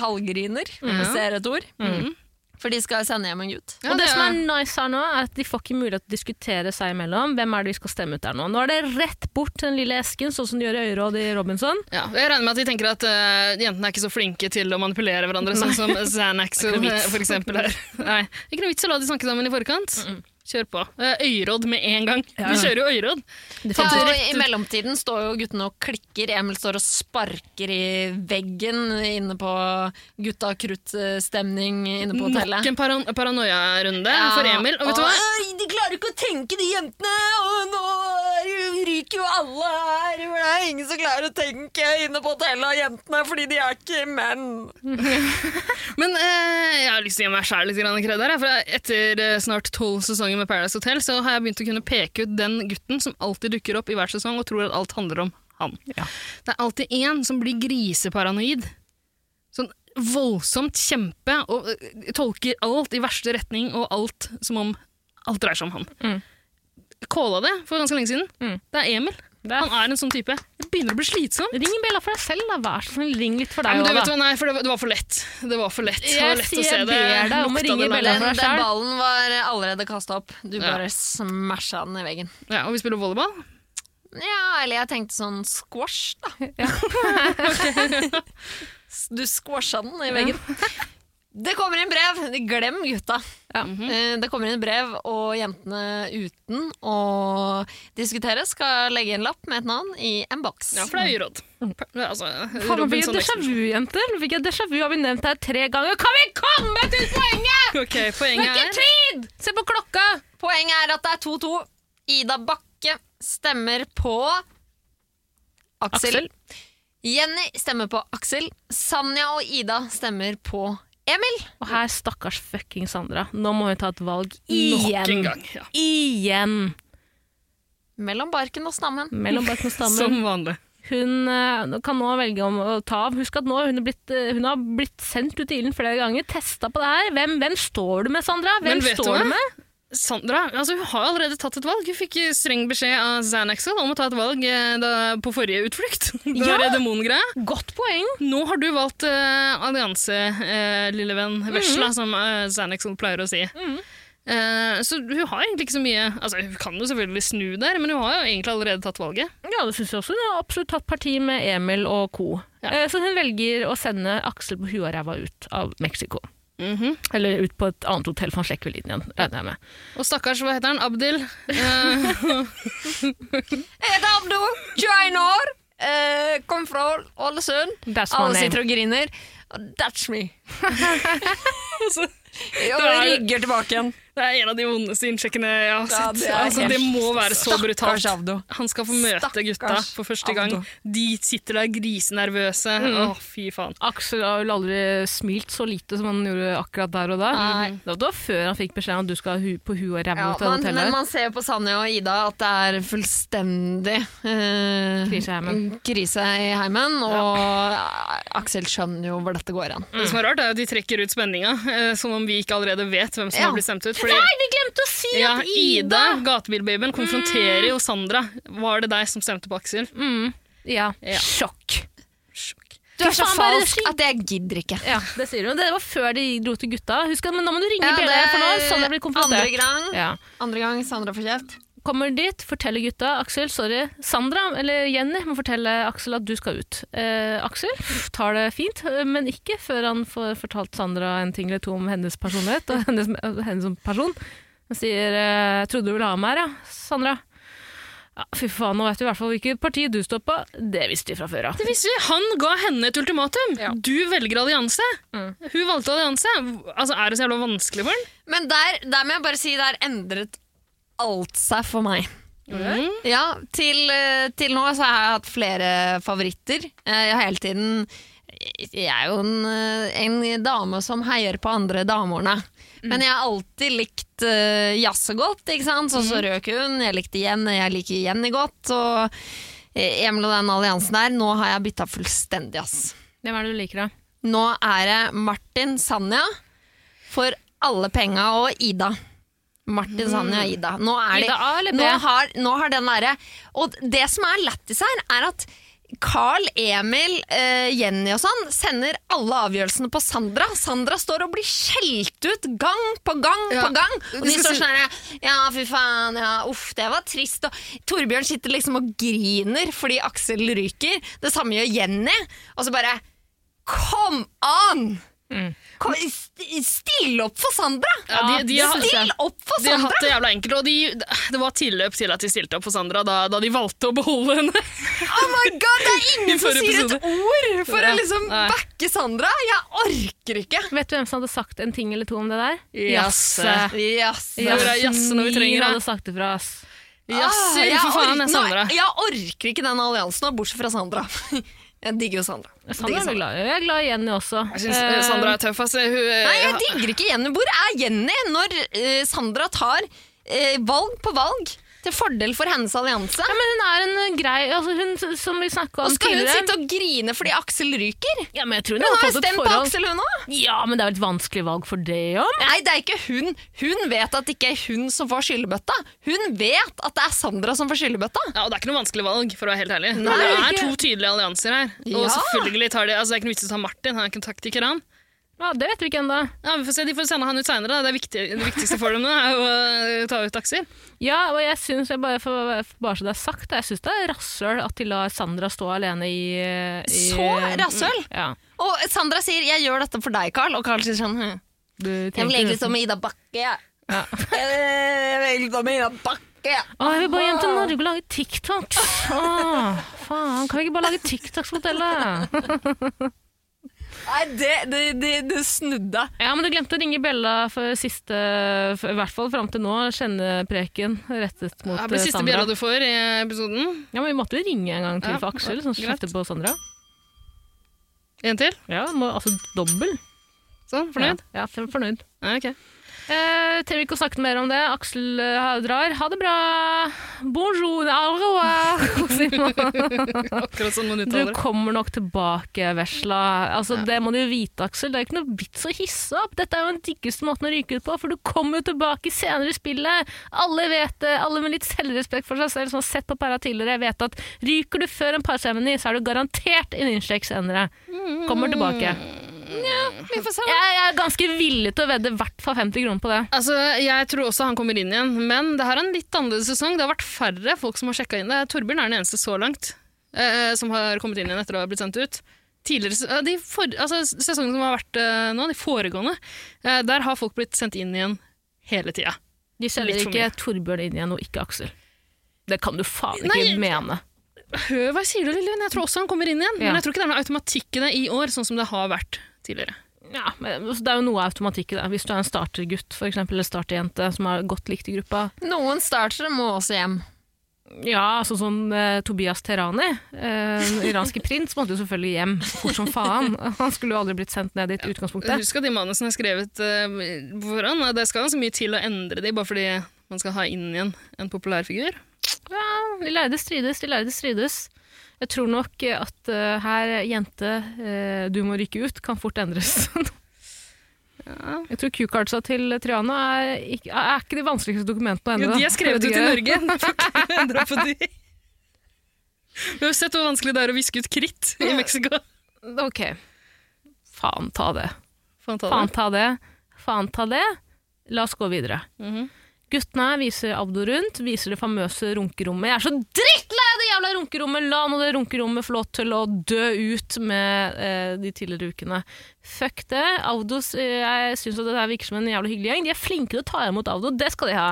Speaker 1: halvgriner,
Speaker 3: Ja.
Speaker 1: hvis det er et ord.
Speaker 3: Mhm.
Speaker 1: For de skal sende hjem en gutt.
Speaker 2: og det, som er nice her nå, er at de får ikke mulighet til å diskutere seg imellom. Hvem er det vi skal stemme ut der nå? Nå er det rett bort til den lille esken, sånn som de gjør i Øyråd i Robinson.
Speaker 3: Ja, og jeg regner med at de tenker at eh, jentene er ikke så flinke til å manipulere hverandre, sånn som Xanax
Speaker 2: Det er ikke noe
Speaker 3: eh,
Speaker 2: vits.
Speaker 3: for eksempel her. Nei, ikke noe vits å la de snakke sammen i forkant. Kjør på. Eh, Øyråd med en gang.
Speaker 1: Ja.
Speaker 3: Vi kjører jo øyråd.
Speaker 2: Sånn
Speaker 1: Ta,
Speaker 3: Rett
Speaker 1: og
Speaker 3: ut.
Speaker 1: I mellomtiden står jo guttene og klikker. Emil står og sparker i veggen inne på gutta krutt-stemning inne på hotellet.
Speaker 3: Nok en paran paranoia-runde for Emil. Og vet du hva?
Speaker 1: «Åh, De klarer ikke å tenke, de jentene! Og nå er- ryker jo alle her! For Det er ingen som klarer å tenke inne på hotellet, jentene, fordi de er ikke menn!
Speaker 3: Men eh, jeg har lyst til å gi meg sjæl litt grann kred her. jeg, For etter eh, snart tolv sesonger med Paradise Hotel så har jeg begynt å kunne peke ut den gutten som alltid dukker opp i hver sesong og tror at alt handler om han. Det er alltid én som blir griseparanoid. Sånn voldsomt kjempe og eh, tolker alt i verste retning og alt som om alt dreier seg om han.
Speaker 2: Mm.
Speaker 3: Kåla det for ganske lenge siden. Mm. Det er Emil. Han er en sånn type. Det begynner å bli slitsomt.
Speaker 2: Ring en bjella for deg selv, da. Vær så snill, ring litt for
Speaker 3: Nei,
Speaker 2: deg
Speaker 3: men du
Speaker 2: også,
Speaker 3: vet
Speaker 2: da.
Speaker 3: hva, nei, for det var, det var for lett. Det var for lett. det
Speaker 2: Jeg
Speaker 3: var lett
Speaker 2: sier
Speaker 3: å se
Speaker 2: jeg
Speaker 3: det.
Speaker 2: ber deg om å
Speaker 3: lukta
Speaker 2: ringe
Speaker 3: det langt.
Speaker 2: Bella
Speaker 1: Den,
Speaker 2: for deg
Speaker 1: den
Speaker 2: selv.
Speaker 1: ballen var allerede kasta opp. Du
Speaker 3: Ja.
Speaker 1: bare smasha den i veggen.
Speaker 3: Ja, og vi spiller volleyball.
Speaker 1: Ja, eller jeg tenkte sånn squash, da. du squasha den i veggen. Det kommer inn brev! Glem gutta.
Speaker 2: Ja.
Speaker 1: Eh, Det kommer inn brev, og jentene uten å diskutere skal legge en lapp med et navn i en boks.
Speaker 3: Ja, for det er øyråd. Altså,
Speaker 2: Faen, nå blir det
Speaker 3: Robinson
Speaker 2: déjà
Speaker 3: Explosion.
Speaker 2: vu, jenter. Nå fikk jeg déjà vu, har vi nevnt det her tre ganger. Kan vi komme til poenget?!
Speaker 3: Ok,
Speaker 2: Det er
Speaker 3: poenget
Speaker 2: ikke
Speaker 3: er
Speaker 2: tid! Se på klokka!
Speaker 1: Poenget er at det er 2-2. Ida Bakke stemmer på Aksel.
Speaker 2: Aksel.
Speaker 1: Jenny stemmer på Aksel. Sanja og Ida stemmer på Emil.
Speaker 2: Og her, stakkars fucking Sandra. Nå må hun ta et valg
Speaker 3: nok en
Speaker 2: igjen.
Speaker 3: gang. Ja.
Speaker 2: Igjen!
Speaker 1: Mellom barken og stammen.
Speaker 2: Mellom barken og stammen.
Speaker 3: Som vanlig.
Speaker 2: Hun eh, kan nå velge om å ta av. Husk at nå hun, er blitt, eh, hun har blitt sendt ut i ilden flere ganger, testa på det her. Hvem, hvem står du med, Sandra?
Speaker 3: Men
Speaker 2: Hvem
Speaker 3: vet du
Speaker 2: står
Speaker 3: hva?
Speaker 2: du med?
Speaker 3: Sandra altså, hun har allerede tatt et valg. Hun fikk streng beskjed av Xanaxel om å ta et valg eh, da, på forrige utflukt. Det
Speaker 2: Ja!
Speaker 3: var ja. demongreia.
Speaker 2: Godt poeng!
Speaker 3: Nå har du valgt eh, allianse, eh, lille venn Vesla,
Speaker 1: Mhm.
Speaker 3: som eh, Xanaxel pleier å si. Eh, så hun har egentlig ikke så mye altså, Hun kan jo selvfølgelig snu der, men hun har jo egentlig allerede tatt valget.
Speaker 2: Ja, det syns jeg også. Hun har absolutt tatt parti med Emil og co. Eh, Så hun velger å sende Aksel på huet og ræva ut av Mexico. Eller ut på et annet hotell, for han slekker vel inn igjen, regner jeg med.
Speaker 3: Og stakkars, hva heter han? Abdil?
Speaker 1: heter Abdo Jainor. eh, kom fra Ålesund.
Speaker 2: That's my
Speaker 1: Alle
Speaker 2: name.
Speaker 1: sitter og griner. Og That's me.
Speaker 3: Og
Speaker 1: rygger tilbake igjen.
Speaker 3: Det er en av de vondeste innsjekkene jeg har
Speaker 1: Ja,
Speaker 3: sett.
Speaker 1: det er
Speaker 3: altså, det
Speaker 1: helt-
Speaker 3: må være så
Speaker 1: Stakkars
Speaker 3: brutalt.
Speaker 1: Avdo.
Speaker 3: Han skal få møte
Speaker 1: Stakkars
Speaker 3: gutta for første gang.
Speaker 2: Avdo.
Speaker 3: De sitter der grisenervøse.
Speaker 2: Mm.
Speaker 1: Mhm.
Speaker 3: Å, fy faen.
Speaker 2: Aksel har vel aldri smilt så lite som han gjorde akkurat der og da. Mm.
Speaker 1: Nei.
Speaker 2: Det var- Det var før han fikk beskjed om at du skal hu på huet og ræva
Speaker 1: Ja,
Speaker 2: til
Speaker 1: man,
Speaker 2: hotellet.
Speaker 1: men man ser jo på Sanja og Ida at det er fullstendig eh,
Speaker 2: Krise i heimen.
Speaker 1: krise i heimen. Og eh, Aksel skjønner jo hvor dette går hen.
Speaker 3: Det som er rart, er at de trekker ut spenninga, eh, som om vi ikke allerede vet hvem som
Speaker 1: Ja.
Speaker 3: har blitt stemt ut.
Speaker 1: Nei, vi glemte å si
Speaker 3: ja,
Speaker 1: at
Speaker 3: Ida,
Speaker 1: Ida
Speaker 3: gatebilbabyen, konfronterer jo Sandra. Var det deg som stemte på Aksel?
Speaker 2: Ja.
Speaker 3: Ja.
Speaker 2: Sjokk.
Speaker 1: Du er
Speaker 2: Fy
Speaker 1: så
Speaker 2: faen, bare
Speaker 1: falsk at jeg gidder ikke.
Speaker 2: Ja, det sier hun. Det var før de dro til gutta. Husk at, men nå må du ringe
Speaker 1: Ja,
Speaker 2: ja,
Speaker 1: det
Speaker 2: BD, for nå er Sandra blitt konfrontert.
Speaker 1: andre gang.
Speaker 2: Ja.
Speaker 1: Andre gang Sandra får kjeft.
Speaker 2: Kommer dit, forteller gutta Aksel, sorry, Sandra eller Jenny må fortelle Aksel at du skal ut. Eh, Aksel pff, tar det fint, eh, men ikke før han får fortalt Sandra en ting eller to om hennes personlighet og hennes, og henne som person. Han sier eh, 'trodde du ville ha meg her, ja, Sandra'. Ja, fy faen, nå vet vi i hvert fall hvilket parti du står på. Det visste vi fra før av.
Speaker 3: Det visste vi. Han ga henne et ultimatum. Du velger allianse. Hun valgte allianse. Altså, Er det så jævla vanskelig for ham?
Speaker 1: Men der, der må jeg bare si, der endret alt seg for meg. Ja, til, eh, til nå så har jeg hatt flere favoritter. Eh, Jeg har hele tiden Jeg er jo en, eh, en dame som heier på andre damene. Men jeg har alltid likt uh, Jasse godt, ikke sant? Så så røk hun, jeg likte Jenny, jeg liker Jenny godt. Og eh, Emil og den alliansen der, nå har jeg bytta fullstendig, ass.
Speaker 2: Hvem er det du liker, da?
Speaker 1: Nå er det Martin Sanja for alle penga og Ida. Martin, Sanja og Ida. Nå, er de,
Speaker 2: Ida A eller B?
Speaker 1: nå, har, nå har den derre Og det som er lættis her, er at Carl, Emil, eh, Jenny og sånn sender alle avgjørelsene på Sandra. Sandra står og blir skjelt ut gang på gang på gang. Og de
Speaker 3: skal
Speaker 1: står
Speaker 3: si-
Speaker 1: sånn her Ja, fy faen, ja, uff, det var trist. Og Torbjørn sitter liksom og griner fordi Aksel ryker. Det samme gjør Jenny. Og så bare Kom an! Kom, st- still opp for Sandra!
Speaker 3: Mm. Ja, de- de har-
Speaker 1: still opp for
Speaker 3: De har
Speaker 1: Sandra!
Speaker 3: hatt det jævla enkelt, og de, det var tilløp til at de stilte opp for Sandra da, da de valgte å beholde henne.
Speaker 1: Oh my god, det er
Speaker 3: I
Speaker 1: ingen som
Speaker 3: forrige
Speaker 1: sier et ord for å
Speaker 3: Ja,
Speaker 1: liksom
Speaker 3: nei.
Speaker 1: backe Sandra! Jeg orker ikke!
Speaker 2: Vet du hvem som hadde sagt en ting eller to om det der?
Speaker 3: Jasse.
Speaker 1: Yes.
Speaker 3: Hvor er Jasse når vi trenger
Speaker 2: Mil
Speaker 3: han?
Speaker 2: hadde sagt det fra oss.
Speaker 1: Ah,
Speaker 3: Jasse,
Speaker 1: jeg
Speaker 3: for faen,
Speaker 1: ork-
Speaker 3: er Sandra.
Speaker 1: Nei, jeg orker ikke den alliansen, nå, bortsett fra Sandra. Jeg digger jo Sandra. Jeg
Speaker 2: Sandra
Speaker 1: digger
Speaker 2: er du
Speaker 1: Sandra.
Speaker 2: glad i. Jeg er glad i Jenny også.
Speaker 3: Jeg synes eh, Sandra er tøff, ass. Hun, eh,
Speaker 1: Nei, jeg digger ikke Jenny. Hvor er Jenny når eh, Sandra tar eh, valg på valg til fordel for hennes allianse?
Speaker 2: Ja, men hun er en eh, grei altså hun, s- Som vi snakka
Speaker 1: Og
Speaker 2: om
Speaker 1: skal hun
Speaker 2: tidligere.
Speaker 1: sitte og grine fordi Aksel ryker?
Speaker 2: ja, men jeg tror hun,
Speaker 1: Hun
Speaker 2: har
Speaker 1: har jo
Speaker 2: fått et
Speaker 1: stemt på
Speaker 2: forhold.
Speaker 1: Aksel, hun òg!
Speaker 2: Ja, men det er vel et vanskelig valg for det òg?
Speaker 1: Nei, det er ikke hun. Hun vet at det ikke er hun som får skyllebøtta. Hun vet at det er Sandra som får skyllebøtta.
Speaker 3: Ja, og Det er ikke noe vanskelig valg, for å være helt ærlig.
Speaker 1: Nei,
Speaker 3: det
Speaker 1: det er
Speaker 3: er
Speaker 1: ikke-
Speaker 3: to tydelige allianser her. Og
Speaker 1: Ja.
Speaker 3: selvfølgelig tar de, altså, Det er ikke noe vits i å ta Martin, han er ikke en taktiker, han.
Speaker 2: Ja, det vet vi ikke ennå.
Speaker 3: Ja, vi får se, De får sende han ut seinere. Det, er viktig, det viktigste for dem nå er jo å ta ut Aksel.
Speaker 2: Ja, og jeg syns, jeg bare, for, for bare så det er sagt, jeg syns det er rasshøl at de lar Sandra stå alene i, eh, i
Speaker 1: Så rasshøl!
Speaker 2: Ja.
Speaker 1: Og Sandra sier 'jeg gjør dette for deg, Carl', og Carl sier sånn «Hm,
Speaker 2: Du
Speaker 1: Jeg vil
Speaker 2: tenker
Speaker 1: egentlig
Speaker 2: nesten-
Speaker 1: stå med Ida Bakke, jeg. Jeg vil egentlig stå med Ida Bakke. jeg».
Speaker 2: Å, jeg vil bare hjem til Norge og lage TikToks! Å, faen, kan vi ikke bare lage TikToks på hotellet?
Speaker 1: Nei, det, det, det, det snudde.
Speaker 2: Ja, men du glemte å ringe Bella for siste, for, i hvert fall fram til nå, kjennepreken rettet mot
Speaker 3: Det
Speaker 2: eh,
Speaker 3: blir siste
Speaker 2: Sandra.
Speaker 3: bjella du får i episoden.
Speaker 2: Ja, men vi måtte jo ringe en gang til
Speaker 3: Ja,
Speaker 2: for Aksel, som
Speaker 3: greit.
Speaker 2: kjefter på Sandra.
Speaker 3: En til.
Speaker 2: Ja, må, altså dobbel.
Speaker 3: Sånn, fornøyd?
Speaker 2: Ja, ja for- fornøyd.
Speaker 3: Ja. ok.
Speaker 2: Eh, trenger ikke å snakke mer om det. Aksel eh, drar. Ha det bra! Bonjour, au revoir! sier man.
Speaker 3: Akkurat sånn man
Speaker 2: Du
Speaker 3: uttaler det.
Speaker 2: kommer nok tilbake, vesla. Altså, Det må du jo vite, Aksel. Det er ikke noe vits å hisse opp. Dette er jo den diggeste måten å ryke ut på, for du kommer jo tilbake senere i spillet. Alle vet det. Alle med litt selvrespekt for seg selv som har sett på para tidligere, vet at ryker du før en parseremoni, så er du garantert en innsjekk senere. Kommer tilbake.
Speaker 1: Vi får se.
Speaker 2: Jeg, jeg er ganske villig til å vedde i hvert fall 50 kroner på det.
Speaker 3: Altså, Jeg tror også han kommer inn igjen, men det her er en litt annerledes sesong. Det har vært færre folk som har sjekka inn. Det er Torbjørn er den eneste så langt eh, som har kommet inn igjen etter å ha blitt sendt ut. tidligere se- eh, de for, altså, sesongen som har vært eh, nå, de foregående, eh, der har folk blitt sendt inn igjen hele tida.
Speaker 2: De selger ikke Torbjørn inn igjen, og ikke Aksel. Det kan du faen ikke
Speaker 3: Nei,
Speaker 2: mene.
Speaker 3: Hør hva jeg sier du, Lillevin. Jeg tror også han kommer inn igjen.
Speaker 2: Ja.
Speaker 3: Men jeg tror ikke det er noe automatikk i det i år, sånn som det har vært tidligere.
Speaker 2: Ja, men altså, det er jo noe automatikk i det. Hvis du er en startergutt, for eksempel, eller starterjente som er godt likt i gruppa.
Speaker 1: Noen startere må også hjem.
Speaker 2: Ja, altså sånn eh, Tobias Terani, eh, den iranske prins, måtte jo selvfølgelig hjem fort som faen. Han skulle jo aldri blitt sendt ned dit i utgangspunktet.
Speaker 3: Husk at de manusene er skrevet eh, på forhånd. og Det skal ganske mye til å endre de, bare fordi man skal ha inn igjen en populær figur.
Speaker 2: Ja, de lærde strides, de lærde strides. Jeg tror nok eh, at eh, her, jente, eh, du må rykke ut, kan fort endres. Jeg tror Q-cardsa til Triana er ikke, er ikke de vanskeligste dokumentene å
Speaker 3: Jo,
Speaker 2: endre.
Speaker 3: de er skrevet ut i Norge. Vi får ikke endre på de. Vi har sett hvor vanskelig det er å viske ut kritt i Mexico.
Speaker 2: Ok. Faen ta det.
Speaker 3: Faen ta det.
Speaker 2: Faen ta det. Faen ta det. La oss gå videre.
Speaker 1: Mhm.
Speaker 2: Guttene viser Abdo rundt, viser det famøse runkerommet. Jeg er så drittlei av det jævla runkerommet! La nå det runkerommet få lov til å dø ut med eh, de tidligere ukene. Fuck det. Avdos, eh, jeg syns det her virker som en jævla hyggelig gjeng. De er flinke til å ta imot Avdo, det skal de ha.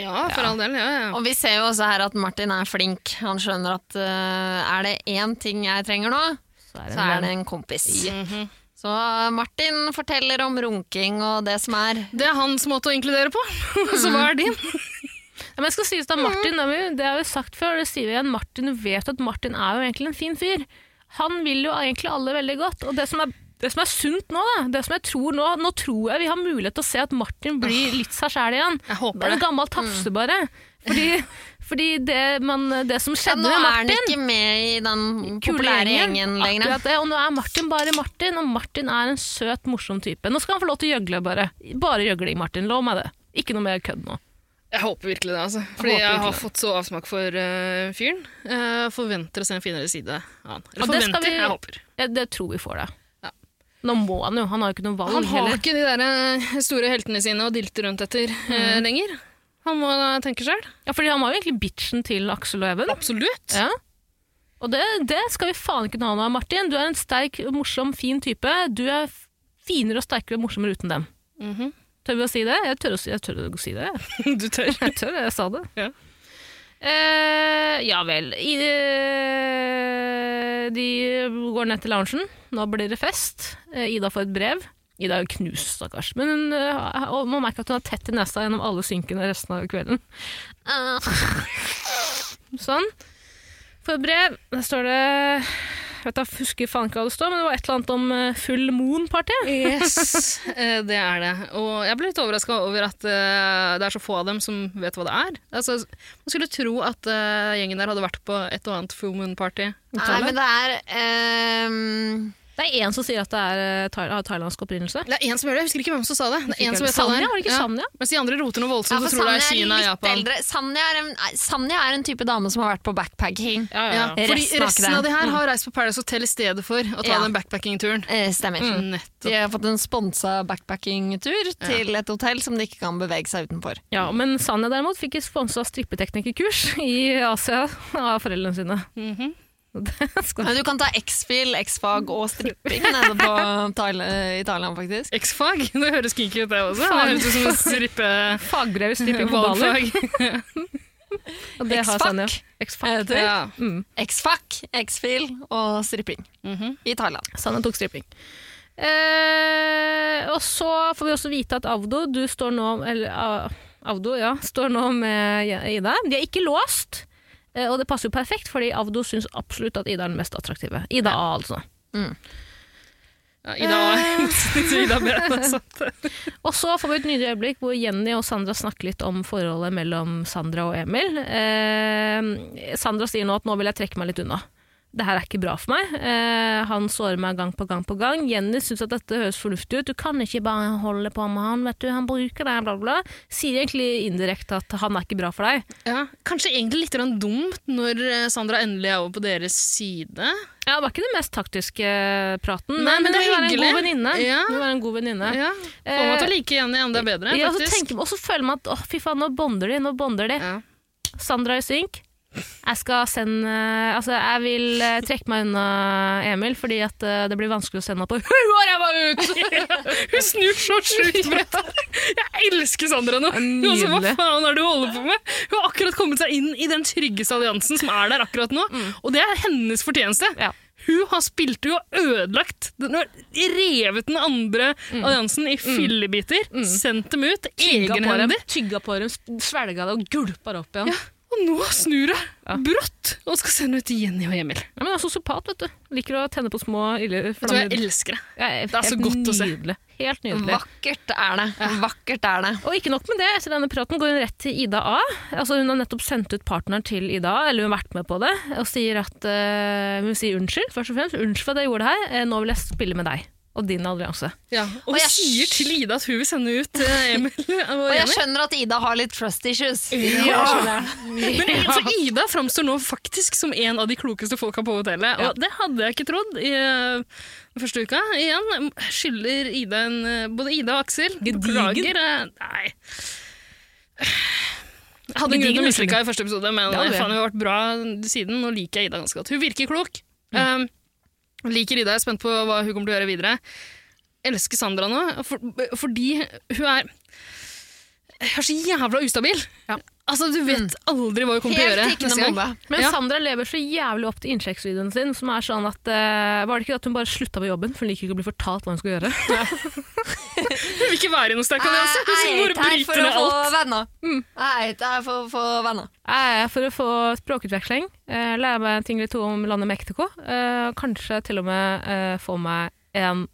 Speaker 3: Ja, for all del.
Speaker 1: Og vi ser jo også her at Martin er flink. Han skjønner at eh, er det én ting jeg trenger nå, så
Speaker 2: det
Speaker 1: er det,
Speaker 2: en venn.
Speaker 1: en kompis.
Speaker 3: Mhm.
Speaker 1: Så Martin forteller om runking og det som er.
Speaker 3: Det er hans måte å inkludere på. Så hva er din?
Speaker 2: Ja, men jeg skal si
Speaker 1: Mhm.
Speaker 2: at Martin, det har vi- det har vi sagt før, og det sier vi igjen, Martin vet at Martin er jo egentlig en fin fyr. Han vil jo egentlig alle veldig godt, og det som er det som er sunt nå, da, det som jeg tror nå, nå tror jeg vi har mulighet til å se at Martin blir litt seg sjæl igjen. Jeg
Speaker 3: håper
Speaker 2: En
Speaker 1: det. Mm.
Speaker 2: gammel tafse, bare. Fordi, fordi det, man, det som
Speaker 1: Ja,
Speaker 2: skjedde
Speaker 1: nå
Speaker 2: med
Speaker 1: er
Speaker 2: Martin
Speaker 1: han ikke med i den populære gjengen lenger.
Speaker 2: Akkurat det, og nå er Martin bare Martin, og Martin er en søt, morsom type. Nå skal han få lov til å gjøgle, bare. Bare gjøgling, Martin. Lov meg det. Ikke noe mer kødd nå.
Speaker 3: Jeg håper virkelig det, altså.
Speaker 2: håper
Speaker 3: Fordi jeg,
Speaker 2: virkelig
Speaker 3: har
Speaker 2: det.
Speaker 3: fått så avsmak for eh, fyren. Eh, forventer å se en finere side av han. Eller
Speaker 2: Og det skal
Speaker 3: forventer,
Speaker 2: vi-
Speaker 3: jeg håper.
Speaker 2: Ja, det tror vi får det. Nå må han jo, han har jo ikke noe valg
Speaker 3: Han har
Speaker 2: heller.
Speaker 3: ikke de der eh, store heltene sine å dilte rundt etter eh, lenger. Han må da tenke sjøl.
Speaker 2: Ja, fordi han var jo egentlig bitchen til Aksel og Even.
Speaker 3: Absolutt.
Speaker 2: Ja. Og det, det skal vi faen ikke ta nå, Martin. Du er en sterk, morsom, fin type. Du er f- finere og sterkere og morsommere uten dem.
Speaker 3: Mhm.
Speaker 2: Tør vi å si det? Jeg tør å si, jeg tør å si det.
Speaker 3: du tør.
Speaker 2: Jeg tør, jeg sa det.
Speaker 3: Ja.
Speaker 2: Eh, ja vel. I, eh, de går ned til loungen. Nå blir det fest. Eh, Ida får et brev. Ida er jo knust, stakkars. Men hun, eh, og man merker at hun er tett i nesa gjennom alle synkene resten av kvelden. Ah. Sånn. Får et brev. Der står det jeg, vet, da, husker faen ikke hva det står, men det var et eller annet om eh, full moon-party.
Speaker 3: Yes, eh, det er det. Og jeg ble litt overraska over at eh, det er så få av dem som vet hva det er. Altså, man skulle tro at eh, gjengen der hadde vært på et og annet Full Moon Party.
Speaker 1: Nei, men det er ehm,
Speaker 2: Det er én som sier at det er, eh, thail- har thailandsk opprinnelse.
Speaker 3: Det er én som gjør det, jeg husker ikke hvem som sa det. Det er en som vet hva det
Speaker 2: Sanja,
Speaker 3: er.
Speaker 2: var det ikke
Speaker 3: Ja.
Speaker 2: Sanja?
Speaker 3: Mens de andre roter noe
Speaker 1: Ja,
Speaker 3: voldsomt
Speaker 1: for
Speaker 3: og tror det er
Speaker 1: Sanja
Speaker 3: Kina og
Speaker 1: litt
Speaker 3: Japan.
Speaker 1: eldre. Sanja er, en, nei, Sanja er en type dame som har vært på backpacking.
Speaker 3: Ja, fordi
Speaker 1: Resten har ikke
Speaker 3: resten av de
Speaker 1: det.
Speaker 3: her
Speaker 1: Mm.
Speaker 3: har reist på Paradise Hotel i stedet for å ta
Speaker 1: Ja.
Speaker 3: den backpacking-turen.
Speaker 1: Eh, Stemmer.
Speaker 3: Mm, nettopp.
Speaker 1: de har fått en sponsa backpacking-tur til et hotell som de ikke kan bevege seg utenfor.
Speaker 2: Ja, men Sanja derimot fikk sponsa strippeteknikerkurs i Asia av foreldrene sine. Det skal
Speaker 1: Men du kan ta X-fil, X-fag og stripping nede på Thail i Thailand, faktisk.
Speaker 3: X-fag? Det høres kinky ut, det også.
Speaker 1: Faen.
Speaker 3: Det høres ut som en strippe...
Speaker 2: Fagbrev i stripping på baller.
Speaker 3: Valgfag.
Speaker 2: Og det har
Speaker 1: X-fac.
Speaker 2: Sanja. X-fac.
Speaker 1: Ja.
Speaker 2: Mm.
Speaker 1: X-fac, Eh, X-fil og stripping i Thailand.
Speaker 2: Sanja tok stripping. Eh, og så får vi også vite at Avdo, du står nå Eller ah, Avdo, ja. Står nå med Ida. De er ikke låst, eh, og det passer jo perfekt, fordi Avdo syns absolutt at Ida er den mest attraktive. Ida A, altså.
Speaker 3: Ja, Ida var Ida Brenn, altså.
Speaker 2: Og så får vi et nydelig øyeblikk hvor Jenny og Sandra snakker litt om forholdet mellom Sandra og Emil. Eh, Sandra sier nå at nå vil jeg trekke meg litt unna. Det her er ikke bra for meg. Eh, han sårer meg gang på gang på gang. Jenny syns at dette høres fornuftig ut. Du kan ikke bare holde på med han, vet du. Han bruker deg, bla, bla. bla. Sier egentlig indirekte at han er ikke bra for deg.
Speaker 3: Ja, kanskje egentlig litt grann dumt når eh, Sandra endelig er over på deres side.
Speaker 2: Ja, det var ikke den mest taktiske eh, praten,
Speaker 3: Nei,
Speaker 2: men,
Speaker 3: men
Speaker 2: det
Speaker 3: det
Speaker 2: vil
Speaker 3: er
Speaker 2: være en
Speaker 3: hyggelig.
Speaker 2: god venninne.
Speaker 3: Ja.
Speaker 2: Det vil være en god venninne.
Speaker 3: Ja, Får meg til å like Jenny enda bedre,
Speaker 2: Eh, Ja, og så
Speaker 3: faktisk.
Speaker 2: tenker- og så føler man at åh, fy faen, nå bonder de, nå bonder de. Sandra i synk, Jeg skal sende Altså, jeg vil eh, trekke meg unna Emil, fordi at eh, det blir vanskelig å sende opp på huet og ræva ut!
Speaker 3: Hun snur så sjukt bredt. Jeg elsker Sandra nå. Hun også, hva
Speaker 2: Nydelig.
Speaker 3: faen er det du holder på med? Hun har akkurat kommet seg inn i den tryggeste alliansen som er der akkurat nå,
Speaker 2: Mm.
Speaker 3: og det er hennes fortjeneste. Hun har spilt hun har ødelagt den, hun har revet den andre
Speaker 2: Mm.
Speaker 3: alliansen i fillebiter, sendt dem ut,
Speaker 2: Tygga Mm. på dem,
Speaker 3: egenhendig.
Speaker 2: tygga på dem, svelga det og gulpa det opp igjen.
Speaker 3: Og nå snur hun brått og skal sende ut Jenny og Emil.
Speaker 2: Ja, men jeg er sosiopat, vet du. Liker å tenne på små ille
Speaker 3: Vet du, jeg elsker det. Det er så godt å se.
Speaker 2: Nydelig. Helt nydelig.
Speaker 1: Vakkert er det. Vakkert er det.
Speaker 2: Og ikke nok med det, etter denne praten går hun rett til Ida A. Altså Hun har nettopp sendt ut partneren til Ida A, eller hun har vært med på det, og sier at eh, Hun sier unnskyld, først og fremst. 'Unnskyld for at jeg gjorde det her, eh, nå vil jeg spille med deg og din allianse'.
Speaker 3: Ja, og hun sier til Ida at hun vil sende ut eh, Emil og Jenny.
Speaker 1: Og jeg skjønner at Ida har litt trust issues.
Speaker 3: Ja.
Speaker 1: Jeg skjønner det.
Speaker 3: Men altså, Ida framstår nå faktisk som en av de klokeste folka på hotellet. Og det hadde jeg ikke trodd i eh, den første uka. Igjen skylder Ida en eh, Både Ida og Aksel beklager. eh, Nei. Jeg hadde en grunn
Speaker 2: Gedigen
Speaker 3: til å mislike
Speaker 2: unnskyldning.
Speaker 3: henne i første episode, men
Speaker 2: Det hadde
Speaker 3: eh,
Speaker 2: vi.
Speaker 3: faen, hun har vært bra siden. Nå liker jeg Ida ganske godt. Hun virker klok.
Speaker 2: Mm.
Speaker 3: Um, liker Ida. Jeg er spent på hva hun kommer til å gjøre videre. Elsker Sandra nå, for, fordi hun er Hun er så jævla ustabil. Altså, Du vet aldri hva hun kommer til å
Speaker 2: Helt
Speaker 3: gjøre
Speaker 2: tikkende bombe. Men Sandra lever så jævlig opp til innsjekksvideoen sin, som er sånn at eh, Var det ikke at hun bare slutta med jobben, for hun liker ikke å bli fortalt hva hun skal gjøre?
Speaker 3: Hun vil ikke være i noen sterk allianse. Hun skal
Speaker 1: Jeg er
Speaker 3: bare
Speaker 1: her for
Speaker 3: bryte
Speaker 1: å
Speaker 3: ned
Speaker 1: få
Speaker 3: alt. Mm.
Speaker 1: venner. Jeg er her for å få venner.
Speaker 2: Jeg er for å få språkutveksling, eh, lære meg en ting eller to om landet Mexico. eh, Kanskje til og med eh, få meg en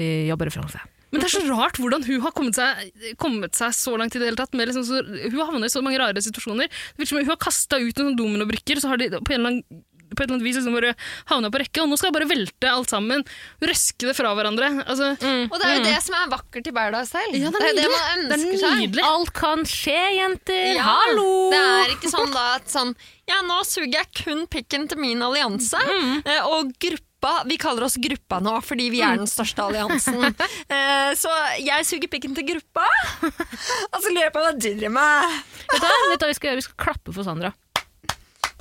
Speaker 2: eh, jobbereferanse.
Speaker 3: Men det er så rart hvordan hun har kommet seg, kommet seg så langt i det hele tatt. Med liksom så, hun havner i så mange rare situasjoner. Det virker som om Hun har kasta ut noen sånne dominobrikker, så har de på, en eller annen, på et eller annet vis liksom bare havna på rekke. Og nå skal hun bare velte alt sammen. Røske det fra hverandre. Altså,
Speaker 1: Og det er jo det som er vakkert i Paradise Hotel.
Speaker 3: Ja, det er
Speaker 1: det er jo det
Speaker 3: nydelig.
Speaker 1: man
Speaker 3: Det er
Speaker 1: ønsker seg.
Speaker 3: nydelig.
Speaker 2: Alt kan skje, jenter!
Speaker 1: Ja,
Speaker 2: Hallo!
Speaker 1: Det er ikke sånn da at sånn Ja, nå suger jeg kun pikken til min allianse.
Speaker 3: Mm.
Speaker 1: eh, Og gruppa Vi kaller oss gruppa nå fordi vi er den største alliansen. Eh, Så jeg suger pikken til gruppa, og så lurer jeg på hva du driver med.
Speaker 2: Vet du hva vet du hva vi skal gjøre? Vi skal klappe for Sandra.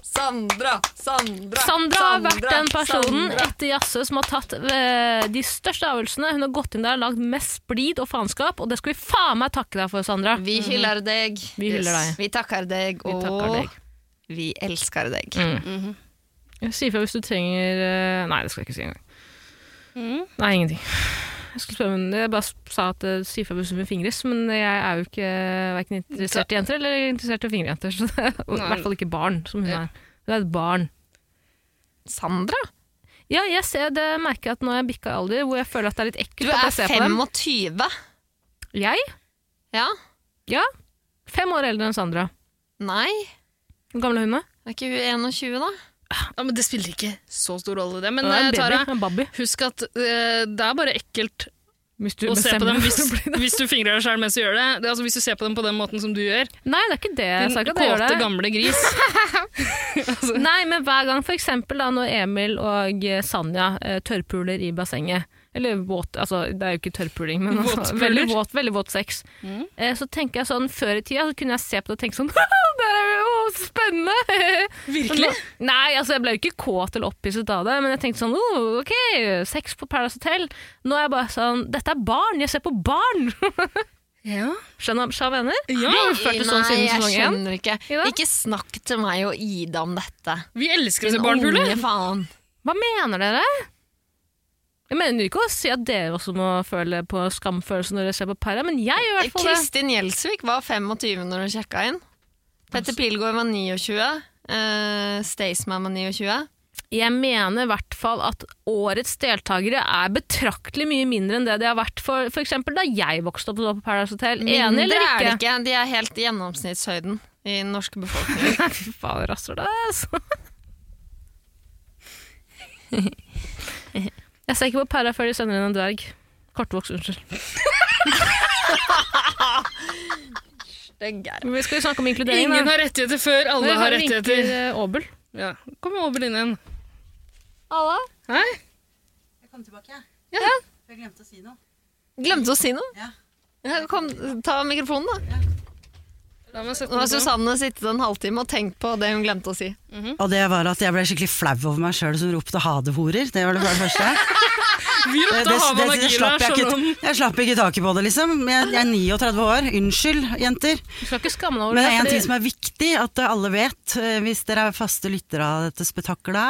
Speaker 1: Sandra, Sandra,
Speaker 2: Sandra har vært den personen
Speaker 1: Sandra.
Speaker 2: etter Jasse som har tatt eh, de største avgjørelsene. Hun har gått inn der og lagd mest splid og faenskap, og det skal vi faen meg takke deg for, Sandra.
Speaker 1: Vi hyller deg.
Speaker 2: Vi hyller deg.
Speaker 1: Vi takker deg,
Speaker 2: Mm. Vi
Speaker 1: og
Speaker 2: takker deg.
Speaker 1: vi elsker deg.
Speaker 2: Mm. Si ifra hvis du trenger eh, Nei, det skal jeg ikke si engang.
Speaker 1: Mm.
Speaker 2: Nei, ingenting. Jeg skulle spørre, men jeg bare s- sa at eh, si ifra hvis du vil fingres, men jeg er jo ikke eh, hverken interessert i jenter eller interessert i å fingre jenter. Så det er, og I
Speaker 1: Nei.
Speaker 2: hvert fall ikke barn, som hun
Speaker 1: Ja.
Speaker 2: er. Hun er et barn. Mm.
Speaker 1: Sandra?
Speaker 2: Ja, jeg ser det merker jeg at nå har jeg bikka alder, hvor jeg føler at det er litt
Speaker 1: Du
Speaker 2: ekkelt at
Speaker 1: er
Speaker 2: jeg ser på dem.
Speaker 1: 25.
Speaker 2: Jeg?
Speaker 1: Ja?
Speaker 2: Ja. Fem år eldre enn Sandra.
Speaker 1: Nei?
Speaker 2: Hvor gammel er hun, da?
Speaker 1: Er ikke hun 21, da?
Speaker 3: Ja, men Det spiller ikke så stor rolle, det. Men
Speaker 2: Hun er en
Speaker 3: eh, Tara,
Speaker 2: baby, en babby.
Speaker 3: husk at eh, det er bare ekkelt
Speaker 2: Hvis du
Speaker 3: å se på
Speaker 2: bestemmer
Speaker 3: dem
Speaker 2: deg
Speaker 3: hvis,
Speaker 2: for å bli det.
Speaker 3: hvis du fingrer deg sjøl mens du gjør det. det er altså, hvis du ser på dem på den måten som du gjør.
Speaker 2: Nei, det er ikke det. Jeg
Speaker 3: Din
Speaker 2: sa ikke at jeg gjør
Speaker 3: kåte,
Speaker 2: det.
Speaker 3: gamle gris.
Speaker 2: Nei, men hver gang for eksempel da, når Emil og eh, Sanja eh, tørrpuler i bassenget, eller våt, altså det er jo ikke tørrpuling, men altså,
Speaker 3: Våtpuler.
Speaker 2: veldig, våt, veldig våt sex,
Speaker 3: Mm.
Speaker 2: eh, så tenker jeg sånn, før i tida så kunne jeg se på det og tenke sånn, det er jo så spennende!
Speaker 3: Virkelig?
Speaker 2: Men nå- Nei, altså jeg ble jo ikke kåt eller opphisset av det, men jeg tenkte sånn, oh, ok, sex på Paradise Hotel. Nå er jeg bare sånn, dette er barn, jeg ser på barn!
Speaker 3: Ja.
Speaker 2: Skjønner du hva jeg mener?
Speaker 3: Ja.
Speaker 2: Vi har innført det sånn
Speaker 1: Nei,
Speaker 2: siden
Speaker 1: jeg
Speaker 2: sesong én.
Speaker 1: skjønner ikke.
Speaker 2: Jo da.
Speaker 1: Ikke snakk til meg og Ida om dette.
Speaker 3: Vi elsker å
Speaker 1: Din
Speaker 3: se barnepule.
Speaker 1: unge faen.
Speaker 2: Hva mener dere? Jeg mener jo ikke å si at dere også må føle på skamfølelse når dere ser på Para, men jeg gjør i hvert fall det.
Speaker 1: Kristin Gjelsvik var 25 når hun sjekka inn. Petter Pilgaard var 29. Uh, Staysman var 29.
Speaker 2: Jeg mener i hvert fall at årets deltakere er betraktelig mye mindre enn det de har vært for f.eks. da jeg vokste opp og så på Paradise Hotel. Enig
Speaker 1: Mindre er
Speaker 2: eller
Speaker 1: det
Speaker 2: ikke?
Speaker 1: ikke. De er helt gjennomsnittshøyden i den norske befolkningen.
Speaker 2: Nei, Fy faen, rasshøl, altså. Jeg ser ikke på Para før de sender inn en dverg. Kortvokst, unnskyld. Vi skal jo snakke om inkludering.
Speaker 3: Ingen har rettigheter før alle har rettigheter.
Speaker 2: Åbel.
Speaker 3: Ja. Kom over inn igjen.
Speaker 2: Alla?
Speaker 3: Hei.
Speaker 8: Jeg kom tilbake, jeg.
Speaker 3: Ja.
Speaker 8: For jeg glemte å si noe.
Speaker 1: Glemte å si noe.
Speaker 8: Ja.
Speaker 1: Ja, Kom, ta mikrofonen, da.
Speaker 3: La meg sette
Speaker 1: Nå har
Speaker 3: den på.
Speaker 1: Susanne sittet en halvtime og tenkt på det hun glemte å si.
Speaker 8: Og det var at jeg ble skikkelig flau over meg sjøl som ropte 'ha det, horer'. Det var det bare første.
Speaker 3: Vi
Speaker 8: Det,
Speaker 3: ropte
Speaker 8: Eh, det, det,
Speaker 3: Havan
Speaker 8: det
Speaker 3: Aguilar,
Speaker 8: slapp jeg,
Speaker 3: selv om
Speaker 8: ikke, jeg slapp ikke taket på det, liksom. Jeg, jeg er 39 år. Unnskyld, jenter.
Speaker 2: Du skal ikke skamme deg over
Speaker 8: Men det
Speaker 2: det,
Speaker 8: er en
Speaker 2: fordi-
Speaker 8: ting som er viktig at alle vet, eh, hvis dere er faste lyttere av dette spetakkelet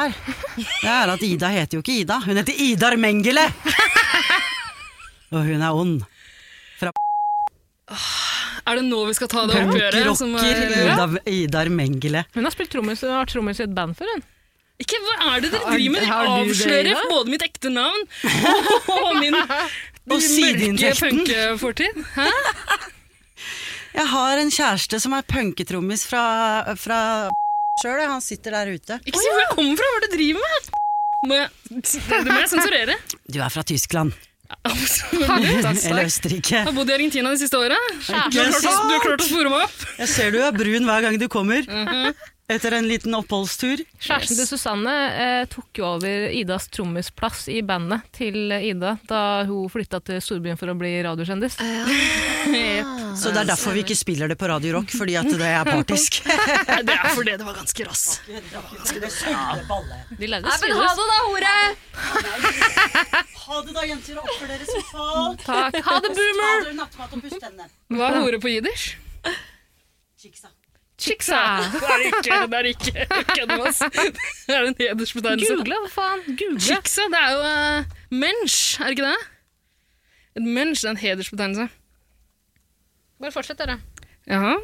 Speaker 8: her, det er at Ida heter jo ikke Ida. Hun heter Idar Mengele! Og hun er ond. Fra
Speaker 3: Er det nå vi skal ta det oppgjøret? som eh,
Speaker 8: punkrocker
Speaker 3: er-
Speaker 8: Ida, Idar Mengele.
Speaker 2: Hun har spilt trommis og har vært trommis i et band før, hun.
Speaker 3: Ikke, hva er det dere
Speaker 2: Har-
Speaker 3: driver med? Dere
Speaker 2: har du det,
Speaker 3: avslører
Speaker 2: Ida?
Speaker 3: både mitt ekte navn og min mørke
Speaker 8: sideinntekten.
Speaker 3: punkefortid. Hæ?
Speaker 8: Jeg har en kjæreste som er punketrommis fra, fra sjøl, han sitter der ute.
Speaker 3: Ikke si hvor jeg kommer fra, hva er det du driver med? Må jeg, det må jeg sensurere.
Speaker 8: Du er fra Tyskland.
Speaker 3: Herregud, takk,
Speaker 8: Eller
Speaker 3: takk.
Speaker 8: Østerrike.
Speaker 3: Jeg har bodd i Argentina de siste åra. Du har
Speaker 8: Ikke
Speaker 3: klart å-
Speaker 8: sant?
Speaker 3: du har klart å spore meg opp.
Speaker 8: Jeg ser du er brun hver gang du kommer. Etter en liten oppholdstur.
Speaker 2: Kjæresten til Susanne eh, tok jo over Idas trommisplass i bandet til Ida da hun flytta til storbyen for å bli radiokjendis.
Speaker 8: Så det er derfor vi ikke spiller det på Radio Rock, fordi at det er partisk.
Speaker 3: Nei, det er fordi det var ganske rass.
Speaker 2: De levde
Speaker 7: Nei, men ha det da, hore!
Speaker 8: Ha det da, jenter, og oppfør dere som faen.
Speaker 2: Takk. Ha det, boomer!
Speaker 8: Ta dere nattmat og pust tennene.
Speaker 3: Hva er hore på jiddisch?
Speaker 8: Chiksa.
Speaker 3: Chiksa. Det er ikke det er ikke kødd med oss. Det er en hedersbetegnelse.
Speaker 2: Google, hva faen? Google.
Speaker 3: Chiksa, det er jo eh, mensch, er det ikke det? Et mensch det er en hedersbetegnelse.
Speaker 2: Bare fortsett, dere.
Speaker 3: Jaha.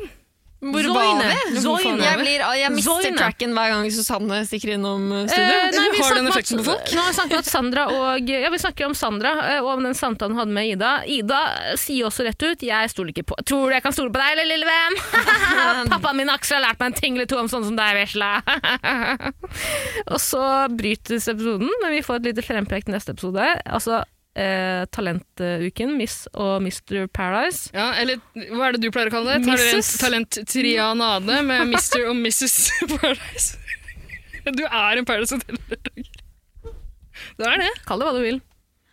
Speaker 1: Hvor
Speaker 2: Zoine.
Speaker 1: var vi?
Speaker 2: Zoine.
Speaker 1: Jeg, blir, jeg mister
Speaker 2: Zoine.
Speaker 1: tracken hver gang Susanne stikker innom eh,
Speaker 2: Eh,
Speaker 1: studio.
Speaker 2: nei, vi
Speaker 3: har
Speaker 2: snakker
Speaker 3: den
Speaker 2: om at-
Speaker 3: effekten på folk.
Speaker 2: Nå har vi snakket om at Sandra og, ja, vi snakker om Sandra eh, og om den samtalen hun hadde med Ida. Ida eh, sier også rett ut 'jeg stoler ikke på Tror du jeg kan stole på deg, eller, lille venn?' 'Pappaen min Aksel har lært meg en ting eller to om sånne som deg, vesla'. og så brytes episoden, men vi får et lite frempek til neste episode. Altså eh, Talentuken, Miss og Mr. Paradise.
Speaker 3: Ja, eller hva er det du pleier å kalle det? Talent,
Speaker 2: Mrs.
Speaker 3: talent trianade med Mr. og Mrs. Paradise. Du er en Paradise Hotel-deltaker. Du er det.
Speaker 2: Kall det hva du vil.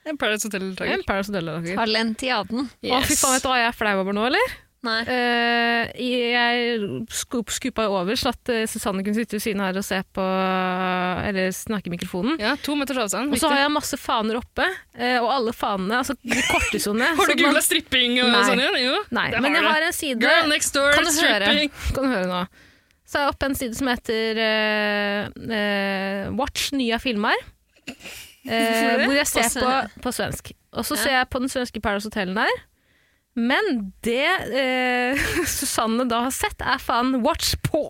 Speaker 3: En Paradise Hotel-deltaker.
Speaker 2: En Paradise Hotel-lager.
Speaker 1: Talentiaden.
Speaker 2: Å, fy faen, vet du hva jeg er flau over nå, eller?
Speaker 1: Nei.
Speaker 2: Eh, jeg skup, skupa jo over, så at eh, Susanne kunne sitte ved siden her og se på Eller snakke i mikrofonen.
Speaker 3: Ja, to meters avstand.
Speaker 2: Og så har
Speaker 3: Viktig.
Speaker 2: jeg masse faner oppe, eh, og alle fanene altså, De kortes jo ned.
Speaker 3: Har
Speaker 2: så
Speaker 3: du
Speaker 2: man-
Speaker 3: googla stripping og
Speaker 2: Nei.
Speaker 3: sånn igjen? Jo,
Speaker 2: Nei,
Speaker 3: det
Speaker 2: men jeg
Speaker 3: du.
Speaker 2: har en side
Speaker 3: Girl next door,
Speaker 2: Kan du høre?
Speaker 3: stripping.
Speaker 2: Kan du høre nå? Så er jeg oppe en side som heter eh, eh, Watch nye filmer.
Speaker 1: Hvorfor
Speaker 2: Eh,
Speaker 1: det?
Speaker 2: hvor jeg ser
Speaker 1: På
Speaker 2: på,
Speaker 1: svensk.
Speaker 2: på svensk. Og så ser jeg på den svenske Paradise Hotel der. Men det eh, Susanne da har sett, er faen Watch på!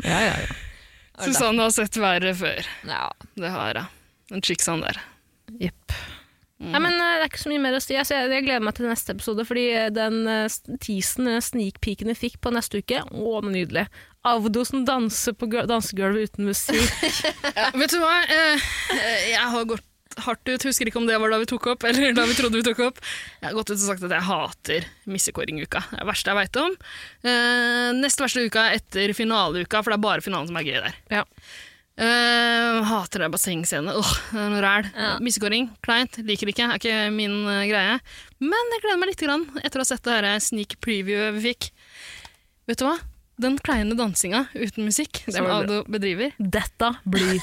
Speaker 2: ja, ja, ja.
Speaker 3: Susanne har sett verre før.
Speaker 1: Ja.
Speaker 3: Det har jeg. Den chicksaen sånn der.
Speaker 2: Jepp. Nei, men eh, Det er ikke så mye mer å si. Altså, jeg, jeg gleder meg til neste episode, fordi eh, den eh, s- teasen, den sneakpeaken vi fikk på neste uke, å, den var nydelig. Avdo som danser på gul- dansegulvet uten musikk.
Speaker 3: Vet du hva? Eh, eh, Jeg har gått hardt ut, husker ikke om det var da vi tok opp, eller da vi trodde vi tok opp. Jeg har gått ut og sagt at jeg hater missekåringuka. Det er det verste jeg veit om. Eh, Nest verste uka er etter finaleuka, for det er bare finalen som er gøy der.
Speaker 2: Ja.
Speaker 3: Eh, hater det bassengscenen. Åh, det er noe ræl. Missekåring, kleint, liker ikke. Er ikke min eh, greie. Men jeg gleder meg litt grann etter å ha sett det her eh, sneak preview vi fikk. Vet du hva? Den kleine dansinga uten musikk som
Speaker 2: var
Speaker 3: Ado bedriver,
Speaker 2: Dette blir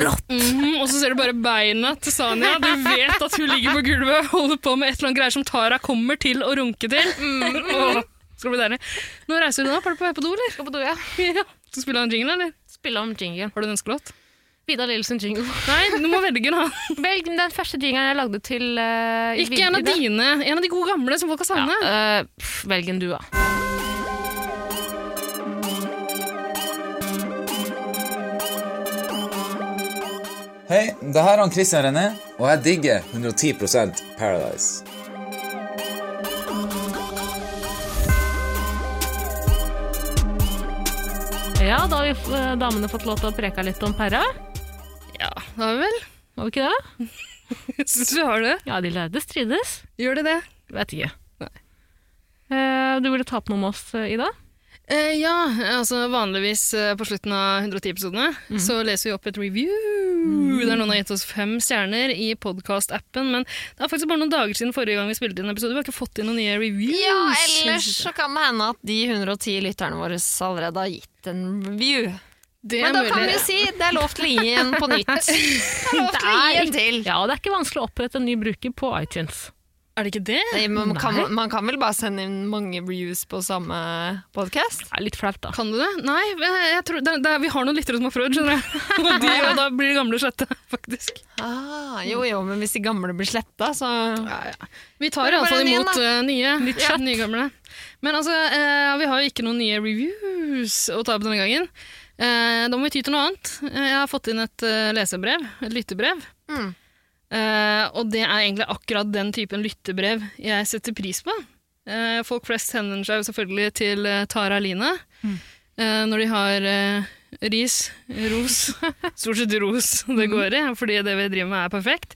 Speaker 2: rått!
Speaker 3: Mhm, og så ser du bare beina til Sanja. Du vet at hun ligger på gulvet og holder på med et eller annet greier som Tara kommer til å runke til.
Speaker 2: Mhm.
Speaker 3: Åh, skal det bli deilig. Nå reiser du nå. Er du på vei på do, eller?
Speaker 2: Skal på do, ja.
Speaker 3: Ja. Skal du spille en jingle, eller?
Speaker 2: Spille om jingen.
Speaker 3: Har du en ønskelåt?
Speaker 2: Vidar Lillesen jingle.
Speaker 3: Nei, du må velge en annen.
Speaker 2: Velg den første jingeren jeg lagde til eh, i
Speaker 3: Ikke en av
Speaker 2: vinter.
Speaker 3: dine. En av de gode gamle som folk har
Speaker 2: Ja,
Speaker 3: savna.
Speaker 2: eh, pff, velg en du, da.
Speaker 12: Hei, det her er han Christian René, og jeg digger 110 Paradise.
Speaker 2: Ja, da har vi, eh, damene fått lov til å preke litt om pæra.
Speaker 3: Ja, da vel.
Speaker 2: Var vi ikke det?
Speaker 3: Syns du har det?
Speaker 2: Ja, de lærde strides.
Speaker 3: Gjør det det?
Speaker 2: Vet ikke. Eh, du ville ta opp noe med oss, eh, Ida?
Speaker 1: Mhm.
Speaker 3: Eh, ja, altså vanligvis eh, på slutten av 110-episodene så leser vi opp et review Uh, der noen har gitt oss fem stjerner i podkast-appen. Men det er faktisk bare noen dager siden forrige gang vi spilte inn en episode. Vi har ikke fått inn noen nye reviews.
Speaker 1: Ja, ellers så kan det hende at de 110 lytterne våre allerede har gitt en review.
Speaker 3: Det
Speaker 1: Men da
Speaker 3: er
Speaker 1: kan
Speaker 3: mulig.
Speaker 1: vi jo si det er lov til å gi en på nytt. Det er lov til å gi en til.
Speaker 2: Ja, og det er ikke vanskelig å opprette en ny bruker på iTunes.
Speaker 3: Er det ikke det?
Speaker 1: Nei, men man, kan,
Speaker 2: Nei.
Speaker 1: man kan vel bare sende inn mange reviews på samme podkast?
Speaker 2: Litt flaut, da.
Speaker 3: Kan du det? Nei, jeg, jeg tror, det, det, vi har noen lyttere som har prøvd, skjønner jeg. Og, de, og da blir det gamle slette, faktisk.
Speaker 1: Ah, jo jo, men hvis de gamle blir sletta, så
Speaker 3: Vi tar
Speaker 1: Bare
Speaker 3: iallfall
Speaker 1: en igjen,
Speaker 3: imot
Speaker 1: da.
Speaker 3: eh, nye.
Speaker 1: Nytt
Speaker 3: Ja,
Speaker 1: kjøtt.
Speaker 3: nye gamle. Men altså, eh, vi har jo ikke noen nye reviews å ta opp denne gangen. Eh, da må vi ty til noe annet. Eh, jeg har fått inn et eh, lesebrev, et lyttebrev.
Speaker 1: Mm.
Speaker 3: Eh, og det er egentlig akkurat den typen lyttebrev jeg setter pris på. Eh, folk flest henvender seg jo selvfølgelig til eh, Tara Line
Speaker 1: Mm.
Speaker 3: eh, når de har eh, ris, ros, stort sett ros det går i, fordi det vi driver med er perfekt.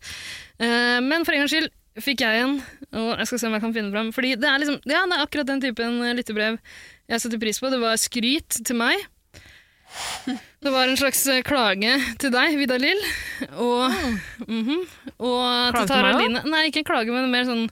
Speaker 3: Eh, men for en gangs skyld fikk jeg en, og jeg skal se om jeg kan finne fram. Fordi det er, liksom, ja, det er akkurat den typen eh, lyttebrev jeg setter pris på. Det var skryt til meg. Det var en slags eh, klage til deg, Vidar Lill. Og, mhm, og
Speaker 2: Ah. Klage
Speaker 3: til
Speaker 2: til
Speaker 3: Tara
Speaker 2: meg også?
Speaker 3: Line. Nei, ikke en klage, men mer sånn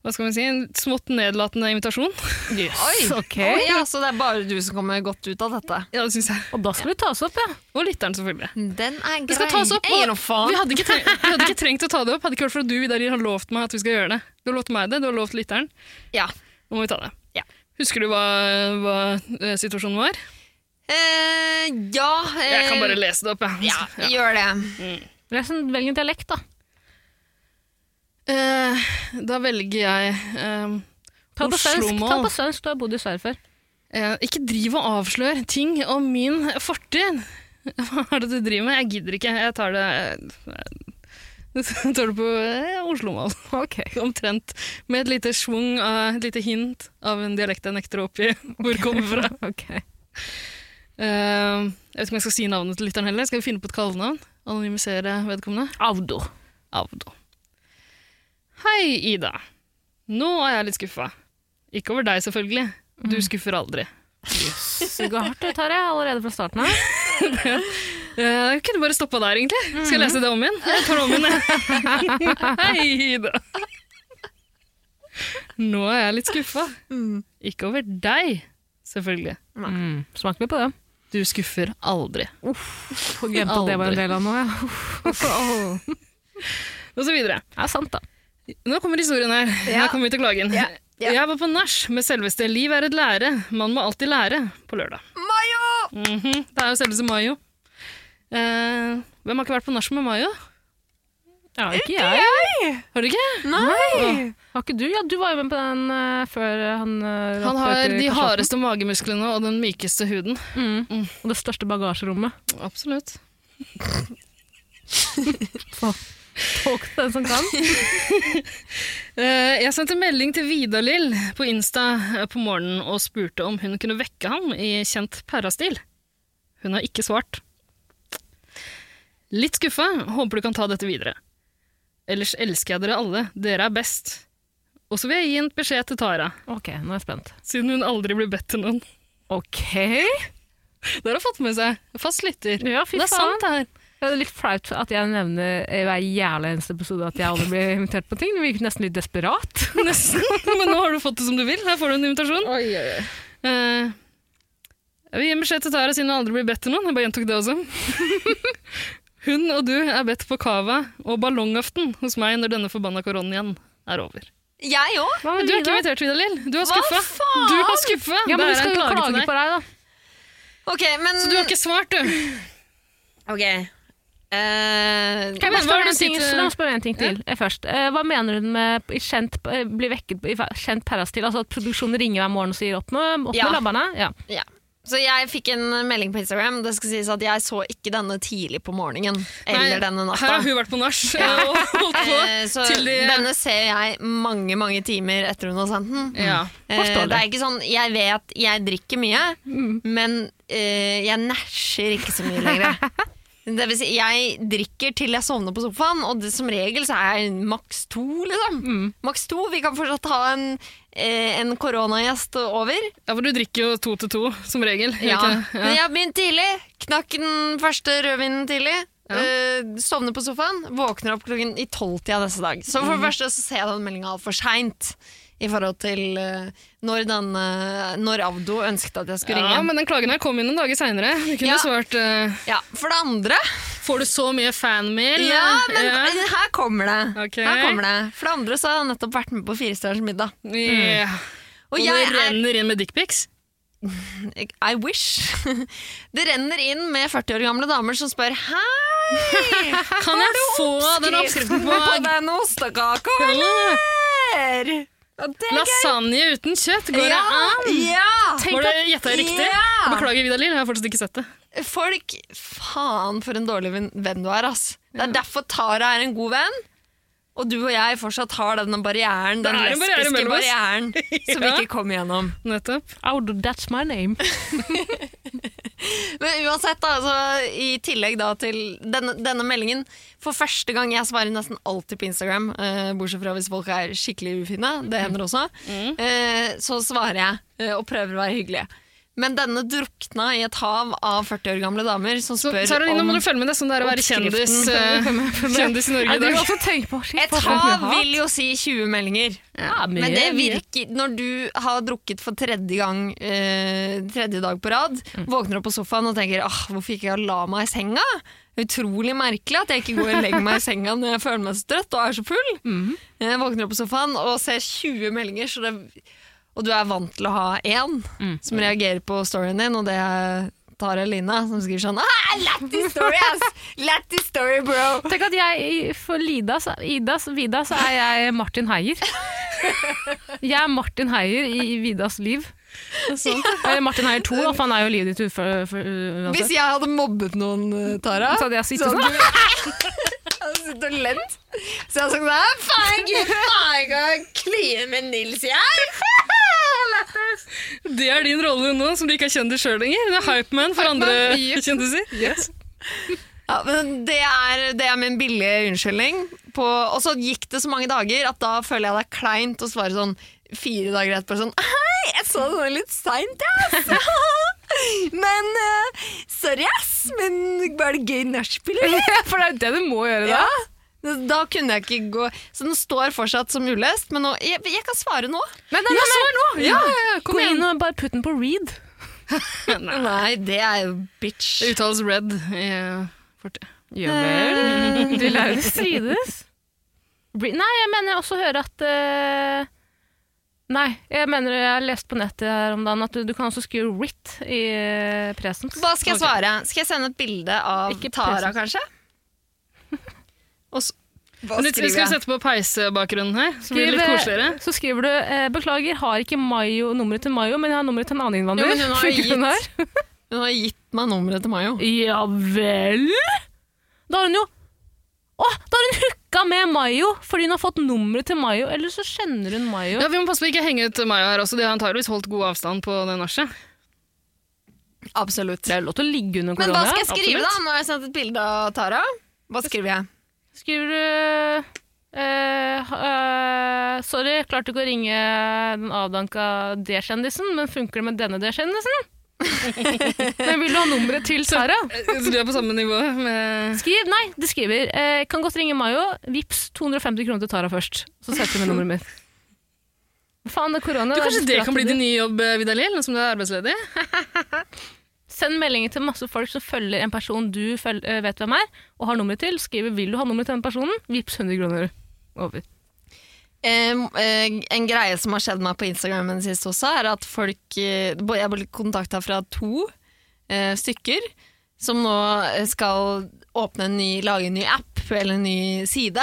Speaker 3: hva skal man si, en smått nedlatende invitasjon.
Speaker 1: Oi! Oi, ja, så det er bare du som kommer godt ut av dette?
Speaker 3: Ja, det syns jeg.
Speaker 2: Og da skal vi tas opp, ja.
Speaker 3: Og lytteren, selvfølgelig.
Speaker 1: Mm, Den er grei.
Speaker 3: Det skal tas opp,
Speaker 1: Jeg gir
Speaker 3: og
Speaker 1: noe faen.
Speaker 3: vi hadde, ikke trengt, vi hadde ikke trengt å ta det opp, hadde ikke vært for at du Vidar, Lill, har lovt meg at vi skal gjøre det. Du har lovt meg det, du har lovt lytteren.
Speaker 1: Ja.
Speaker 3: Nå må vi ta det.
Speaker 1: Ja.
Speaker 3: Husker du hva, hva eh, situasjonen var?
Speaker 1: Eh, ja eh,
Speaker 3: Jeg kan bare lese det opp, jeg.
Speaker 1: Ja, gjør det.
Speaker 2: Les en velg en dialekt, da.
Speaker 3: Eh, da velger jeg eh,
Speaker 2: Ta på svensk,
Speaker 3: Oslo-mål.
Speaker 2: ta på svensk, du har bodd i Sverige før.
Speaker 3: Eh, ikke driv og avslør ting om min fortid. Hva er det du driver med? Jeg gidder ikke. Jeg tar det Jeg tar det på eh, Oslo-mål. Omtrent. Med et lite schwung, av- et lite hint av en dialekt jeg nekter å oppgi hvor det kommer fra. Eh, jeg vet ikke om jeg skal si navnet til lytteren heller. Skal vi finne på et kallenavn? Anonymisere vedkommende?
Speaker 2: Avdo.
Speaker 3: Avdo. Hei, Ida. Nå er jeg litt skuffa. Ikke over deg, selvfølgelig. Du
Speaker 2: Mm.
Speaker 3: skuffer aldri.
Speaker 2: Suga hardt ut, Tarjei, allerede fra starten av.
Speaker 3: Eh, Jeg kunne bare stoppa der, egentlig. Skal
Speaker 2: Mm-hmm.
Speaker 3: jeg lese det om igjen? Jeg tar det om igjen, jeg. Hei, Ida. Nå er jeg litt skuffa. Ikke over deg, selvfølgelig.
Speaker 2: Mm. Smaker vi på det?
Speaker 3: Du skuffer aldri.
Speaker 2: Får glemt at det var en del av noe, ja.
Speaker 3: Og så videre.
Speaker 2: Det er sant, da.
Speaker 3: Nå kommer historien her.
Speaker 2: Ja.
Speaker 3: Her kommer vi til klagen. Jeg var på nach med selveste 'Liv er et lære, man må alltid lære' på lørdag.
Speaker 1: Mayo!
Speaker 3: Mhm, Det er jo selveste Mayo. Eh, hvem har ikke vært på nach med Mayo?
Speaker 2: Ja, ikke jeg.
Speaker 3: Har du ikke?
Speaker 2: Nei! Har ikke du? Ja, du var jo med på den eh, før han eh,
Speaker 3: Han
Speaker 2: rappet
Speaker 3: har
Speaker 2: ut i
Speaker 3: de
Speaker 2: kasjotten.
Speaker 3: hardeste magemusklene og den mykeste huden.
Speaker 2: Mm. Og det største bagasjerommet.
Speaker 3: Absolutt.
Speaker 2: Tolk den som kan.
Speaker 3: Eh, Jeg sendte melding til Vidar-Lill på Insta eh, på morgenen og spurte om hun kunne vekke ham i kjent pærastil. Hun har ikke svart. Litt skuffa. Håper du kan ta dette videre. Ellers elsker jeg dere alle. Dere er best. Og så vil jeg gi en beskjed til Tara,
Speaker 2: Ok, nå er jeg spent.
Speaker 3: siden hun aldri blir bedt til noen.
Speaker 2: Ok.
Speaker 3: Det har hun fått med seg. Fast lytter.
Speaker 2: Ja, fy
Speaker 3: det er
Speaker 2: faen.
Speaker 3: sant, det her.
Speaker 2: Ja, Det er litt flaut at jeg nevner i hver jævla eneste episode at jeg aldri blir invitert på ting. Det virker nesten litt desperat.
Speaker 3: Nesten. Men nå har du fått det som du vil. Her får du en invitasjon. Eh, jeg vil gi en beskjed til Tara siden hun aldri blir bedt til noen. Jeg bare gjentok det også. hun og du er bedt på cava og ballongaften hos meg når denne forbanna koronaen er over.
Speaker 1: Jeg òg.
Speaker 2: Hva med
Speaker 3: Men du
Speaker 2: de
Speaker 3: er ikke
Speaker 2: da?
Speaker 3: invitert, Vidar Lill. Du har
Speaker 1: Hva
Speaker 3: skuffa.
Speaker 1: faen?
Speaker 3: Du har skuffa.
Speaker 2: Ja, men
Speaker 3: Det
Speaker 2: vi
Speaker 3: er
Speaker 2: skal jo
Speaker 3: en klage til
Speaker 2: klage
Speaker 3: deg.
Speaker 2: på deg, da.
Speaker 1: Ok, men
Speaker 3: Så du har ikke svart, du.
Speaker 1: Ok. Eh,
Speaker 2: Kan jeg bare
Speaker 3: Men hva er
Speaker 2: spørre
Speaker 3: det
Speaker 2: en
Speaker 3: du
Speaker 2: ting,
Speaker 3: sitter-
Speaker 2: så la meg spørre en ting til eh, først. Eh, hva mener du med i kjent, eh, bli vekket i fa- kjent perastil? Altså at produksjonen ringer hver morgen og sier opp med, opp med
Speaker 1: Ja.
Speaker 2: labbene? Ja.
Speaker 1: ja. Så jeg fikk en melding på Instagram. Det skal sies at jeg så ikke denne tidlig på morgenen. Eller
Speaker 3: Nei,
Speaker 1: denne
Speaker 3: Her har
Speaker 1: natta.
Speaker 3: hun vært på nach eh, og holdt på
Speaker 1: Eh, så
Speaker 3: til de
Speaker 1: denne ser jeg mange mange timer etter hun har sendt den.
Speaker 3: Ja,
Speaker 1: Eh,
Speaker 3: forstår Mm.
Speaker 1: det er ikke sånn, Jeg vet jeg drikker mye, men eh, jeg nasjer ikke så mye lenger. Det vil si, jeg drikker til jeg sovner på sofaen, og det, som regel så er jeg maks to. liksom.
Speaker 3: Mm.
Speaker 1: Maks to, Vi kan fortsatt ha en, eh, en koronagjest over.
Speaker 3: Ja, for du drikker jo to til to, som regel. gjør
Speaker 1: Ja.
Speaker 3: ikke det?
Speaker 1: Men jeg har begynt tidlig. Knakk den første rødvinen tidlig. Eh, sovner på sofaen, våkner opp klokken i tolvtida neste dag. Så for det
Speaker 13: Mhm.
Speaker 1: første så ser jeg den meldinga altfor seint i forhold til eh, når, den, eh, når Avdo ønsket at jeg skulle ringe.
Speaker 3: Ja, men den klagen her kom inn noen dager seinere. Du
Speaker 1: Ja.
Speaker 3: kunne svart eh,
Speaker 1: Ja, For det andre
Speaker 3: Får du så mye fanmail?
Speaker 1: Ja, men eh,
Speaker 3: Ja.
Speaker 1: her kommer det.
Speaker 3: Ok.
Speaker 1: Her kommer det. For det andre så har jeg nettopp vært med på Firestjerners middag.
Speaker 3: Ja.
Speaker 1: Mm.
Speaker 3: Og,
Speaker 1: Og
Speaker 3: det
Speaker 1: jeg er
Speaker 3: renner inn med dickpics?
Speaker 1: I wish. Det renner inn med 40 år gamle damer som spør Hei!
Speaker 3: Kan jeg få den oppskriften på-
Speaker 1: på den ostekaka, eller? Og det er gøy.
Speaker 3: Lasagne uten kjøtt, går
Speaker 1: Ja,
Speaker 3: det an?
Speaker 1: ja.
Speaker 3: Var det gjetta jeg riktig?
Speaker 1: Ja.
Speaker 3: Beklager, Vidar Lill, jeg har fortsatt ikke sett det.
Speaker 1: Folk, faen for en dårlig venn venn du er, ass. Det er derfor Tara er en god venn. Og du og jeg fortsatt har denne barrieren,
Speaker 2: Det
Speaker 1: den
Speaker 2: er en barriere
Speaker 1: lesbiske
Speaker 2: mellom oss.
Speaker 1: barrieren, som vi
Speaker 2: Ja.
Speaker 1: ikke kom igjennom.
Speaker 3: Nettopp.
Speaker 2: Audo, that's my name.
Speaker 1: Men uansett, da, altså, i tillegg da til denne, denne meldingen For første gang jeg svarer nesten alltid på Instagram, eh, bortsett fra hvis folk er skikkelig ufine,
Speaker 3: Mm.
Speaker 1: det hender også, eh, så svarer jeg eh, og prøver å være hyggelig. Men denne drukna i et hav av 40 år gamle damer som
Speaker 3: Så,
Speaker 1: spør
Speaker 3: Sara Line,
Speaker 1: om
Speaker 3: må du følge med. Det er sånn det er å være kjendis, eh,
Speaker 1: Oppskriften.
Speaker 3: kjendis i Norge i dag.
Speaker 1: Et hav vil jo si 20 meldinger.
Speaker 3: mye,
Speaker 1: Men det
Speaker 3: mye.
Speaker 1: virker når du har drukket for tredje gang eh, tredje dag på rad,
Speaker 2: Mm.
Speaker 1: våkner opp på sofaen og tenker ah, hvorfor ikke jeg la meg i senga? Utrolig merkelig at jeg ikke går og legger meg i senga når jeg føler meg så trøtt og er så full.
Speaker 2: Mm-hmm.
Speaker 1: Eh, våkner opp på sofaen og ser 20 meldinger, så det, og du er vant til å ha én
Speaker 2: Mm.
Speaker 1: som reagerer på storyen din, og det er Tara Line som skriver sånn ah, Lættis story, ass! Lættis story, bro!
Speaker 2: Tenk at jeg, for Lida, så, Ida, så- Vida, så er jeg Martin Heier. Jeg er Martin Heier i Vidas liv. Eller Martin Heier 2, da, for han er jo livet ditt ufor, for, uh, uansett.
Speaker 1: Hvis jeg hadde mobbet noen, eh, Tara
Speaker 2: Så hadde jeg sittet
Speaker 1: så
Speaker 2: sånn.
Speaker 1: hadde du- Jeg hadde sittet og lent. Så jeg hadde sagt sånn Faen, gud, faen, jeg kan kline med Nils, jeg!
Speaker 3: Det er din rolle nå, som du ikke er kjendis sjøl lenger. Du er hypeman for
Speaker 1: Hypeman,
Speaker 3: andre
Speaker 1: yep.
Speaker 3: kjendiser.
Speaker 1: Ja, men det er, det er min billige unnskyldning. På, og så gikk det så mange dager at da føler jeg det er kleint å svare sånn fire dager etterpå sånn Hei, jeg så det var litt seint, jeg, ass! Men eh, sorry, ass, men var det gøy nachspiel, eller?
Speaker 2: For det er jo det du må gjøre,
Speaker 1: da. Ja. Da kunne jeg ikke gå Så den står fortsatt som ulest, men nå, jeg, jeg kan svare nå.
Speaker 2: nei,
Speaker 1: Ja,
Speaker 2: nei.
Speaker 1: svar nå! Ja, ja, ja, kom
Speaker 2: Gå inn
Speaker 1: igjen.
Speaker 2: og bare putt den på read.
Speaker 1: Nei, det er jo bitch.
Speaker 3: Det uttales red i fortid.
Speaker 2: Ja
Speaker 3: Eh,
Speaker 2: vel. Du lærer å strides. Re- Nei, jeg mener også å høre at eh, Nei, jeg mener jeg har lest på nettet her om dagen at du, du kan også skrive RIT i eh, present.
Speaker 1: Hva skal jeg svare? Skal jeg sende et bilde av
Speaker 2: Ikke
Speaker 1: Tara,
Speaker 2: present.
Speaker 1: kanskje? Og så, hva
Speaker 3: Men litt-
Speaker 1: skriver
Speaker 3: Skal vi
Speaker 1: jeg?
Speaker 3: sette på peisebakgrunnen her? Så blir det litt koseligere.
Speaker 2: eh, Så skriver du eh, 'Beklager, har ikke Mayo nummeret til Mayo, men jeg har nummeret til en annen
Speaker 1: Jo,
Speaker 2: innvandrer'.
Speaker 1: men hun har jo
Speaker 2: Funker den her?
Speaker 1: gitt, hun har gitt meg nummeret til Mayo.
Speaker 2: Ja vel? Da har hun jo Å, da har hun hooka med Mayo fordi hun har fått nummeret til Mayo, eller så kjenner hun Mayo.
Speaker 3: Ja, Vi må passe på ikke henge ut Mayo her også. De har antageligvis holdt god avstand på det nachet.
Speaker 1: Absolutt.
Speaker 2: Det er lov til å ligge under
Speaker 1: Men hva
Speaker 2: korona.
Speaker 1: skal jeg skrive, da?
Speaker 2: absolutt.
Speaker 1: Nå har jeg sendt et bilde av Tara. Hva skriver jeg?
Speaker 2: Skriver du eh, eh, Sorry, klarte ikke å ringe den avdanka D-kjendisen, men funker det med denne D-kjendisen? men vil du ha nummeret til Sara?
Speaker 3: Så du er på samme nivå med
Speaker 2: Skriv, nei, du skriver. Eh, kan godt ringe Mayo. Vips 250 kroner til Tara først. Så setter du med nummeret mitt. Faen, det er korona.
Speaker 3: Du,
Speaker 2: er
Speaker 3: Kanskje det
Speaker 2: desperat
Speaker 3: kan bli
Speaker 2: tider.
Speaker 3: din nye jobb, eh, Vidar Lill, nå som du er arbeidsledig?
Speaker 2: Send meldinger til masse folk som følger en person du føl eh, vet hvem er, og har nummeret til. Skriver 'vil du ha nummeret til den personen'? Vips 100 kroner. Over.
Speaker 1: Em, eh, en greie som har skjedd meg på Instagram den siste også, er at folk eh, bo- Jeg ble kontakta fra to eh, stykker som nå eh, skal åpne en ny, lage en ny app eller en ny side.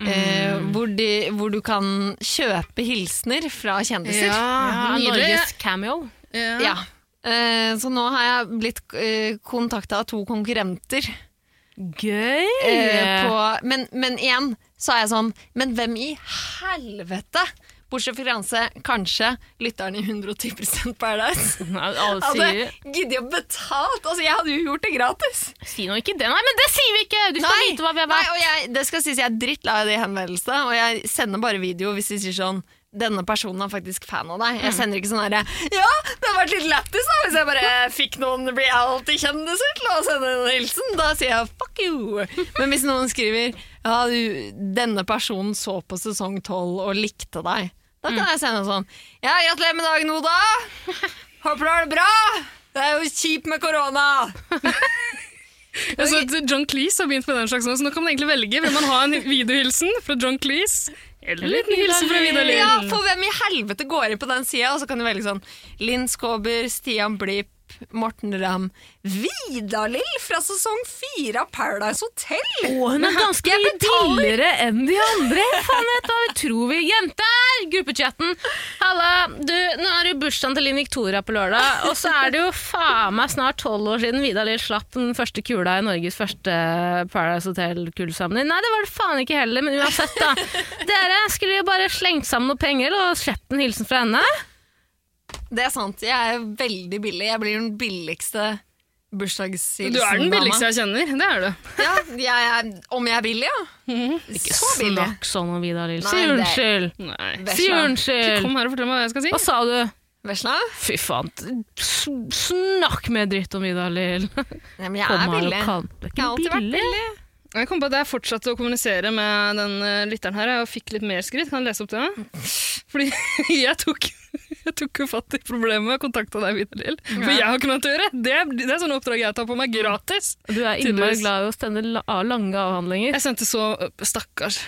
Speaker 1: eh, hvor, de, hvor du kan kjøpe hilsener fra kjendiser.
Speaker 2: Ja, Ah, Norges cameo.
Speaker 1: Ja. Eh, så nå har jeg blitt uh, kontakta av to konkurrenter.
Speaker 2: Gøy!
Speaker 1: Eh, på, men, men igjen så er jeg sånn Men hvem i helvete? Bortsett fra Janse, kanskje lytteren i 110 Paradise
Speaker 2: alle
Speaker 3: Altså-
Speaker 1: hadde
Speaker 2: sier-
Speaker 1: giddet å betalt. Altså, jeg hadde jo gjort det gratis.
Speaker 2: Si nå ikke det, nei, men det sier vi ikke! Du skal vite hva vi har
Speaker 1: nei,
Speaker 2: vært.
Speaker 1: og jeg, det skal sies jeg er drittlei av de henvendelsene, og jeg sender bare video hvis de sier sånn denne personen er faktisk fan av deg. Jeg
Speaker 13: Mm.
Speaker 1: sender ikke sånn herre Ja, det hadde vært litt lættis da, hvis jeg bare fikk noen reality-kjendiser til å sende en hilsen. Da sier jeg fuck you. Men hvis noen skriver ja, du, denne personen så på sesong 12 og likte deg, da
Speaker 2: Mm.
Speaker 1: kan jeg sende sånn Ja, gratulerer med dagen, Oda. Håper du har det bra. Det er jo kjipt med korona.
Speaker 3: Jeg så Altså, at John Cleese har begynt med den slags nå, så nå kan man egentlig velge. Vil man ha en videohilsen fra John Cleese? Eller en liten hilsen fra Vidar
Speaker 1: Ja,
Speaker 3: Lind?
Speaker 1: for hvem i helvete går inn på den sida, og så kan du velge sånn Linn Skåber, Stian Blipp, Morten Ramm Vidar-Lill fra sesong fire av Paradise Hotel!
Speaker 2: Å, hun er ganske mye billigere enn de andre. Faen vet du hva vi tror vi Jenter! Gruppechatten. Halla, du, nå er det jo bursdagen til Linn Victoria på lørdag, og så er det jo faen meg snart tolv år siden Vidar Lill slapp den første kula i Norges første eh, Paradise Hotel-kullsamling. Nei, det var det faen ikke heller, men uansett, da. Dere skulle jo bare slengt sammen noen penger og sluppet en hilsen fra henne.
Speaker 1: Det er sant. Jeg er veldig billig. Jeg blir den billigste bursdagshilsen.
Speaker 3: Du er den billigste jeg kjenner. Det er du.
Speaker 1: Ja, jeg er, om jeg er billig, ja.
Speaker 3: Mhm.
Speaker 2: Ikke
Speaker 1: så billig.
Speaker 2: snakk sånn om Vidar Lill.
Speaker 1: Nei,
Speaker 2: Si
Speaker 1: det-
Speaker 2: unnskyld!
Speaker 3: Nei.
Speaker 2: Si
Speaker 3: Vesla.
Speaker 2: unnskyld!
Speaker 3: Ikke kom her og fortell meg hva jeg skal si.
Speaker 2: Hva sa du?
Speaker 1: Vesla?
Speaker 2: Fy faen. s- Snakk mer dritt om Vidar Lill.
Speaker 1: Nei, men
Speaker 3: jeg er
Speaker 2: Det
Speaker 3: billig.
Speaker 2: er
Speaker 3: Jeg har
Speaker 2: ikke
Speaker 3: alltid vært
Speaker 2: billig.
Speaker 3: Jeg kom på at jeg fortsatte å kommunisere med den eh, lytteren her, og fikk litt mer skritt. Kan jeg lese opp det? Fordi jeg tok, jeg tok jo fatt i problemet og kontakta deg, Vidar Lill. For
Speaker 2: Ja.
Speaker 3: jeg har ikke noe annet å gjøre. Det, det er sånne oppdrag jeg tar på meg gratis.
Speaker 2: Du er innmari glad i å sende la- lange avhandlinger.
Speaker 3: Jeg sendte så eh, Stakkars.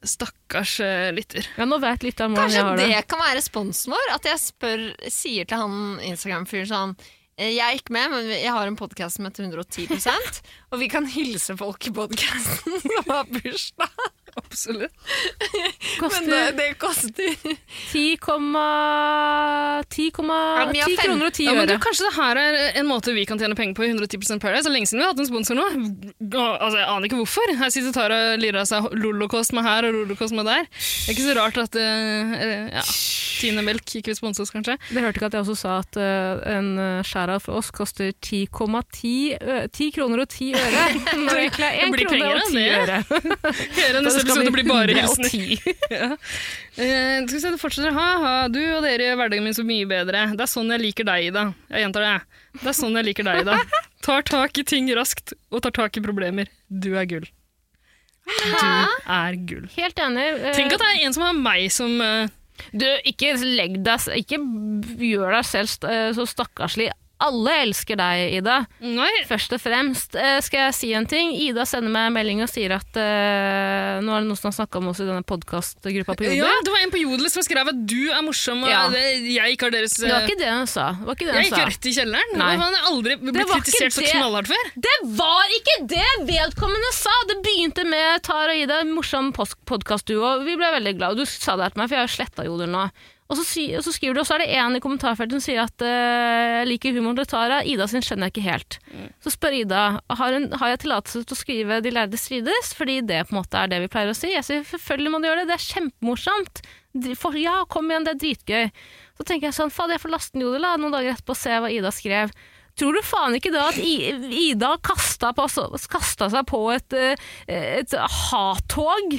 Speaker 3: Stakkars eh, lytter.
Speaker 2: Ja, nå vet lytteren hvordan jeg
Speaker 1: Kanskje
Speaker 2: har
Speaker 1: det.
Speaker 2: det.
Speaker 1: kan være responsen vår? At jeg spør, sier til han Instagram-fyren sånn «Eh, jeg er ikke med, men jeg har en podkast som heter 110 og vi kan hilse folk i podkasten som har bursdag.
Speaker 3: Absolutt.
Speaker 1: Men det, det koster
Speaker 2: 10, 10,
Speaker 3: Ja, men jeg har
Speaker 2: 10
Speaker 3: fem-
Speaker 2: kroner og 10
Speaker 3: Ja, men du,
Speaker 2: øre.
Speaker 3: kanskje det her er en måte vi kan tjene penger på i 110 Paradise. Det er lenge siden vi har hatt en sponsor nå. Å, Altså, jeg aner ikke hvorfor. Her sitter Tara og lirer av seg lolokost med her og lolokost med der. Det er ikke så rart at eh, ja, Tine Melk ikke vil sponse oss, kanskje.
Speaker 2: Dere hørte ikke at jeg også sa at eh, en eh, skjæra for oss koster 10,10 ø- 10 kroner og 10 øre. Nå gikk jeg
Speaker 3: Det
Speaker 2: 1
Speaker 3: blir
Speaker 2: krone
Speaker 3: penger,
Speaker 2: og
Speaker 3: da,
Speaker 2: 10 øre.
Speaker 3: det. Hele
Speaker 2: Da
Speaker 3: neste
Speaker 2: skal vi
Speaker 3: episode blir bare
Speaker 2: 110.
Speaker 3: hilsener. ja. Eh, skal vi se, det fortsetter. Ha, ha, du og dere gjør hverdagen min så mye bedre. Det er sånn jeg liker deg, Ida. Jeg gjentar det. jeg. Det er sånn jeg liker deg, Ida. Tar tak i ting raskt, og tar tak i problemer. Du er gull. Du er gull.
Speaker 2: Helt enig. eh,
Speaker 3: Tenk at det er en som har meg som eh,
Speaker 2: Du, ikke legg deg Ikke gjør deg selv st- eh, så stakkarslig. Alle elsker deg, Ida. Først og fremst eh, skal jeg si en ting. Ida sender meg en melding og sier at eh, nå er det noen som har snakka om oss i denne podkastgruppa på
Speaker 3: Ja,
Speaker 2: Jodel.
Speaker 3: det var en på Jodel som skrev at du er morsom, og
Speaker 2: Ja.
Speaker 3: det, jeg ikke har deres eh,
Speaker 2: det var ikke det hun sa. Det var ikke det hun
Speaker 3: Jeg
Speaker 2: sa.
Speaker 3: gikk rett i kjelleren.
Speaker 2: Nei.
Speaker 3: Han har aldri
Speaker 2: Det
Speaker 3: blitt
Speaker 2: var ikke
Speaker 3: kritisert så
Speaker 2: det.
Speaker 3: knallhardt før.
Speaker 2: Det var ikke det vedkommende sa! Det begynte med Tara og Ida, en morsom podkastduo. Vi ble veldig glad, og du sa det her til meg, for jeg har sletta Jodel nå. Og så, si, og så skriver du, og så er det en i kommentarfeltet som sier at eh, jeg liker humoren til Tara, Ida sin skjønner jeg ikke helt. Så spør Ida har, hun, har jeg tillatelse til å skrive De lærde strides, fordi det på en måte er det vi pleier å si. Jeg sier selvfølgelig må du gjøre det, det er kjempemorsomt. Dri- For, ja, kom igjen, det er dritgøy. Så tenker jeg sånn, faen jeg får laste ned Jodel da, noen dager etterpå og se hva Ida skrev. Tror du faen ikke da at I- Ida kasta, på, kasta seg på et, eh, et hattog?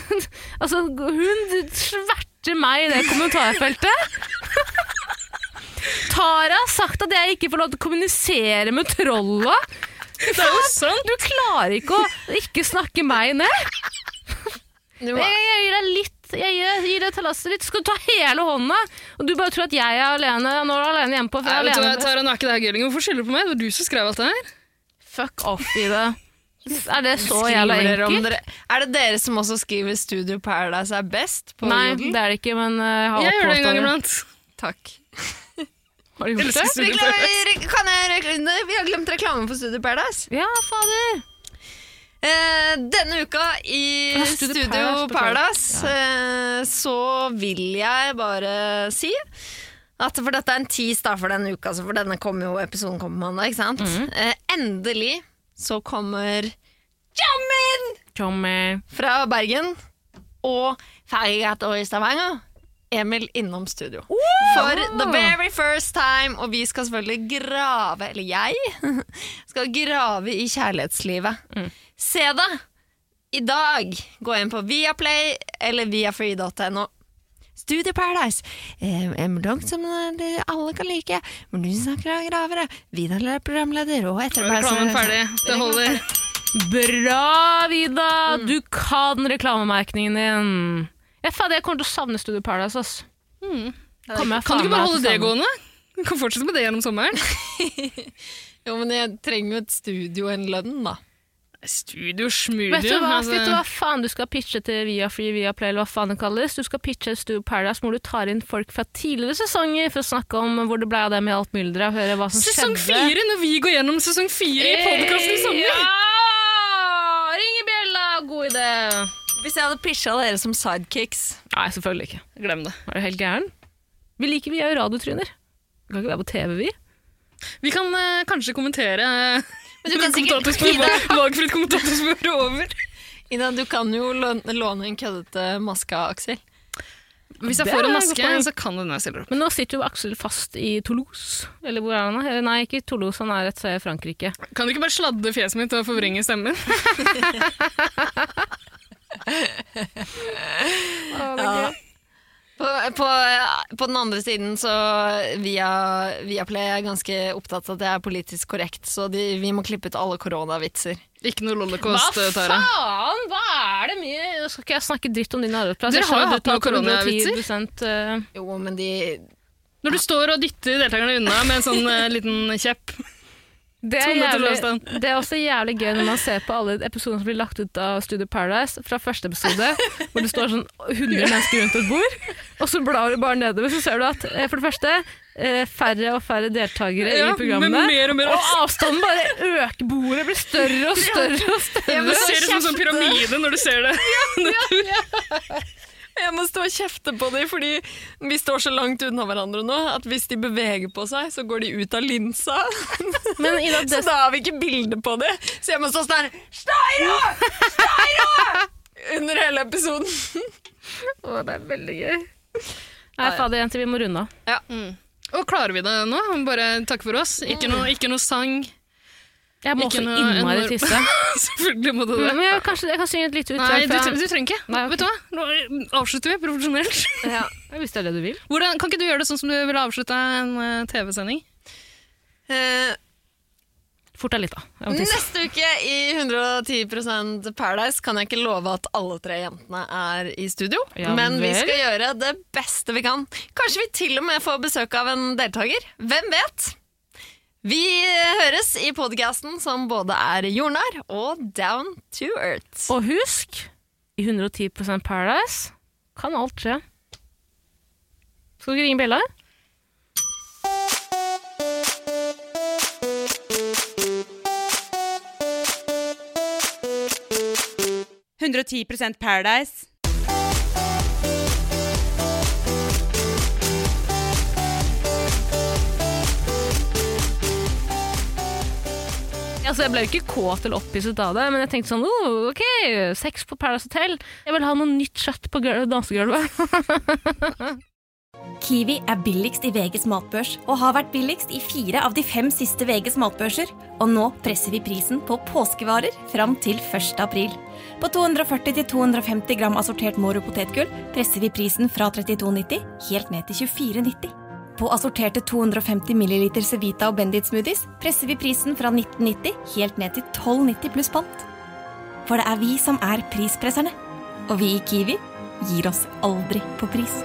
Speaker 2: altså, hun sverter meg i det kommentarfeltet. Tara har sagt at jeg ikke får lov til å kommunisere med trollet.
Speaker 3: Det er jo sant.
Speaker 2: Du klarer ikke å ikke snakke meg ned. Jeg, jeg gir deg litt jeg gir, jeg gir deg tallasset litt. Skal du ta hele hånda? Og du bare tror at jeg er alene Nå er du alene hjemme på for
Speaker 3: Nei,
Speaker 2: jeg er
Speaker 3: vet du hva,
Speaker 2: alene-
Speaker 3: Tara, nå er ikke det her gøy lenger. Hvorfor skylder du på meg? Det var du som skrev alt det her.
Speaker 2: Fuck off, Ida. Er det så
Speaker 1: Skriver
Speaker 2: jævla
Speaker 1: dere om
Speaker 2: enkelt?
Speaker 1: dere- Er det dere som også skriver Studio Paradise er best? På
Speaker 2: Nei,
Speaker 1: Jodel?
Speaker 2: det er det ikke, men eh, jeg har
Speaker 1: Jeg gjør det en gang
Speaker 2: oppholdt
Speaker 1: iblant. Takk.
Speaker 2: Har du gjort det?
Speaker 1: Vi glemmer- Kan jeg reklame? Vi har glemt reklame for Studio Paradise.
Speaker 2: Ja, fader.
Speaker 1: Eh, denne uka i
Speaker 2: Ja, Studio
Speaker 1: Studio
Speaker 2: Paradise,
Speaker 1: Paradise, eh, så vil jeg bare si at for dette er en tease da for denne uka, så for denne kommer jo episoden kommer på mandag, ikke sant? Eh, endelig så kommer Jammen!
Speaker 2: Tommy.
Speaker 1: fra Bergen og Fergegata i Stavanger. Emil innom studio. For the very first time, og vi skal selvfølgelig grave, eller jeg, skal grave i kjærlighetslivet.
Speaker 3: Mm.
Speaker 1: Se det! I dag, gå inn på Viaplay eller viafree.no.
Speaker 13: Studio Paradise. Eh, en blogg som eh, alle kan like. Hvor du snakker om gravere. Vidar er programleder og
Speaker 3: Reklamen
Speaker 13: etterpåsender.
Speaker 3: ferdig. Det holder.
Speaker 2: Bra, Vida! Du kan reklamemerkningen din. Jeg, fader, jeg kommer til å savne Studio Paradise. Ass. Kommer jeg
Speaker 3: Kan du
Speaker 2: faen
Speaker 3: ikke bare
Speaker 2: meg
Speaker 3: holde
Speaker 2: til
Speaker 3: det
Speaker 2: å savne.
Speaker 3: gående? Du kan fortsette med det gjennom sommeren.
Speaker 1: Jo, men jeg trenger jo et studio og en lønn, da.
Speaker 3: Studio, Altså- smudio
Speaker 2: Vet du, hva, vet du hva faen du skal pitche til Viafree, Viaplay eller hva faen det kalles? Du skal pitche et Studio Paradise hvor du tar inn folk fra tidligere sesonger for å snakke om hvor det ble av dem i alt mylderet og høre hva som
Speaker 3: Sesong
Speaker 2: skjedde.
Speaker 3: fire, når vi går gjennom sesong fire i podkasten i sommer!
Speaker 2: Ja! Ring i bjella, god idé!
Speaker 13: Hvis jeg hadde pitcha dere som sidekicks
Speaker 2: Nei, selvfølgelig ikke.
Speaker 3: Glem det.
Speaker 2: Er du helt gæren? Vi liker vi er jo radiotryner. Vi kan ikke være på TV, vi.
Speaker 3: Vi kan eh, kanskje kommentere Men
Speaker 1: du kan sikkert-
Speaker 3: Valgfritt kommentatorspor over.
Speaker 1: Ida, du kan jo låne, låne en køddete maske av Aksel.
Speaker 3: Hvis jeg
Speaker 2: Det
Speaker 3: får
Speaker 2: er
Speaker 3: en
Speaker 2: et
Speaker 3: maske,
Speaker 2: godt poeng.
Speaker 3: så kan den jeg selger opp.
Speaker 2: Men nå sitter jo Aksel fast i Toulouse. Eller hvor er han? da? Nei, ikke i Toulouse, han er et sted i Frankrike.
Speaker 3: Kan du ikke bare sladde fjeset mitt og forvrenge stemmen?
Speaker 1: Ja. På, på, på den andre siden så via, Viaplay er ganske opptatt av at det er politisk korrekt, så de, vi må klippe ut alle koronavitser.
Speaker 3: Ikke noe eh,
Speaker 2: Hva faen? Hva er det mye Nå skal ikke jeg snakke dritt om din arbeidsplass.
Speaker 3: Dere
Speaker 2: Jeg
Speaker 3: har jo
Speaker 2: skjønner at
Speaker 3: hatt
Speaker 2: du
Speaker 3: noen
Speaker 2: tar
Speaker 3: koronavitser.
Speaker 2: 110%, eh,
Speaker 1: Jo, men de
Speaker 3: Når du står og dytter deltakerne unna med en sånn eh, liten kjepp.
Speaker 2: det er,
Speaker 3: Som dette
Speaker 2: jævlig,
Speaker 3: løsdagen.
Speaker 2: det er også jævlig gøy når man ser på alle episodene som blir lagt ut av Studio Paradise fra første episode, hvor det står sånn 100 mennesker rundt et bord, og så blar du bare nedover, så ser du at eh, for det første eh, færre og færre deltakere
Speaker 3: Ja,
Speaker 2: i programmene,
Speaker 3: men mer og mer avstand.
Speaker 2: avstanden bare øker, bordet blir større og større og større.
Speaker 3: Ja, men det ser ut som en sånn pyramide når du ser det.
Speaker 1: Jeg må stå og kjefte på dem, fordi vi står så langt unna hverandre nå at hvis de beveger på seg, så går de ut av linsa.
Speaker 2: Men Ida, det-
Speaker 1: Så da har vi ikke bilde på dem. Så jeg må stå sånn her Steiro! Steiro! Under hele episoden.
Speaker 2: Å, det er veldig gøy. Nei, fader, jenter, vi må runde av.
Speaker 1: Ja.
Speaker 3: Og klarer vi det nå? Bare takk for oss. Ikke noe, ikke noe sang.
Speaker 2: Jeg må
Speaker 3: Ikke
Speaker 2: også
Speaker 3: noe
Speaker 2: innmari
Speaker 3: enorm-
Speaker 2: tisse.
Speaker 3: Selvfølgelig må du det.
Speaker 2: Men jeg, kanskje, jeg kan synge et lite
Speaker 3: Nei,
Speaker 2: utdrag
Speaker 3: du, tre- du trenger ikke. Vet du hva? Nå eh, avslutter vi profesjonelt.
Speaker 2: Hvis det er det du vil.
Speaker 3: Hvordan, kan ikke du gjøre det sånn som du ville avslutta en eh, TV-sending?
Speaker 2: Fort deg litt, da.
Speaker 1: Eh, Neste uke i 110 Paradise kan jeg ikke love at alle tre jentene er i studio,
Speaker 13: Ja
Speaker 1: men vi
Speaker 13: vel.
Speaker 1: skal gjøre det beste vi kan. Kanskje vi til og med får besøk av en deltaker. Hvem vet? Vi høres i podcasten som både er jordnær og down to earth.
Speaker 2: Og husk, i 110 Paradise kan alt skje. Skal du ringe bjella?
Speaker 14: Paradise. 110 Paradise.
Speaker 2: Altså, jeg ble jo ikke kåt eller opphisset av det, men jeg tenkte sånn oh, OK, sex på Paradise Hotel. Jeg vil ha noe nytt kjøtt på gul- dansegulvet.
Speaker 15: Kiwi er billigst i VGs matbørs og har vært billigst i fire av de fem siste VGs matbørser. Og nå presser vi prisen på påskevarer fram til 1. april. På 240-250 gram assortert Moro potetgull presser vi prisen fra 32,90 helt ned til 24,90. På assorterte 250 ml Cevita og Bendit smoothies presser vi prisen fra 1990 helt ned til 12,90 pluss pant. For det er vi som er prispresserne. Og vi i Kiwi gir oss aldri på pris.